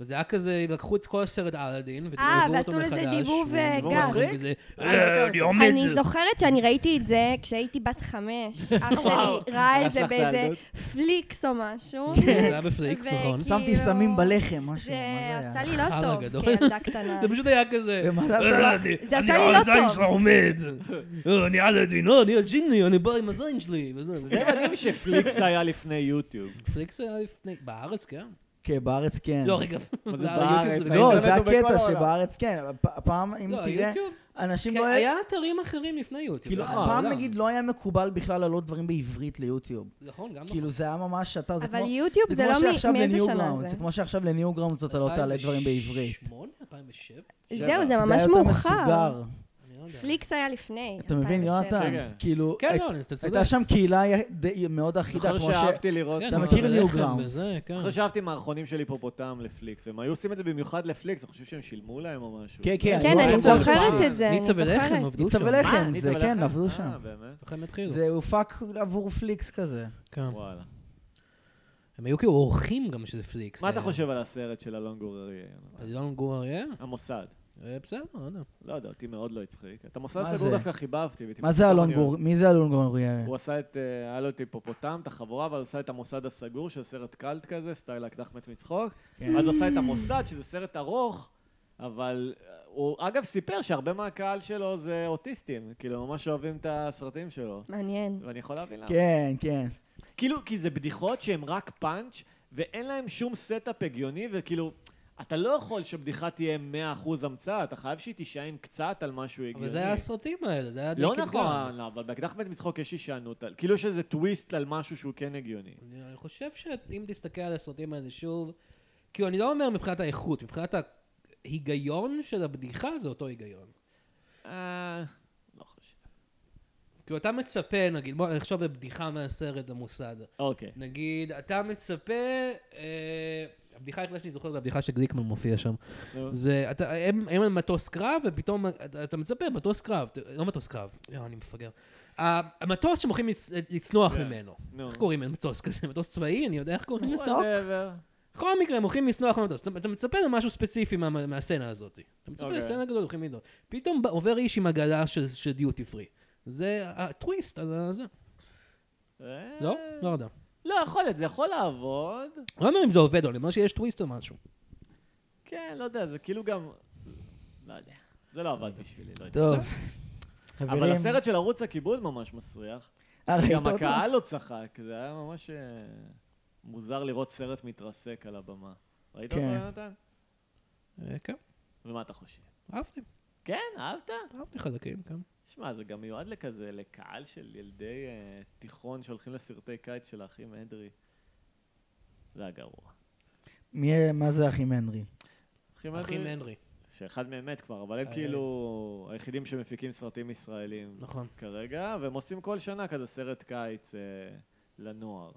וזה היה כזה, לקחו את כל הסרט אלאדין,
אה,
ודיבבו אותו
ועשו
מחדש.
לזה דיבוב, אה,
והוא
גס.
מצחיק, וזה,
אה,
"אה, אני עומד...
אני זוכרת שאני ראיתי את זה כשהייתי בת חמש. אח
וואו,
שלי ראה את זה
הרסת
באיזה
ילדות.
פליקס או משהו.
כן, זה היה בפליקס,
וכאילו,
נכון.
שמתי סמים בלחם, משהו.
כאילו, זה עשה לי
חרא
לא
גדול.
טוב כילדה קטנה.
זה פשוט היה כזה.
ומזל
"אה,
שלך.
אני-
זה
אני
עשה לי לא
הזין
טוב.
שלך עומד. "אה, אני אלאדין, אה, אני הג'יני, אני בא עם הזין שלי. וזה.
זה מדהים שפליקס היה לפני יוטיוב.
פליקס היה לפני... בארץ, כן?
כן, בארץ כן.
לא, רגע.
מה זה
זה היה יוטיוב,
בארץ?
זה
לא,
באינטרנט
זה
ובכל
הקטע
העולם.
שבארץ כן. הפ- הפעם, אם
לא,
תראה,
יוטיוב?
אנשים
כן,
לא...
היה אתרים אחרים לפני יוטיוב.
כאילו,
נכון,
פעם
העולם.
נגיד לא היה מקובל בכלל לעלות דברים בעברית ליוטיוב.
נכון, גם נכון.
כאילו זה היה ממש, אתה, זה
אבל
כמו...
יוטיוב זה לא מ- מאיזה שנה
זה
זה.
כמו שעכשיו לניוגראונדס אתה לא תעלה דברים בעברית.
2008? 2007?
זהו,
שבע.
זה
זה היה
ממש
יותר
מאוחר.
מסוגר.
אני לא יודע.
פליקס היה לפני.
אתה מבין,
2007.
יונתן?
כן.
כאילו,
כן,
הי-
לא, אתה צודק.
הייתה שם קהילה י- די- מאוד אחידה,
זוכר
כמו
שאהבתי לראות...
כן,
אתה
אני
מכיר
צודק
ניוגראונדס.
לכם בזה, כן.
זוכר שאהבתי מערכונים של היפופוטם לפליקס, והם היו עושים את זה במיוחד לפליקס, אני חושב שהם שילמו להם או משהו.
כן, כן,
כן,
לא,
אני
זה
זוכרת
זוכר.
את זה, אני
ניצה ולחם
זוכרת.
עבדו
ניצה
שם.
ולחם.
אה,
זה,
ניצה
כן,
ולחם?
עבדו
אה,
שם.
באמת?
לכם התחילו.
זה הופק עבור פליקס כזה.
כן.
וואלה.
הם היו כאילו אורחים גם שזה פליקס.
מה אתה
כאלה.
חושב על הסרט של אלון גוררי?
על אלון גור אריה?
המוסד.
אה, בסדר, לא יודע.
לא יודע, אותי מאוד לא הצחיק. את המוסד
מה זה?
סגור דווקא חיבבתי. והייתי
מה
בטוח
זה אלון
אני
גור? מי זה אלון גור? אריאל?
הוא עשה את, אה, היה לו את היפופוטם, את החבורה, ואז עשה את המוסד הסגור, שזה סרט קאלט כזה, סטייל האקדח מת מצחוק.
כן.
אז הוא עשה את המוסד, שזה סרט ארוך, אבל אה, הוא אגב סיפר שהרבה מהקהל שלו זה אוטיסטים, כאילו, ממש אוהבים את הסרטים שלו.
מעניין.
ואני יכול להבין למה.
כן, כן.
כאילו, כי זה בדיחות שהן רק פאנץ', ואין להן שום סטאפ הגיוני, וכאילו, אתה לא יכול שבדיחה תהיה 100% המצאה, אתה חייב שהיא תישען קצת על משהו הגיוני.
אבל זה היה הסרטים האלה, זה היה
לא
נקד גן.
נכון, לא, אבל באקדח מת מצחוק יש הישענות, על- כאילו יש איזה טוויסט על משהו שהוא כן הגיוני.
אני אני חושב שאם תסתכל על הסרטים האלה שוב, כאילו, אני לא אומר מבחינת האיכות, מבחינת ההיגיון של הבדיחה זה אותו היגיון.
אה... לא חושב.
כאילו, אתה מצפה, נגיד, בוא נחשוב בבדיחה מהסרט המוסד.
אוקיי.
נגיד, אתה מצפה, אה, הבדיחה היחידה שאני זוכר זה הבדיחה שגליקמן מופיע שם.
נו.
זה, אתה, הם, הם על מטוס קרב, ופתאום אתה, אתה מצפה, מטוס קרב, ת- לא מטוס קרב, לא, אני מפגר. ה- המטוס שהם הולכים לצ, לצנוח
כן.
ממנו.
נו.
איך קוראים למטוס כזה? מטוס צבאי? אני יודע איך קוראים לזה.
מסוק?
Whatever.
בכל מקרה, הם הולכים לצנוח ממטוס. אתה, אתה מצפה למשהו ספציפי מה, מהסצנה הזאת. אתה מצפה
אוקיי.
לסצנה גדולה, הולכים לדעות. פתאום בא- עובר איש עם עגלה של, של דיוטי פרי. זה הטוויסט על הזה.
אה,
לא? לא יודע.
לא, יכול להיות, זה יכול לעבוד.
לא אומר אם זה עובד או לא, אני אומר שיש טוויסט או משהו.
כן, לא יודע, זה כאילו גם... לא יודע. זה לא עבד בשבילי, לא יודע.
טוב.
אבל
חברים,
הסרט של ערוץ הכיבוד ממש מסריח.
אה, ראית
גם
אותו?
הקהל לא צחק, זה היה ממש אה, מוזר לראות סרט מתרסק על הבמה. ראית אותו,
כן.
יונתן?
אה, כן,
ומה אתה חושב?
אהבתי.
כן, אהבת?
אהבתי חלקים, כן.
שמע, זה גם מיועד לכזה, לקהל של ילדי אה, תיכון שהולכים לסרטי קיץ של האחים אדרי. זה היה גרוע.
מי- מה זה אחים הנרי?
אחים
אחים
אדרי?
הנרי,
שאחד מהם מת כבר, אבל הם
אה.
כאילו היחידים שמפיקים סרטים ישראלים
נכון.
כרגע, והם עושים כל שנה כזה סרט קיץ אה, לנוער.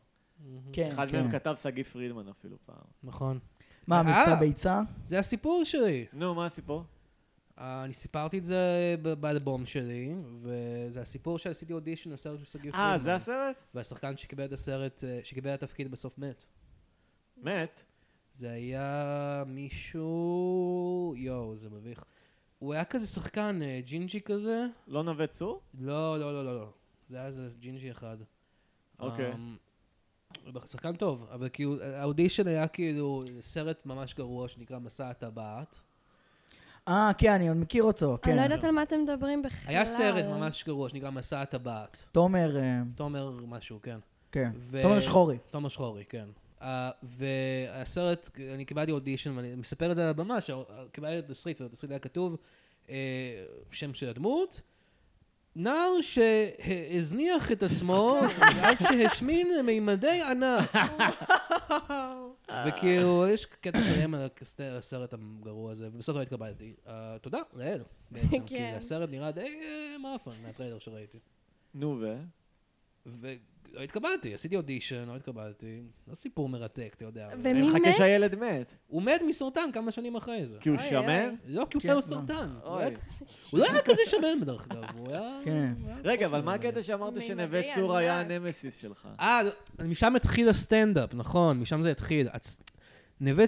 כן,
אחד
כן.
מהם כתב שגיא פרידמן אפילו פעם.
נכון.
מה,
אה.
מבצע ביצה?
זה הסיפור שלי.
נו, מה הסיפור?
אה, אני סיפרתי את זה ב- באלבום שלי, וזה הסיפור שעשיתי אודישן לסרט של שגיא פרידמן.
אה, זה הסרט?
והשחקן שקיבל את הסרט, אה, שקיבל את התפקיד בסוף מת.
מת.
זה היה מישהו... יואו, זה מביך. הוא היה כזה שחקן אה, ג'ינג'י כזה.
לא נווה צור?
לא, לא, לא, לא, לא. זה היה איזה ג'ינג'י אחד.
אוקיי.
אמ, הוא שחקן טוב, אבל כאילו, האודישן היה כאילו סרט ממש גרוע שנקרא מסע הטבעת.
אה, כן, אני עוד מכיר אותו,
אני לא
כן.
יודעת על מה אתם מדברים בכלל.
היה סרט ממש גרוע שנקרא מסע הטבעת.
תומר, אה,
תומר משהו, כן.
כן.
ו-
תומר שחורי.
תומר שחורי, כן. Uh, והסרט, אני קיבלתי אודישן, ואני מספר את זה על הבמה, שקיבלתי את התסריט, ובתסריט היה כתוב uh, שם של הדמות. נער שהזניח את עצמו עד שהשמין מימדי ענק. וכאילו, יש קטע שלם על הכס- הסרט הגרוע הזה, ובסוף לא התקבלתי. אה, תודה לאל, בעצם, כי
כן.
זה הסרט נראה די אה, מאפן מהטריילר שראיתי.
נו, ו?
ולא התקבלתי, עשיתי אודישן, לא התקבלתי. לא סיפור מרתק, אתה יודע.
ומי
אני אה, מחכה
מת?
שהילד מת.
הוא מת מסרטן כמה שנים אחרי זה.
כי הוא
אוי,
שמן?
אוי.
לא, כי הוא
כן,
פר
לא.
סרטן. הוא
אוי.
היה- הוא לא היה כזה שמן בדרך אגב, הוא היה...
כן.
הוא היה
רגע,
פחות
אבל מה
שמן.
הקטע שאמרת
מימדי
שנווה צור היה
ענק.
הנמסיס שלך?
אה, לא, משם התחיל הסטנדאפ, נכון, משם זה התחיל. הצ- נווה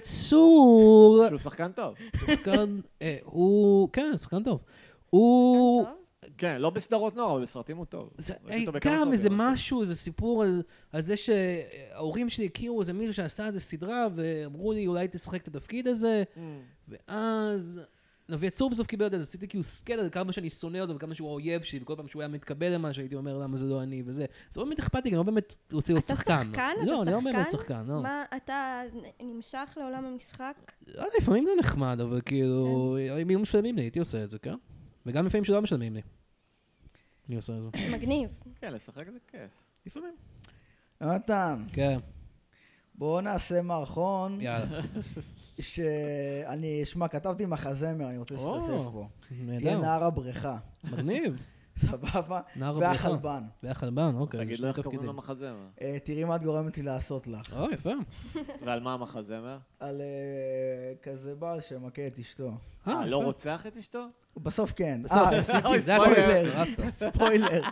צור,
שהוא שחקן טוב.
שחקן, אה, הוא, כן, שחקן טוב. הוא,
טוב?
כן, לא בסדרות נוער, אבל בסרטים הוא טוב.
זה
ראיתי אותו בכמה אוקיי.
גם
סרטים,
איזה
אבל-
משהו, איזה סיפור על, על זה שההורים שלי הכירו איזה מישהו שעשה איזה סדרה, ואמרו לי, אולי תשחק את התפקיד הזה,
Mm.
ואז... נביא צור בסוף קיבל את זה, אז עשיתי כאילו סקל על כמה שאני שונא אותו וכמה שהוא האויב שלי, וכל פעם שהוא היה מתקבל למשהו, הייתי אומר למה זה לא אני וזה. זה לא באמת אכפתי, כי אני לא באמת רוצה להיות
אתה
שחקן.
שחקן? אתה
לא, אני לא באמת
שחקן?
שחקן, לא.
מה, אתה נמשך לעולם המשחק?
לא יודע, לפעמים זה נחמד, אבל כאילו,
כן.
אם היו משלמים לי, הייתי עושה את זה, כן? וגם לפעמים שלא משלמים לי. אני עושה את זה.
מגניב.
כן, לשחק זה כיף.
לפעמים.
יונתן,
כן,
בואו נעשה מערכון,
יאללה.
שאני, שמע, כתבתי מחזמר, אני רוצה
או.
שתשתתף בו. תהיה
נהדר.
נער הבריכה,
מגניב.
סבבה?
נער הבריכה.
והחלבן.
והחלבן, אוקיי.
תגיד לו
זה שני
איך קוראים
תפקידים.
למחזמר.
אה, תראי מה את גורמת לי לעשות לך.
או, יפה. אה,
ועל מה המחזמר?
על אה, כזה בעל שמכה את אשתו.
אה, לא
יפה.
רוצח את אשתו?
בסוף כן.
בסוף,
אה,
עשיתי, זה
אוי,
הכל
ספוילר.
הרסת.
ספוילר.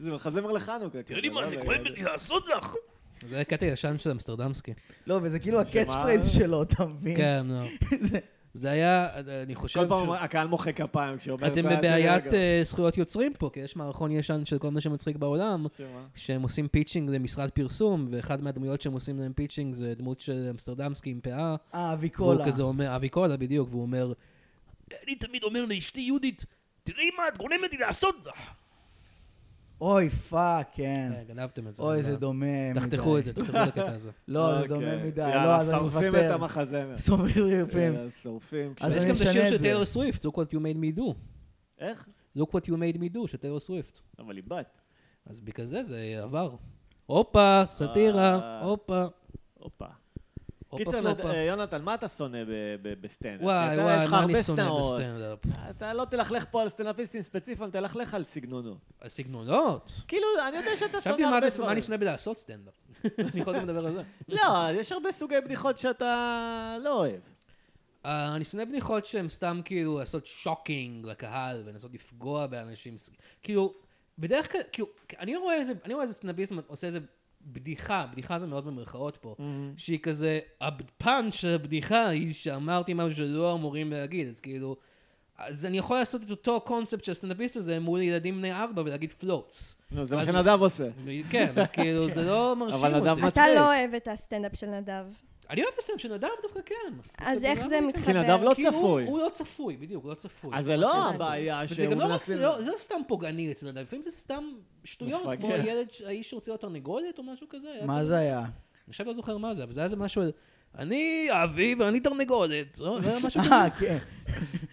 זה מחזמר לחנוכה. כאילו, לא תראה לי מה זה כואב לי.
זה היה קטע ישן של אמסטרדמסקי.
לא, וזה כאילו
שמה?
הקאץ' פרייז שלו, אתה מבין?
כן, לא. זה היה, אני חושב...
כל פעם
ש-
הקהל מוחא כפיים כשאומר...
אתם
"בעד,
בבעיית
רגע".
אה, זכויות יוצרים פה, כי יש מערכון ישן של כל מה שמצחיק בעולם.
שמה?
שהם עושים פיצ'ינג למשרד פרסום, ואחד מהדמויות שהם עושים להם פיצ'ינג זה דמות של אמסטרדמסקי עם פאה.
אה, אבי
והוא
קולה.
כזה אומר, אבי קולה בדיוק, והוא אומר, אני תמיד אומר לאשתי יהודית, תראי מה את גורמת לי לעשות לך.
אוי, פאק, כן.
כן, גנבתם את זה.
אוי,
אבל-
זה דומה מדי.
תחתכו את זה, תחתכו את הקטע הזה.
לא, זה
אוקיי.
דומה מדי. לא,
יאללה,
אז אני
שורפים
מוותר.
את המחזמר.
שורפים.
יאללה, שורפים.
אז
יש
אני
גם את
משנה
השיר
את
של
זה.
טיילר סוויפט, Look what you made me do.
איך?
Look what you made me do, של טיילר סוויפט.
אבל היא בת.
אז בגלל זה זה עבר. הופה, סאטירה,
אה.
הופה.
הופה.
הופה
קיצר, נד-
פלופה.
אה, יונתן, מה אתה שונא ב- ב- בסטנדאפ?
וואי,
אתה- יש
וואי,
לך
מה
הרבה
אני שונא
סדנאות.
בסטנדאפ.
אתה לא תלכלך פה על סטנדאפיסטים ספציפיים, תלכלך על סגנונות.
הסגנונות.
כאילו, אני יודע שאתה שונא
חשבתי
הרבה
מה
דברים.
אתה- מה אני שונא בלעשות סטנדאפ. אני יכול גם לדבר על זה.
לא, יש הרבה סוגי בדיחות שאתה לא אוהב.
אה, אני שונא בדיחות שהן סתם כאילו לעשות שוקינג לקהל ולנסות לפגוע באנשים. כאילו, בדרך כלל, כאילו, אני רואה איזה, אני רואה איזה סטנדאפיסט עושה איזה בדיחה, בדיחה זה מאוד במרכאות פה,
Mm-hmm.
שהיא כזה, הפאנץ' של הבדיחה היא שאמרתי משהו שלא אמורים להגיד, אז כאילו, אז אני יכול לעשות את אותו קונספט של הסטנדאפיסט הזה מול ילדים בני ארבע ולהגיד פלוטס.
נו, זה מה
אז-
שנדב עושה.
כן, אז כאילו, זה לא מרשים
אבל נדב
אותי.
מצ-
אתה
מצחיק.
לא אוהב את הסטנדאפ של נדב.
אני אוהב את הסטנדאפ של נדב דווקא כן.
אז
דווקא
איך
נדב
זה
אני כן.
כי
מתחבר?
נדב לא
כי הוא-
צפוי.
הוא לא צפוי, בדיוק, הוא לא צפוי.
אז זה לא
אוקיי.
הבעיה
וזה
שהוא
גם לא רק,
מנסים...
זה לא- זה לא סתם פוגעני אצל נדב, לפעמים זה סתם שטויות,
מפגר.
כמו הילד, ש- האיש שרוצה להיות תרנגולת או משהו כזה. היה
מה
כזה-
זה היה?
אני עכשיו לא זוכר מה זה, אבל זה היה איזה משהו, על, אני אביב, אני תרנגולת. לא, זה היה משהו כזה.
אה, כן.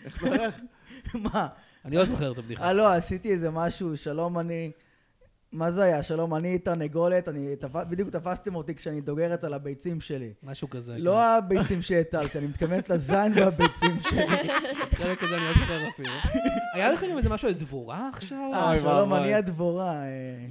איך זה הולך?
מה?
אני לא זוכר את הבדיחה.
אה, לא, עשיתי איזה משהו, שלום אני... מה זה היה? שלום, אני תרנגולת, אני... תפ- בדיוק תפסתם אותי כשאני דוגרת על הביצים שלי.
משהו כזה. כן.
לא הביצים שהטלתי, אני מתכוונת לזין והביצים שלי.
כן. חלק כזה אני לא זוכר אפילו. היה לך גם איזה משהו על דבורה עכשיו?
אה,
אוי
שלום,
ואבוי.
אני הדבורה. אה,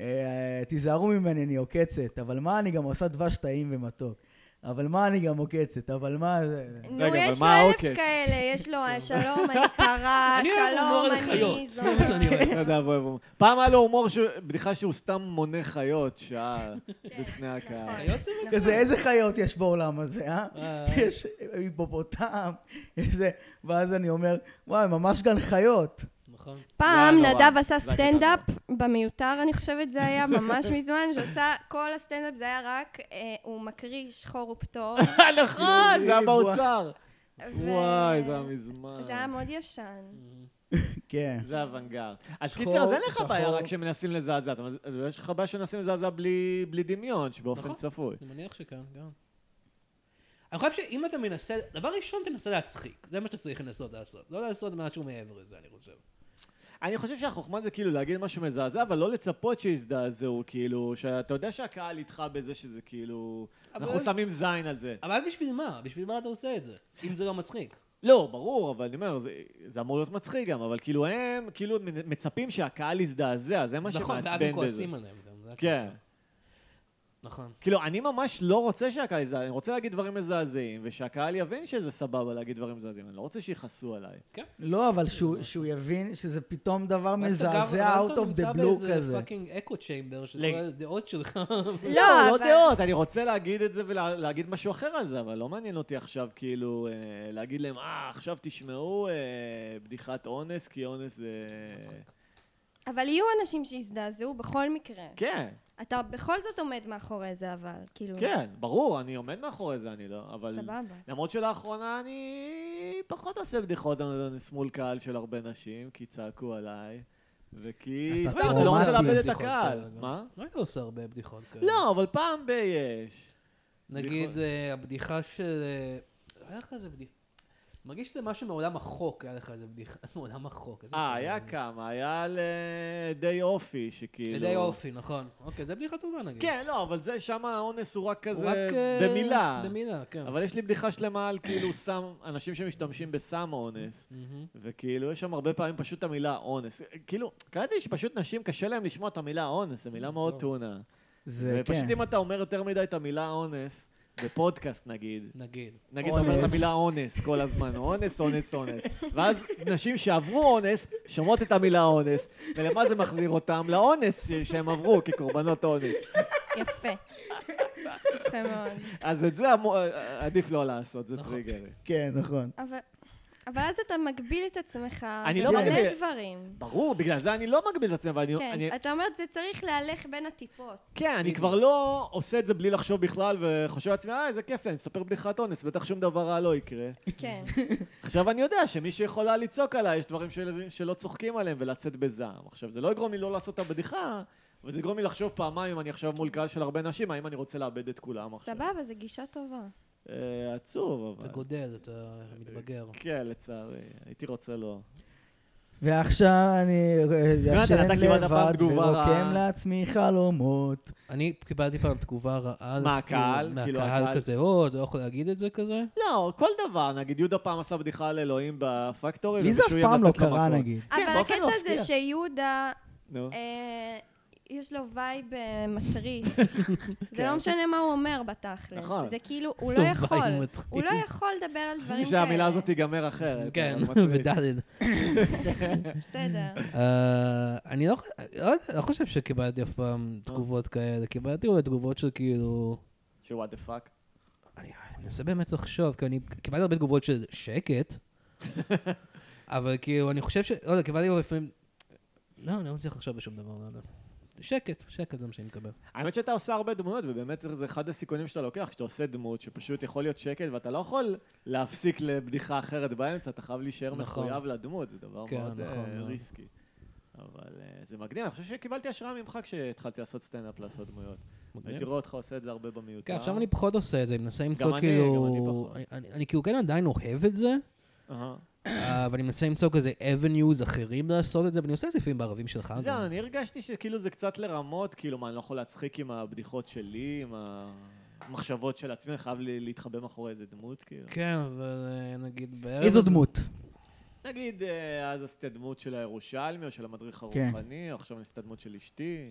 אה, תיזהרו ממני, אני עוקצת. אבל מה, אני גם עושה דבש טעים ומתוק. אבל מה, אני גם עוקצת. אבל מה זה...
נו,
רגע, אבל
יש לו
מה
אלף
העוקץ?
כאלה, יש לו אה, שלום, אני פרה,
אני אוהב הומור
אה, שלום,
על
אני
חיות.
זו.
זה מה שאני אוהב.
נדב אוהב הומור. פעם היה לו הומור, שהוא- בדיחה שהוא סתם מונה חיות שעה
כן,
בפני הקהל.
נכון.
חיות זה מצחיק.
כזה, איזה חיות יש בעולם הזה, אה?
אה.
יש היפופוטם, יש זה, ואז אני אומר, וואי, ממש גן חיות.
נכון.
פעם
זה היה נורא.
נדב עשה
זה היה
סטנדאפ, במיותר אני חושבת זה היה ממש מזמן, שעשה, כל הסטנדאפ זה היה רק, אה, הוא מקריא שחור ופטור.
נכון, זה היה
כאילו,
וואי.
באוצר.
ו-
וואי, זה היה מזמן.
זה היה מאוד ישן.
כן.
זה אוונגרד. אז
שחור,
קיצר, אז אין לך
שחור.
בעיה רק שמנסים לזעזע. אתה- יש לך בעיה שמנסים לזעזע בלי בלי דמיון, שבאופן
נכון.
צפוי.
אני מניח שכן, גם. אני חושב שאם אתה מנסה, דבר ראשון תנסה להצחיק, זה מה שאתה צריך לנסות לעשות. לא לעשות משהו מעבר לזה, אני חושב.
אני חושב שהחוכמה זה כאילו להגיד משהו מזעזע, אבל לא לצפות שיזדעזעו, כאילו, שאתה יודע שהקהל איתך בזה שזה כאילו...
אבל
אנחנו
אז-
שמים זין על זה.
אבל בשביל מה? בשביל מה אתה עושה את זה? אם זה לא מצחיק.
לא, ברור, אבל אני אומר, זה- זה אמור להיות מצחיק גם, אבל כאילו הם כאילו מנ- מצפים שהקהל יזדעזע, זה מה
נכון,
שמעצבן
ואז הם
בזה.
כועסים עליהם גם. זה הכל.
כן.
נכון.
כאילו, אני ממש לא רוצה שהקהל יזעזע, אני רוצה להגיד דברים מזעזעים, ושהקהל יבין שזה סבבה להגיד דברים מזעזעים, אני לא רוצה שיכעסו עליי.
לא, אבל שהוא שהוא יבין שזה פתאום דבר
ואז אתה גם-
מזעזע,
ואז
out
אתה
of
נמצא
the blue
באיזה
כזה.
פאקינג אקו צ'יימבר של
לג-
כל הדעות שלך.
לא,
לא
אבל-
דעות, אני רוצה להגיד את זה ולהגיד משהו אחר על זה, אבל לא מעניין אותי עכשיו, כאילו, אה, להגיד להם, אה, עכשיו תשמעו אה, בדיחת אונס, כי אונס זה...
אבל יהיו אנשים שיזדעזעו בכל מקרה.
כן,
אתה בכל זאת עומד מאחורי זה, אבל, כאילו...
כן, ברור, אני עומד מאחורי זה, אני לא, אבל...
סבבה.
למרות שלאחרונה אני פחות עושה בדיחות אונס מול קהל של הרבה נשים, כי צעקו עליי, וכי...
אתה
סתם, אני לא רוצה
טראומטי
לאבד את
בדיחות
הקהל.
כאלה.
מה?
לא כן. היית עושה הרבה בדיחות כאלה.
לא, אבל פעם ב... יש.
נגיד
בדיחות.
אה, הבדיחה של... אה, היה לך איזה בדיחה. מרגיש שזה משהו מעולם החוק, היה לך איזה בדיחה. מעולם החוק. איזה
אה,
מפגר
היה
זה.
כמה, היה על אה, די אופי, שכאילו...
לידי אופי, נכון. אוקיי, זו בדיחה טובה נגיד.
כאילו- כן, לא, אבל זה, שם האונס הוא רק
הוא
כזה,
רק, אה,
במילה.
במילה, כן.
אבל יש לי בדיחה שלמה על כאילו סם, אנשים שמשתמשים בסם אונס,
מהמם.
וכאילו יש שם הרבה פעמים פשוט את המילה אונס. כאילו, קראתי שפשוט נשים קשה להם לשמוע את המילה אונס, זו מילה מאוד
זו.
טונה.
זה כן.
ופשוט אם אתה אומר יותר מדי את המילה אונס, בפודקאסט נגיד,
נגיד.
נגיד אתה אומר את
אונס.
המילה אונס כל הזמן, אונס, אונס, אונס. ואז נשים שעברו אונס, שומעות את המילה אונס, ולמה זה מחזיר אותם? לאונס ש- שהם עברו כקורבנות אונס.
יפה. יפה מאוד.
אז את זה המו- עדיף לא לעשות, זה
נכון.
טריגרי.
כן, נכון.
אבל... אבל אז אתה מגביל את עצמך,
אני לא
ומלא
מגביל.
דברים.
ברור, בגלל זה אני לא מגביל את עצמי, אבל אני-
כן,
אני...
אתה אומר, זה צריך להלך בין הטיפות.
כן, אני
בדיוק.
כבר לא עושה את זה בלי לחשוב בכלל, וחושב לעצמי, אה, איזה כיף לי, אני מספר בדיחת אונס, בטח שום דבר רע לא יקרה.
כן.
עכשיו אני יודע שמי שיכולה לצעוק עליי, יש דברים של, שלא צוחקים עליהם ולצאת בזעם. עכשיו, זה לא יגרום לי לא לעשות את הבדיחה, אבל זה יגרום לי לחשוב פעמיים אם אני עכשיו מול קהל של הרבה נשים, האם אני רוצה לאבד את כולם עכשיו.
סבבה, זו גישה טובה.
אה, עצוב,
אתה
אבל...
גודל, אתה מתבגר.
כן, לצערי, הייתי רוצה לא.
ועכשיו אני
אתה
ישן
קיבלת פעם
לבד
תגובה רעה.
ורוקם לעצמי חלומות.
אני קיבלתי פעם תגובה רעה.
מה,
אז כאילו,
הקהל? כאילו, הקהל-
מהקהל כזה, או, אתה לא יכול להגיד את זה כזה?
לא, כל דבר, נגיד יהודה פעם עשה בדיחה על אלוהים בפקטורי,
לי זה אף
ומישהו
פעם לא
ימוטט לו
קרה
מכות.
נגיד.
אבל
באופן
הקטע
מפתיע.
זה שיהודה,
נו.
אה, יש לו וייב אה, מתריס. זה לא משנה מה הוא אומר בתכלס.
נכון.
זה כאילו, הוא לא
וייב
יכול.
מתריס.
הוא לא יכול לדבר על דברים
חשבתי
כאלה.
שהמילה הזאת תיגמר אחרת.
כן,
אבל מטריד.
ודלת.
בסדר.
אה, אני לא, ח- לא, יודע, לא חושב שקיבלתי אף פעם תגובות כאלה, קיבלתי אולי תגובות של כאילו...
שוואט דה פאק.
אני אני מנסה באמת לחשוב, כי אני קיבלתי הרבה תגובות של שקט, אבל כאילו, אני חושב ש... לא יודע, קיבלתי הרבה לפעמים... לא, אני לא מצליח לחשוב בשום דבר, לא יודע. שקט, שקט זה מה שאני מקבל.
האמת שאתה עושה הרבה דמויות, ובאמת זה אחד הסיכונים שאתה לוקח, כשאתה עושה דמות שפשוט יכול להיות שקט, ואתה לא יכול להפסיק לבדיחה אחרת באמצע, אתה חייב להישאר
נכון.
מחויב לדמות, זה דבר
כן,
מאוד אה,
נכון מאוד.
ריסקי. אבל אה, זה מגניב, אני חושב שקיבלתי השראה ממך כשהתחלתי לעשות סטנדאפ, לעשות דמויות. הייתי רואה אותך עושה את זה הרבה
כן,
במיותר.
עכשיו אני פחות עושה את זה, אני מנסה למצוא
אני,
כאילו...
גם אני פחות.
אני- אני- אני כאילו כן עדיין אוהב את זה,
אהה.
אה, אבל אני מנסה למצוא כזה avenues אחרים לעשות את זה, ואני עושה את זה לפעמים בערבים שלך. גם.
זהו, אני הרגשתי שכאילו זה קצת לרמות, כאילו, מה, אני לא יכול להצחיק עם הבדיחות שלי, עם המחשבות של עצמי, אני חייב לי- להתחבא מאחורי איזה דמות, כאילו.
כן, אבל אה, נגיד בערב...
איזו
הזה-
דמות?
כן.
נגיד, אה, אז עשית דמות של הירושלמי, או של המדריך
כן.
הרוחני, או עכשיו אני עשית דמות של אשתי.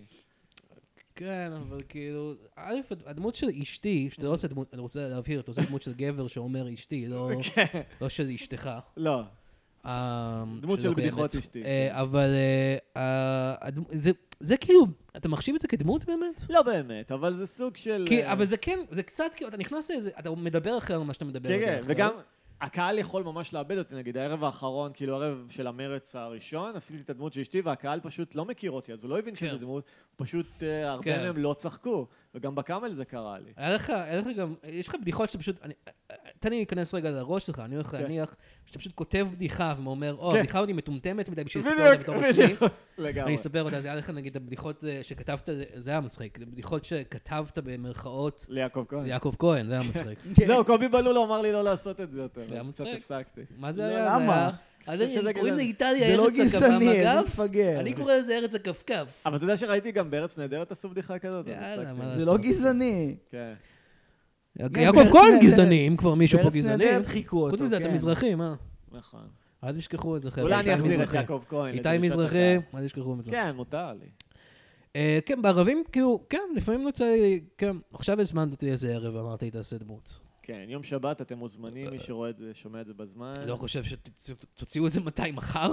כן, אבל כאילו, א', הדמות של אשתי, שאתה לא עושה דמות, אני רוצה להבהיר, אתה עושה דמות של גבר שאומר אשתי, לא- לא של אשתך.
לא.
אה,
כן. דמות
שלא
של בדיחות
קיימת.
אשתי,
אה,
כן.
אבל אה, ה- הדמ- זה- זה כאילו, אתה מחשיב את זה כדמות באמת?
לא באמת, אבל זה סוג של...
כי-
אה,
אבל זה כן, זה קצת כאילו, אתה נכנס לאיזה, אתה מדבר אחר ממה שאתה מדבר.
כן, כן,
בדרך כלל.
וגם הקהל יכול ממש לאבד אותי, נגיד הערב האחרון, כאילו הערב של המרץ הראשון, עשיתי את הדמות של אשתי והקהל פשוט לא מכיר אותי, אז הוא לא הבין
כן.
שזו דמות, פשוט אה, הרבה
כן.
מהם לא צחקו, וגם בקאמל זה קרה לי.
היה לך, היה לך גם, יש לך בדיחות שאתה פשוט, אני- תן לי להיכנס רגע לראש שלך, אני הולך
כן.
להניח שאתה פשוט כותב בדיחה ואומר, או,
כן.
הבדיחה הזאת היא מטומטמת מדי בשביל לספר אותה בתור עצמי. אני
לגמרי.
אספר אותה, זה היה לך נגיד הבדיחות אה, שכתבת, זה היה מצחיק, הבדיחות שכתבת במרכאות
ליעקב כהן.
ליעקב כהן, זה היה מצחיק.
זהו, קובי בלול אמר לי לא לעשות את זה יותר,
זה היה
אז קצת
מצחיק.
הפסקתי.
מה זה
לא,
היה? זה
למה?
היה- אז
חושב שזה
אני- קוראים
גזעני.
לאיטליה
זה לא
ארץ
גזעני, איזה
הכפמגף,
מפגר.
אני קורא לזה ארץ הכפכף.
אבל אתה יודע שראיתי גם בארץ נהדרת עשו בדיחה כזאת, אז
יאללה,
הפסקתי.
מה
זה
לעשות?
לא גזעני.
כן.
יעקב
בארץ
כהן
נהדרת.
גזעני, אם כבר מישהו פה
בארץ
גזעני.
נהדרת חיכו אותו,
חוץ מזה, אתה
כן.
מזרחי, מה?
נכון.
אל תשכחו את זה, חבר'ה.
אולי אני
איתי
אחזיר את
מזרחי. לא.
יעקב כהן.
איתי
לדרישת
מזרחי,
הקהל.
אל תשכחו את זה.
כן, מותר לי.
אה, כן, בערבים, כאילו, כן, לפעמים יוצא לי, כן, עכשיו הזמנת אותי איזה ערב, אמרתי, תעשה דמות.
כן, יום שבת אתם מוזמנים, מי שרואה את זה, שומע את זה בזמן.
לא חושב שתוציאו את זה מתי מחר?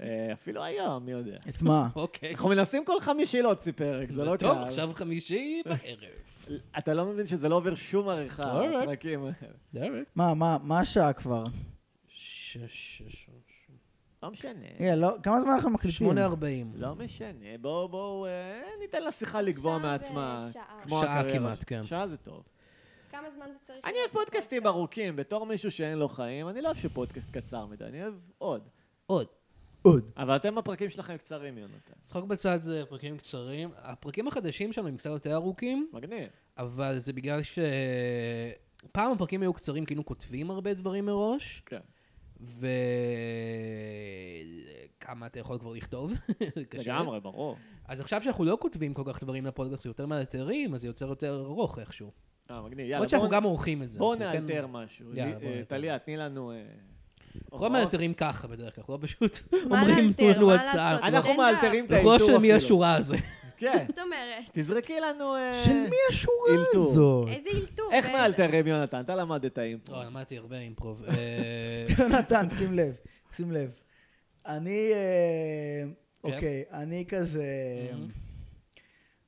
אה, אפילו היום, מי יודע.
את מה?
אוקיי.
אנחנו מנסים כל חמישי להוציא פרק, זה לא קל.
טוב, עכשיו חמישי בערב.
אתה לא מבין שזה לא עובר שום עריכה,
Alright.
הפרקים האלה.
מה, מה, מה השעה כבר?
שש, שש, שש.
לא משנה.
רגע, לא, כמה זמן אנחנו מקליטים?
8.40.
לא משנה, בואו, בואו, אה, ניתן לשיחה לגבוה
שעה
מעצמה.
ושעה.
כמו
שעה
הקריירה
כמעט,
שלי.
כן.
שעה זה טוב.
כמה זמן זה צריך?
אני
להיות
אוהב פודקאסטים
בפודקאסט?
ארוכים, בתור מישהו שאין לו חיים, אני לא אוהב שפודקאסט קצר מדי, אני אוהב עוד.
עוד.
עוד.
אבל אתם הפרקים שלכם קצרים, יונתן.
צחוק בצד זה פרקים קצרים. הפרקים החדשים שלנו הם קצת יותר ארוכים,
מגניב.
אבל זה בגלל ש... פעם הפרקים היו קצרים, כאילו כותבים הרבה דברים מראש,
כן.
וכמה אתה יכול כבר לכתוב. קשה.
לגמרי, ברור.
אז עכשיו שאנחנו לא כותבים כל כך דברים לפודקאסט, זה יותר מאלתרים, אז זה יוצר יותר ארוך איכשהו.
אה, מגניב.
למרות
יאללה,
שאנחנו
בואו-
גם עורכים את זה.
בואו
אנחנו כן-
נאלתר משהו.
יאללה,
לי-
בואו
אה,
נאלתר.
טליה, תני לנו... אה,
אנחנו לא
הוראות.
מאלתרים ככה בדרך כלל, אנחנו לא פשוט
מה
אומרים
לאלתר?
לנו
מה
הצעה.
לעשות?
אה, אנחנו
סטנדאפ.
מאלתרים את
אנחנו לא
האלתור
של מי
אפילו.
השורה הזה.
כן,
זאת אומרת,
תזרקי לנו... אה,
של מי השורה
אילתור.
הזאת?
איזה אלתור.
איך
ואיזה-
מאלתרים, יונתן? אתה למדת אימפרו.
לא, למדתי הרבה אימפרוב. אה,
יונתן, שים לב, שים לב. אני, אה,
כן.
אוקיי, אני כזה...
Mhm.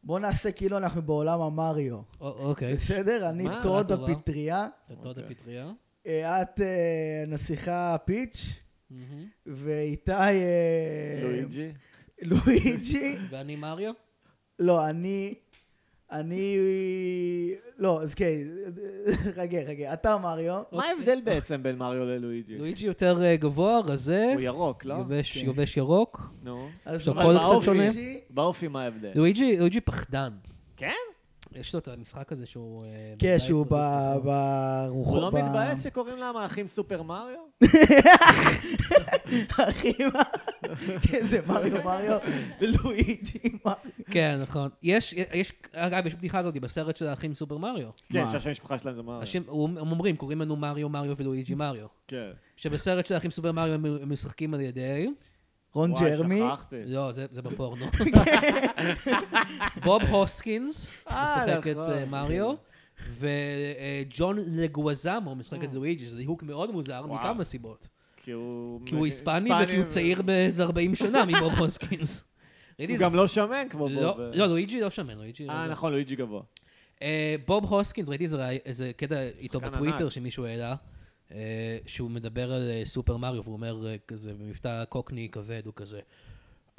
בוא נעשה כאילו אנחנו בעולם המריו,
א- אוקיי.
בסדר? אני
מה?
טוד
תודה רבה.
הפטריה,
תתנות
אוקיי.
הפטריה.
אה, את אה, נסיכה פיץ',
מהמם.
ואיתי... אה,
לואיג'י?
לואיג'י.
ואני מריו?
לא, אני... אני... לא, אז כן, חכה, חכה. אתה מריו.
לא,
מה ההבדל בעצם בין מריו ללואיג'י?
אוקיי. לואיג'י יותר אה, גבוה, רזה,
הוא ירוק, לא?
יובש-
כן.
יובש ירוק.
נו.
אז
עכשיו,
אבל
כל
באופי
קצת שונה.
אישי-
באופי מה ההבדל?
לואיג'י לואיג'י פחדן.
כן?
יש לו את המשחק הזה שהוא... אה,
כן,
בבית
שהוא
עוד לפני
ב-
זה.
ברוחו...
הוא לא
ב-
מתבאס שקוראים להם האחים סופר מריו?
אחי, מה? כן, זה מריו, מריו, לואיג'י, מריו.
כן, נכון. יש, יש, אגב, יש בדיחה הזאת בסרט של האחים סופר מריו.
כן,
מה?
שהשם משפחה שלהם זה מריו.
השם- הם אומרים, קוראים לנו מריו, מריו ולואיג'י מריו.
כן.
שבסרט של האחים סופר מריו הם- הם משחקים על ידי...
רון ג'רמי.
וואי, שכחתי.
לא, זה זה בפורנו.
כן.
בוב הוסקינס
אה,
משחק את
נכון.
אה, מריו, וג'ון לגואזמו משחק את לואיג'י, שזה דיהוק מאוד מוזר
אה. וואו.
מכמה סיבות.
כי הוא...
כי הוא היספני וכי הוא
ו-
צעיר באיזה 40 שנה מבוב הוסקינס. ראיתי
הוא
איזה-
גם לא שמן כמו בוב.
לא, לא, לואיג'י לא שמן, לואיג'י...
אה,
לא-
נכון, לואיג'י גבוה.
אה, בוב הוסקינס, ראיתי איזה ראי- איזה קטע איתו
שחקן
בטוויטר
ענק.
שמישהו העלה, אה, שהוא מדבר על אה, סופר מריו, והוא אומר אה, כזה במבטא קוקני כבד, הוא כזה,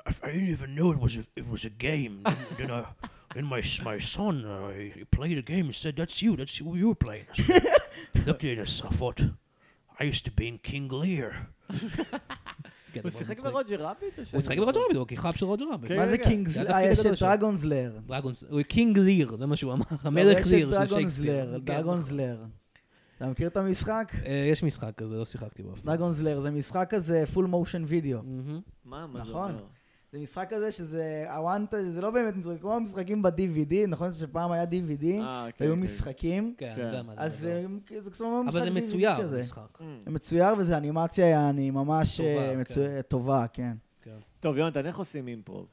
I didn't even know it was a, it was a game. Then, I, then my, my son, uh, he played a game and said, that's you, that's who you were playing. So, I looked at us, I thought, I used to be in King Lear. כן,
הוא
זה
שיחק
מצחיק.
ברוג'ר רביט? או
הוא
שאני-
שיחק ברוג'ר רביט, הוא הכיכב של רוג'ר רביט.
כן,
מה זה
רגע.
קינגס?
זה
אה,
התפקיד
יש
הגדול
את
שלו.
דרגונסלר.
דרגונס, הוא קינג ליר, זה מה שהוא אמר,
לא,
המלך ליר,
יש את
זה שייקספיר.
דרגונסלר,
כן,
דרגונסלר. אתה מכיר את המשחק?
אה, יש משחק כזה, לא שיחקתי בו אף פעם.
דרגונסלר זה משחק כזה פול מושן וידאו.
מהמם.
מה, מה זה
נכון.
אומר?
זה משחק כזה שזה הוואנטה, זה לא באמת משחק, כמו המשחקים ב-DVD, נכון שפעם היה DVD,
אה, כן,
היו
כן.
משחקים,
כן, אני
כן.
יודע מה זה.
אז
אבל-
זה זה כמו משחק
אבל זה
DVD
מצויר,
כזה.
המשחק.
Mm.
זה מצויר וזה אנימציה, יעני, ממש
טובה,
אה,
כן.
מצו- טובה, כן.
כן.
טוב, יונתן, איך עושים אימפרוב?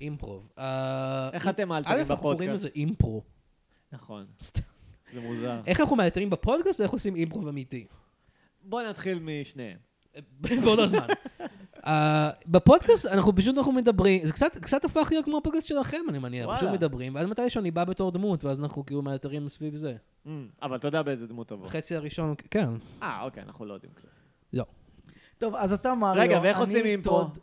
אימפרוב. אה,
איך אתם
א',
מאלתרים
אנחנו קוראים
בפודקאסט?
לזה אימפרו.
נכון,
סתם. אה.
זה מוזר.
איך אנחנו מאלתרים בפודקאסט ואיך עושים אימפרוב אמיתי.
בוא נתחיל משניהם.
באותו זמן. אה, בפודקאסט אנחנו פשוט אנחנו מדברים, זה קצת קצת הפך להיות כמו הפודקאסט שלכם, אני מניח.
וואלה.
פשוט מדברים, ואז מתישהו אני בא בתור דמות, ואז אנחנו כאילו מאלתרים סביב זה.
Mm, אבל אתה יודע באיזה דמות תבוא.
החצי הראשון, כן.
אה, אוקיי, אנחנו לא יודעים כלום.
לא.
טוב, אז אתה מריו,
רגע, ואיך
אני
עושים אימפרו?
טוד.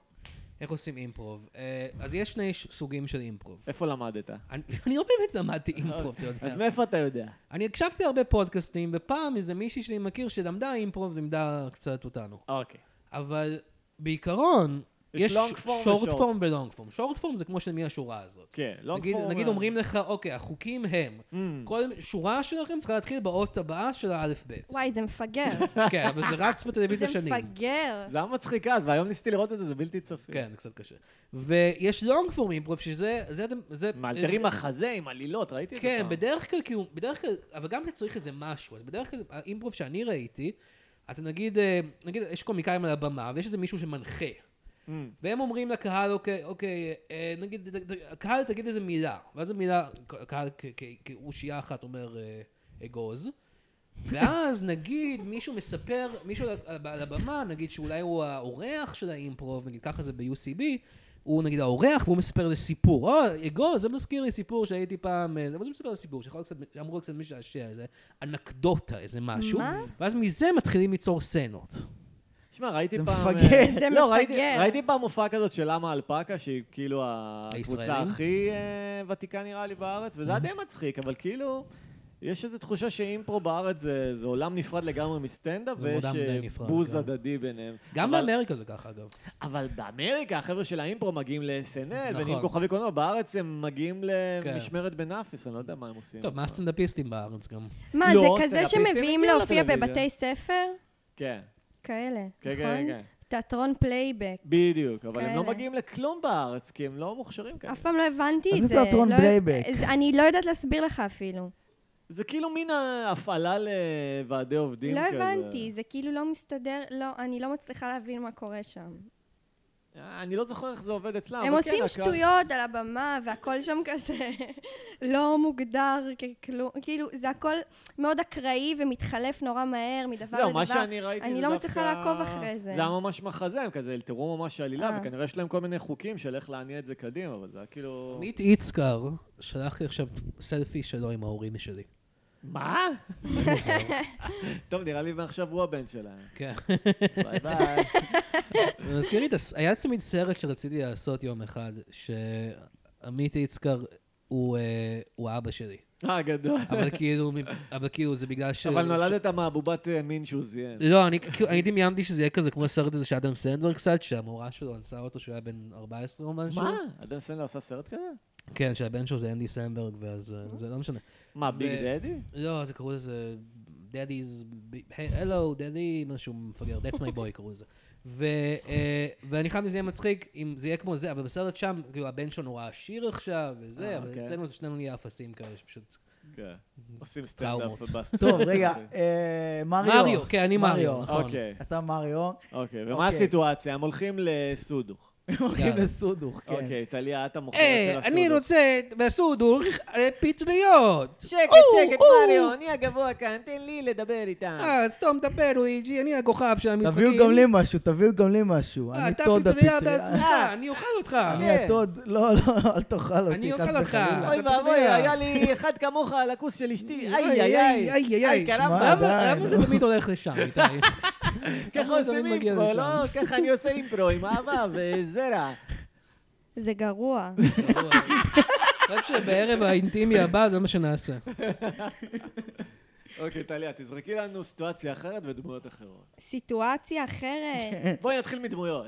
איך עושים אימפרוב? אה, אז יש שני ש- סוגים של אימפרוב.
איפה למדת?
אני אני לא באמת למדתי אימפרוב, אתה יודע.
אז מאיפה אתה יודע?
אני הקשבתי להרבה פודקאסטים, ופעם איזה מישהי שאני מכיר שלמדה אימפרוב ולימדה קצת אותנו.
אוקיי.
אבל בעיקרון,
יש
יש
long form
שורט
ו-short.
פורם ולונג פורם. שורט פורם זה כמו של מי השורה הזאת.
כן, לא
נגיד,
פורמה.
נגיד אומרים לך, אוקיי, החוקים הם,
Mm.
כל שורה שלכם צריכה להתחיל באות הבאה של האלף-בית.
וואי, זה מפגר.
כן, אבל זה רץ
זה
בטלוויזיה שנים.
מפגר.
זה היה מצחיק אז, והיום ניסיתי לראות את זה, זה בלתי צפי.
כן, זה קצת קשה. ויש לונג פורם אימפרוב, שזה... זה אתם- זה-
מאלתרים מחזה עם עלילות, ראיתי את זה
כן,
פעם.
בדרך כלל, כאילו, בדרך כלל, אבל גם אתה צריך איזה משהו, אז בדרך כלל, האימפרוב שאני ראיתי, אתה נגיד, אה, נגיד, יש קומיקאים על הבמה, ויש איזה מישהו שמנחה.
Mm.
והם אומרים לקהל, אוקיי, אוקיי, אה, נגיד, ת- ת- הקהל תגיד איזה מילה, ואז המילה, הקהל כ- כ- כאושייה אחת אומר אה, אגוז, ואז נגיד מישהו מספר, מישהו על- על הבמה, נגיד שאולי הוא האורח של האימפרוב, נגיד ככה זה ב-UCB, הוא נגיד האורח והוא מספר איזה סיפור. או, אגוז, זה מזכיר לי סיפור שהייתי פעם, אה, זה אבל זה מספר איזה סיפור, שיכול קצת, אמרו קצת משעשע, איזה אנקדוטה, איזה משהו.
מה?
ואז מזה מתחילים ליצור סצנות.
שמע, ראיתי
זה
פעם...
מפגר.
זה
לא, ראיתי-
מפגר.
ראיתי פעם הופעה כזאת של למה אלפקה, שהיא כאילו הקבוצה
הישראלים? Mm.
הכי אה, ותיקה נראה לי בארץ, וזה היה די מצחיק, אבל כאילו, יש איזו תחושה שאימפרו בארץ זה זה עולם נפרד לגמרי מסטנדאפ,
זה
ויש
עולם די
אה,
נפרד,
בוז
כן.
הדדי ביניהם.
גם
אבל-
באמריקה זה ככה, אגב.
אבל באמריקה החבר'ה של האימפרו מגיעים ל-SNL,
נכון. כן.
ונהיים כוכבי קולנוע, בארץ הם מגיעים למשמרת בנאפיס, אני לא יודע מה הם עושים.
טוב, מה הסטנדאפיסטים בארץ גם?
מה,
לא,
זה כזה
סטנדאפיסטים
שמביאים
הגיעו
להופיע
לטלוויזיה.
בבתי ספר?
כן,
כאלה,
כן, כן,
נכון? כן.
כן.
תיאטרון פלייבק.
בדיוק, אבל הם לא
כאלה.
מגיעים לכלום בארץ, כי הם לא מוכשרים כאלה.
אף פעם לא הבנתי
אז
את
זה
זה.
תיאטרון
לא-
פלייבק.
זה- אני לא יודעת להסביר לך אפילו.
זה כאילו מין ההפעלה לוועדי עובדים
לא
כזה.
הבנתי, זה כאילו לא מסתדר, לא, אני לא מצליחה להבין מה קורה שם.
אה, אני לא זוכר איך זה עובד אצלם.
הם
אבל כן,
עושים
הקהל-
שטויות על הבמה, והכל שם כזה לא מוגדר ככלום, כאילו, זה הכל מאוד אקראי ומתחלף נורא מהר מדבר
לא, מה
לדבר.
שאני ראיתי
אני לא
זה דווקא-
מצליחה לעקוב אחרי זה.
זה היה ממש מחזה, הם כזה תראו ממש עלילה,
אה.
וכנראה יש להם כל מיני חוקים של איך להניע את זה קדימה, אבל זה היה כאילו...
עמית איצקר שלח לי עכשיו סלפי שלו עם ההורים שלי.
מה? טוב, נראה לי מעכשיו הוא הבן שלהם.
כן.
ביי ביי.
זה מזכיר לי, את הס- היה תמיד סרט שרציתי לעשות יום אחד, שעמית איצקר הוא, אה, הוא האבא שלי.
אה, גדול.
אבל כאילו, מ- אבל כאילו זה בגלל ש...
אבל נולדת מהבובת אה, מין שהוא זיין.
לא, אני כאילו, אני דמיינתי שזה יהיה כזה כמו הסרט הזה של אדם סנדבר קצת, שהמורה שלו אנסה אותו כשהוא היה בן 14 או משהו.
מה? אדם סנדלר עשה סרט כזה?
כן, שהבן שלו זה אנדי סנדברג, ואז אה, זה לא משנה.
מה, ביג
זה-
דדי?
לא, זה קראו לזה דדי's, הלו, דדי, משהו מפגר, that's my boy קראו לזה. ו, אה, ואני חייב שזה יהיה מצחיק, אם זה יהיה כמו זה, אבל בסרט שם, כאילו הבן שלו נורא עשיר עכשיו, וזה,
אה,
אבל
אוקיי.
אצלנו זה שנינו נהיה אפסים כאלה, שפשוט...
כן. עושים
טראומות.
סטנדאפ בסטנדאפ.
טוב, רגע, אה, מריו.
אוקיי. מריו, כן, אני מריו, נכון.
אוקיי,
אתה מריו.
אוקיי. ומה
אוקיי.
הסיטואציה? הם הולכים לסודוך.
הולכים
יאללה.
לסודוך, כן.
אוקיי, טליה, את המוכרת של
היי,
הסודוך.
אה, אני רוצה בסודור פטריות!
שקט, שקט, מריו, אני הגבוה כאן, תן לי לדבר איתם.
אה, סתום את הפה, לואיג'י, אני הכוכב של המשחקים.
תביאו גם לי משהו, תביאו גם לי משהו.
אה,
אני
אתה
טוד
פטריה
הפטריה.
בעצמך, אני אוכל אותך.
אני
כן.
הטוד, לא, לא, אל תאכל אותי.
אני
חס
אוכל אותך.
וחלילה.
אוי
אתה
ואבוי,
יודע.
היה לי אחד כמוך על הכוס של אשתי.
איי, איי, איי, איי, איי,
שמע,
קרמבה.
למה-
די,
למה זה
נו.
תמיד הולך לשם, איתי?
ככה
למה זה
עושים
תמיד מגיע
אימפרו,
לשם?
לא? ככה אני עושה אימפרו עם אהבה וזרע.
זה גרוע.
רק שבערב האינטימי הבא זה מה שנעשה.
אוקיי, טליה, תזרקי לנו סיטואציה אחרת ודמויות אחרות.
סיטואציה אחרת,
בואי נתחיל מדמויות.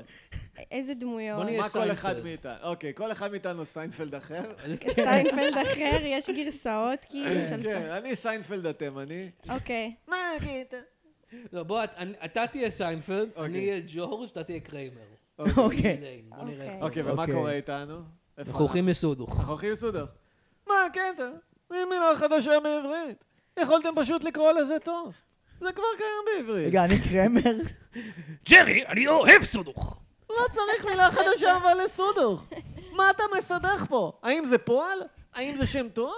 איזה דמויות.
כן. בוא נהיה-
מה כל אחד
סיינפלד.
מאיתנו? אוקיי, כל אחד מאיתנו סיינפלד אחר.
סיינפלד אחר, יש גרסאות
לא
כאילו של...
כן, אני סיינפלד התימני.
אוקיי.
מה הקטע?
לא, בוא, את- אני- אתה תהיה סיינפלד,
אוקיי.
אני אהיה ג'ורג', אתה תהיה קריימר.
אוקיי.
בוא נראה איך זה
אוקיי,
עובד.
ומה
אוקיי.
קורה איתנו? איפה
אנחנו הולכים לסודוך.
אנחנו הולכים לסודוך. מה הקטע? מי מילה חדשה בעברית? יכולתם פשוט לקרוא לזה טוסט. זה כבר קיים בעברית.
רגע, אני קרמר?
ג'רי, אני לא אוהב סודוך!
לא צריך מילה חדשה אבל לסודוך. מה אתה מסדך פה? האם זה פועל? האם זה שם תואר?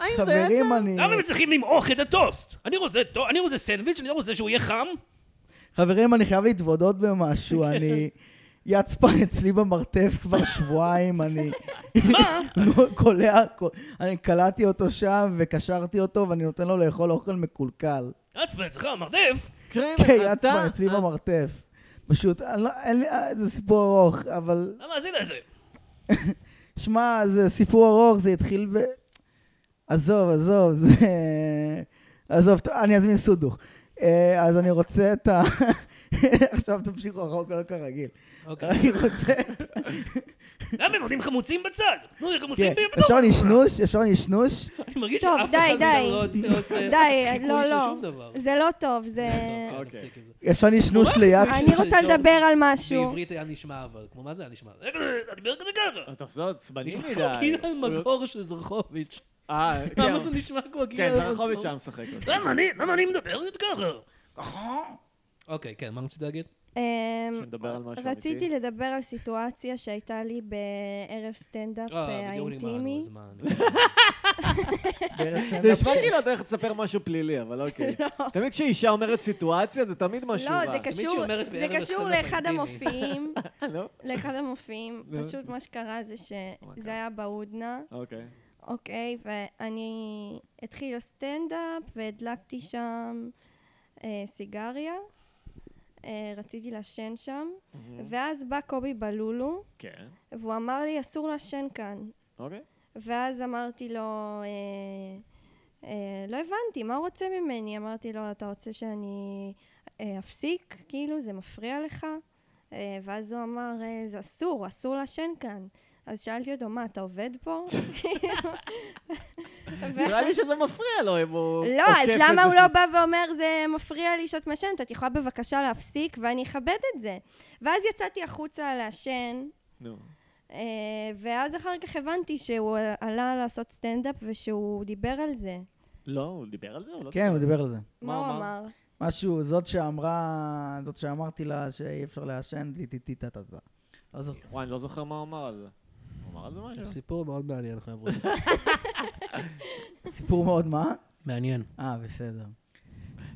האם זה עצם?
חברים, אני...
צריכים למעוך את הטוסט? אני רוצה אני רוצה סנדוויץ', אני לא רוצה שהוא יהיה חם.
חברים, אני חייב להתוודות במשהו, אני... יצפן אצלי במרתף כבר שבועיים, אני...
מה?
נו, קולע, קול- אני קלעתי אותו שם וקשרתי אותו ואני נותן לו לאכול אוכל מקולקל.
עצמן, אצלך, מרדף.
כן,
קריימן,
יצפן
אתה... אה-
אצלי במרתף. פשוט, אני לא- אין לי, אה, זה סיפור ארוך, אבל...
למה עשית את זה?
שמע, זה סיפור ארוך, זה התחיל ב... עזוב, עזוב, זה... עזוב, טוב, אני אזמין סודוך. אה, אז אני רוצה את ה... עכשיו תמשיכו רחוק, לא כרגיל.
אוקיי.
אני רוצה...
למה הם נותנים חמוצים בצד? תנו לי
כן, אפשר נשנוש? אפשר נשנוש?
אני מרגיש
טוב,
שאף
די,
אחד
די.
לא עוד עושה
די,
חיקוי
לא,
של
לא.
שום דבר.
זה לא טוב, זה...
טוב,
אוקיי.
נפסיק עם זה.
אפשר נשנוש
לא
ליד?
ממש?
אני רוצה
של
לדבר על משהו.
בעברית היה נשמע אבל, כמו מה זה היה נשמע? רגע, אני מדבר כזה ככה.
אתה עושה עצבני
נשמע
מדי.
כמו קינן מגור של זרחוביץ'.
אה, כן.
למה זה נשמע כמו
כאילו
קינן
כן,
מגור?
זרחוביץ' היה משחק אותו.
למה אני, למה אני מדבר ככה? אוקיי, כן, מה רצית להגיד?
אמ,
שנדבר על משהו
רציתי
אמיתי.
לדבר על סיטואציה שהייתה לי בערב סטנדאפ אה,
בדיוק נגמר לנו
האינטימי.
הזמן.
בערב
זה
סטנדאפ
נשמע
ש-
כאילו אתה הולך לספר משהו פלילי, אבל אוקיי. תמיד כשאישה אומרת סיטואציה, זה תמיד משהו רע.
לא, זה
שהיא
קשור,
אומרת
זה
בערב
קשור
הסטנדאפ
לאחד
האינטימי.
המופיעים,
לא? Oh
לאחד המופיעים.
נו.
פשוט מה שקרה זה
אומייגאד.
שזה היה בהודנה,
אוקיי.
אוקיי? ואני התחיל הסטנדאפ והדלקתי שם אה, סיגריה. אה, רציתי לעשן שם,
Mm-hmm.
ואז בא קובי בלולו,
כן.
והוא אמר לי, אסור לעשן כאן.
אוקיי.
ואז אמרתי לו, אה, אה, לא הבנתי, מה הוא רוצה ממני? אמרתי לו, אתה רוצה שאני אה, אפסיק? כאילו, זה מפריע לך? אה, ואז הוא אמר, אה, זה אסור, אסור לעשן כאן. אז שאלתי אותו, מה, אתה עובד פה? כאילו. ו-
נראה לי שזה מפריע לו אם הוא...
לא,
עוקף
אז
את
למה
זה
הוא לא
ש-
בא ואומר, זה מפריע לי שאת מעשנת, את יכולה בבקשה להפסיק ואני אכבד את זה. ואז יצאתי החוצה לעשן,
נו.
אה, ואז אחר כך הבנתי שהוא עלה לעשות סטנדאפ ושהוא דיבר על זה.
לא, הוא דיבר על זה? הוא לא
כן, הוא דיבר על זה.
מה הוא אמר?
משהו, זאת שאמרה, זאת שאמרתי לה שאי אפשר לעשן, טיטיטיטטטה. לא זוכר.
וואי, אני לא זוכר מה הוא אמר על זה. הוא אמר על זה משהו?
סיפור מאוד מעניין, חבר'ה.
סיפור מאוד מה?
מעניין.
אה, בסדר.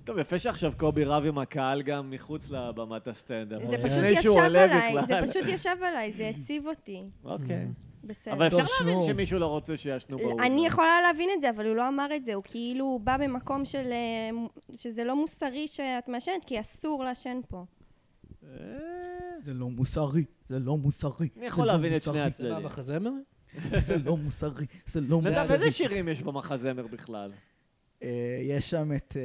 טוב, יפה שעכשיו קובי רב עם הקהל גם מחוץ לבמת הסטנדאפ.
זה
עוד
פשוט
לפני שהוא
ישב
עולה
עליי,
בכלל.
זה פשוט ישב עליי, זה הציב אותי.
אוקיי.
בסדר.
אבל אפשר
טוב,
להבין
שמור.
שמישהו לא רוצה שיעשנו ברור.
אני יכולה להבין את זה, אבל הוא לא אמר את זה, הוא כאילו בא במקום של... אה, מ- שזה לא מוסרי שאת מעשנת, כי אסור לעשן פה.
אה,
זה לא מוסרי, זה לא מוסרי.
אני יכול להבין את שני
זה מה,
הצדדים.
בחזמר?
זה לא מוסרי, זה לא
נדב, איזה שירים יש במחזמר בכלל?
אה, יש שם את...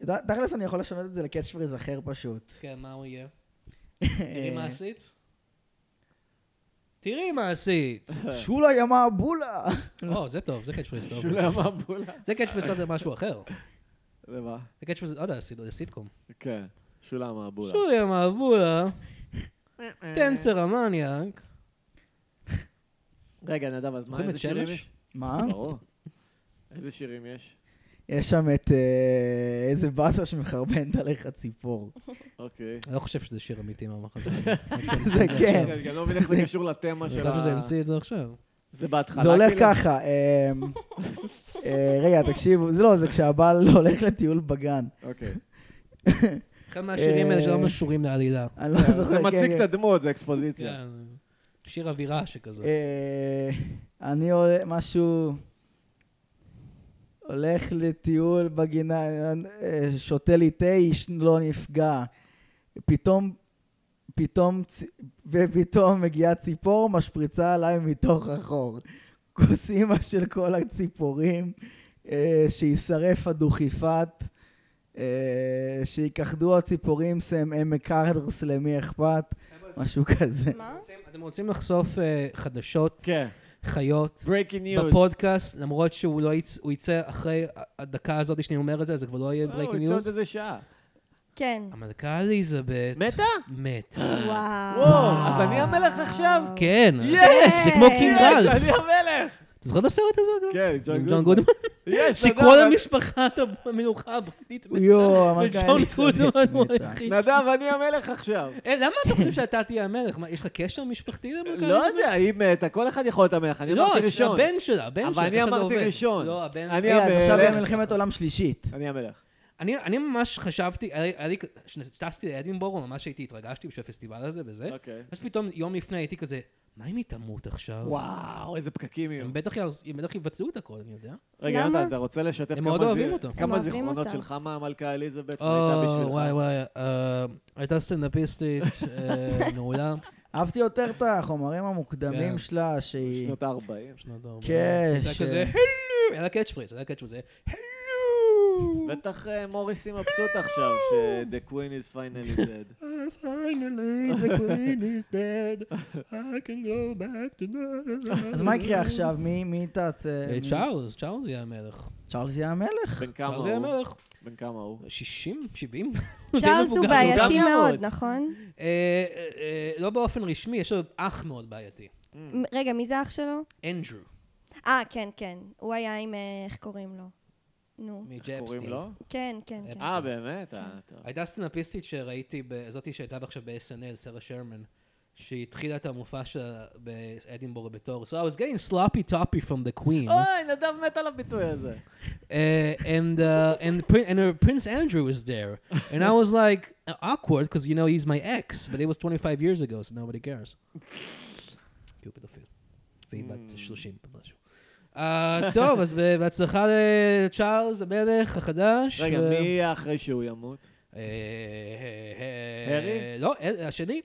אה, ת- תכלס אני יכול לשנות את זה לקאץ' פריז אחר פשוט. אה,
כן, מה הוא יהיה? תראי מה עשית? תראי מה עשית!
שולה ימאבולה!
או, זה טוב, זה קאצ' טוב.
שולה מבולה.
זה קאצ' טוב זה משהו אחר.
זה מה?
זה קאצ' לא יודע, זה סיטקום.
כן. שולה מבולה.
שוליה מעבולה, טנסר המניאק.
רגע, נדב, אז מה,
זוכרים
איזה
את
שירים
שמש?
יש?
מה?
ברור. איזה שירים יש?
יש שם את אה, איזה באסה שמחרבנת עליך ציפור.
אוקיי.
אני לא חושב שזה שיר אמיתי מהמחזה.
זה כן.
רגע, אני גם לא מבין איך זה קשור לתמה
אני
של
חושב
ה...
שזה המציא את זה עכשיו.
זה בהתחלה.
זה הולך
כאילו?
ככה, אמ, אה, רגע, תקשיבו, זה לא, זה כשהבעל הולך לטיול בגן.
אוקיי.
אחד מהשירים האלה שלא משורים לעלילה.
אני לא זוכר.
אה, זה
כן,
מציג
כן.
את הדמות, זה אקספוזיציה.
כן, שיר אווירה שכזה.
אה, אני עולה, משהו... הולך לטיול בגינה, אה, שותה לי תה, איש לא נפגע. פתאום, פתאום, צ- ופתאום מגיעה ציפור, משפריצה עליי מתוך החור. כוס אימא של כל הציפורים, אה, שישרף הדוכיפת, אה, שיכחדו הציפורים, סם עמק הרדרס, למי אכפת, משהו כזה.
מה?
אתם רוצים לחשוף אה, חדשות,
כן.
חיות,
ברייקינג ניוז.
בפודקאסט, למרות שהוא לא יצ... הוא יצא אחרי הדקה הזאת שאני אומר את זה, זה כבר לא יהיה
אה, הוא
ברייקינג
יצא עוד
ניוז.
איזה שעה.
כן.
המלכה אליזבת...
מתה?
מת. אה.
וואו.
וואו, אז אני המלך עכשיו?
כן.
יש!
זה כמו קינג
יש,
רלף.
אני המלך!
אתה זוכר את הסרט הזה גם?
כן,
כן, עם
ג'ון
ג'ון
גודמן.
גודמן?
יש,
שכל המשפחת המלוכה הבריטית מתה.
יואו, המנכ"ל
וג'ון
אליזבת
גודמן הוא
מתה.
היחיד.
נדב, אני המלך עכשיו.
אה, למה אתה חושב שאתה תהיה המלך? מה, יש לך קשר משפחתי למלכה?
לא
אליזבת?
יודע, היא מתה, כל אחד יכול להיות המלך, אני
כן, לא,
אמרתי ראשון.
הבן שלה, הבן שלה.
אבל אני
ככה זה
אמרתי
עובד.
ראשון.
לא, הבן...
אני
רגע, את עכשיו
המלך.
במלחמת עולם שלישית.
אני המלך.
אני, אני ממש חשבתי, היה לי- היה לי, כשטסתי לאדינבורו, ממש הייתי, התרגשתי בשביל הפסטיבל הזה וזה.
אוקיי.
אז פתאום יום לפני הייתי כזה, מה אם היא תמות עכשיו?
וואו, איזה פקקים יהיו.
הם בטח, יעז- הם בטח יבצעו את הכל, אני יודע.
רגע,
למה?
נתן, אתה רוצה לשתף
הם
כמה
מאוד
זה-
אוהבים אותו.
הם
כמה
אוהבים
זיכרונות
אותה.
שלך מהמלכה אליזבת
או,
הייתה בשבילך?
וואי וואי, אה, הייתה סטנדאפיסטית אה, מעולה.
אהבתי יותר את החומרים
כן.
המוקדמים שלה, שהיא...
שנות ה-40.
שנות ה-ארבעים.
כן,
הייתה
ש-
כזה, הלו! היה לה קאץ' פריז, היה לה קאץ' פריז, זה, הלו!
בטח אה, מוריסי מבסוט עכשיו, ש- The Queen is finally dead.
Finally, the queen is dead. I can go back to the-
אז מה יקרה עכשיו? מי מי תת...
אה, צ'ארלס, צ'ארלס יהיה המלך.
צ'ארלס יהיה המלך?
בן כמה
צ'ארלס יהיה
הוא?
המלך.
בן כמה הוא?
60? 70?
צ'ארלס הוא
גם
בעייתי
מאוד. Mm.
מאוד, נכון?
אה, אה, אה, לא באופן רשמי, יש לו אח מאוד בעייתי.
מ- רגע, מי זה אח שלו?
אנדרו.
אה, כן, כן. הוא היה עם, אה, איך קוראים לו? נו.
איך קוראים
מג'פסטין.
לו?
כן, כן, כן.
אה, באמת? אה, טוב.
הייתה סטנאפיסטית שראיתי, ב- זאתי שהייתה עכשיו ב-SNL, סרה שרמן, שהיא התחילה את המופע שלה באדינבורג בתור, So I was getting sloppy toppy from the queen.
אוי, נדב מת על הביטוי הזה.
uh, and uh, and Prin- and uh, Prince Andrew was there, and I was like uh, awkward because you know he's my ex, but it was 25 years ago, so nobody cares. כי הוא פדופיל. והיא בת
Hmm.
30 ומשהו. אה, טוב, אז ב- בהצלחה לצ'ארלס המלך החדש.
רגע,
ו-
מי יהיה אחרי שהוא ימות?
אה, אה,
הארי?
לא, אה, השני.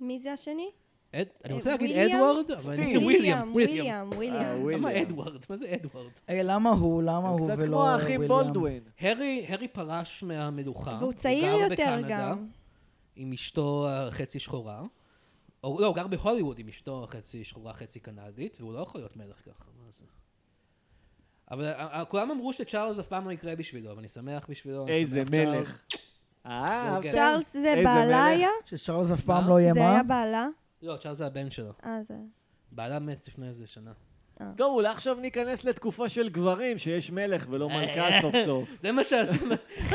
מי זה השני?
אד- אני
אה,
רוצה להגיד
ויליאם?
אדוארד, אבל אני-
סטיב.
וויליאם, וויליאם.
וויליאם,
אה,
וויליאם.
וויל-
למה
וויליאם.
אדוארד? מה זה אדוארד?
רגע, אה, למה הוא? למה
הם
הוא ולא
קצת
וויליאם?
כמו האחים בולדווין.
הארי, הארי פרש מהמלוכה.
והוא
הוא
צעיר
גר
יותר
בקנדה
גם.
עם אשתו החצי שחורה. או לא, הוא גר בהוליווד עם אשתו החצי שחורה, חצי קנדית, והוא לא יכול להיות מלך ככה, מה זה? אבל אה, אה, כולם אמרו שצ'ארלס אף פעם לא יקרה בשבילו, ואני שמח בשבילו. אני
איזה
שמח, צ'ארלס.
מלך. אה,
כן.
אהבת?
צ'ארלס זה
איזה
בעלה
מלך.
היה?
שצ'ארלס אף
מה?
פעם לא יהיה
זה
מה?
היה בעלה?
לא, צ'ארלס זה הבן שלו.
אה, זה...
בעלה מת לפני איזה שנה.
טוב, אולי עכשיו ניכנס לתקופה של גברים, שיש מלך ולא מלכה סוף סוף.
זה מה שעשו,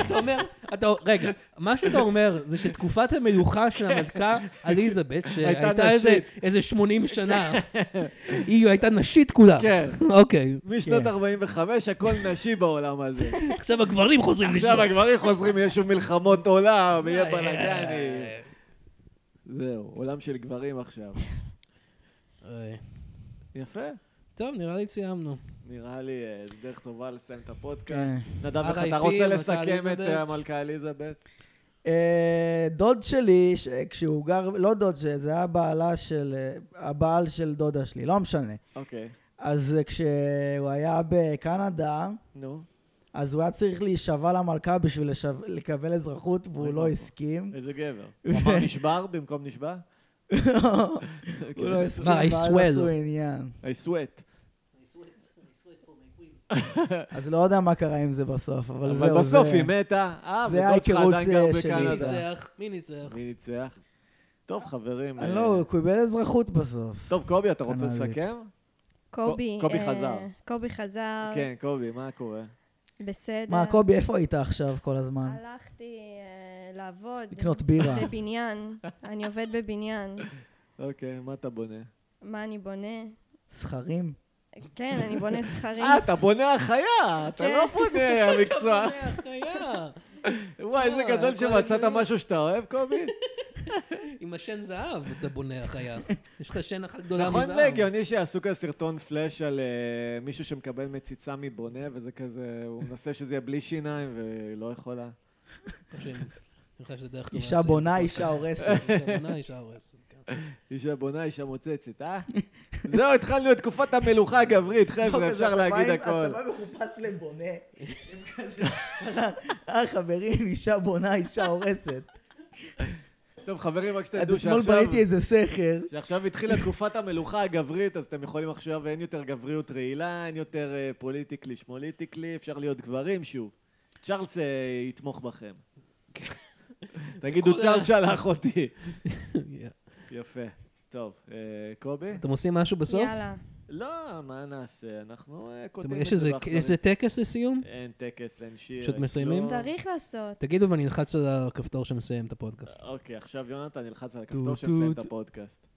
אתה אומר, אתה, רגע, מה שאתה אומר זה שתקופת המלוכה של המלכה עליזבת, שהייתה איזה-
נשית.
איזה 80 שנה, היא הייתה נשית כולה.
כן.
אוקיי.
משנות
כן.
45 הכל נשי בעולם הזה.
עכשיו הגברים חוזרים לשלוט.
עכשיו הגברים חוזרים, יש שוב מלחמות עולם, יהיה בלאגני. זהו, עולם של גברים עכשיו.
אה,
יפה.
טוב, נראה לי סיימנו.
נראה לי אה, זו דרך טובה לסיים את הפודקאסט.
כן.
נדב, איך
RIP,
אתה רוצה
המלכה
לסכם את
אליזבת.
אה, המלכה אליזבת?
אה, דוד שלי, ש- כשהוא גר, לא דוד שלי, זה היה בעלה של, אה, הבעל של דודה שלי, לא משנה.
אוקיי.
אז אה, כשהוא היה בקנדה,
נו,
אז הוא היה צריך להישבע למלכה בשביל לשו- לקבל אזרחות,
אוי
והוא לא
ואבוי.
הסכים.
איזה גבר. הוא אמר נשבר במקום נשבע?
הוא לא הסכים,
מה, I
ואז
swear.
עשו עניין.
I sweat.
אז לא יודע מה קרה עם זה בסוף, אבל זהו.
אבל בסוף
זה-
היא מתה, אה,
זה
ודוד שלך
ההיכרות
עדיין גר
ש- שלי.
מי
תודה.
בקנדה.
ניצח? לא מי ניצח?
מי ניצח? טוב, חברים.
אה,
אה,
לא, הוא קיבל אזרחות בסוף.
טוב, קובי, אתה רוצה
קנדית.
לסכם?
קובי.
קובי
אה,
חזר.
קובי חזר,
כן, קובי, מה קורה?
בסדר.
מה, קובי, איפה היית עכשיו כל הזמן?
הלכתי אה, לעבוד.
לקנות בירה.
בבניין. אני עובד בבניין.
אוקיי, מה אתה בונה?
מה אני בונה?
סכרים?
לא,
כן, אני בונה זכרים.
אה, אתה בונה החיה, אתה
כן.
לא בונה המקצוע.
החיה,
וואי, איזה
אה,
לא,
גדול
כל
שמצאת
הדברים.
משהו שאתה אוהב, קובי.
עם השן זהב אתה בונה החיה. יש לך שן אחת גדולה מזהב.
נכון, זה הגיוני שיעשו כזה סרטון פלאש על אה, מישהו שמקבל מציצה מבונה, וזה כזה, הוא מנסה שזה יהיה בלי שיניים, ולא יכולה.
אני חושב שזה דרך טובה.
לא
אישה
לסיים
בונה,
את
אישה
הפודקאסט.
הורסת.
אישה בונה, אישה הורסת. כן.
אישה בונה, אישה מוצצת, אה? זהו, התחלנו את תקופת המלוכה הגברית, חבר'ה, אפשר להגיד הכל.
לא, אתה לא- בא מחופש לבונה. הם כזה, אה, חברים, אישה בונה, אישה הורסת.
טוב, חברים, רק
אז
שתדעו
אתמול
שעכשיו...
בניתי איזה סכר.
שעכשיו התחילה תקופת המלוכה הגברית, אז אתם יכולים עכשיו, אין יותר גבריות רעילה, אין יותר אה, פוליטיקלי שמוליטיקלי, אפשר להיות גברים שוב. צ'ארלס אה, יתמוך בכם.
כן.
תגידו,
כל ה-
צ'ארלס שלח אותי.
Yeah.
יפה. טוב, אה, קובי?
אתם עושים משהו בסוף?
יאללה.
לא, מה נעשה? אנחנו אה,
אתם-
כותבים את
יש איזה-
זה
יש
באכסניה.
איזה טקס לסיום?
אין טקס, אין שיר.
פשוט
אין
מסיימים?
כלום.
צריך לעשות.
תגידו ואני אלחץ על הכפתור שמסיים את הפודקאסט.
אוקיי, עכשיו יונתן ילחץ על
טו,
הכפתור שמסיים את
טו,
הפודקאסט.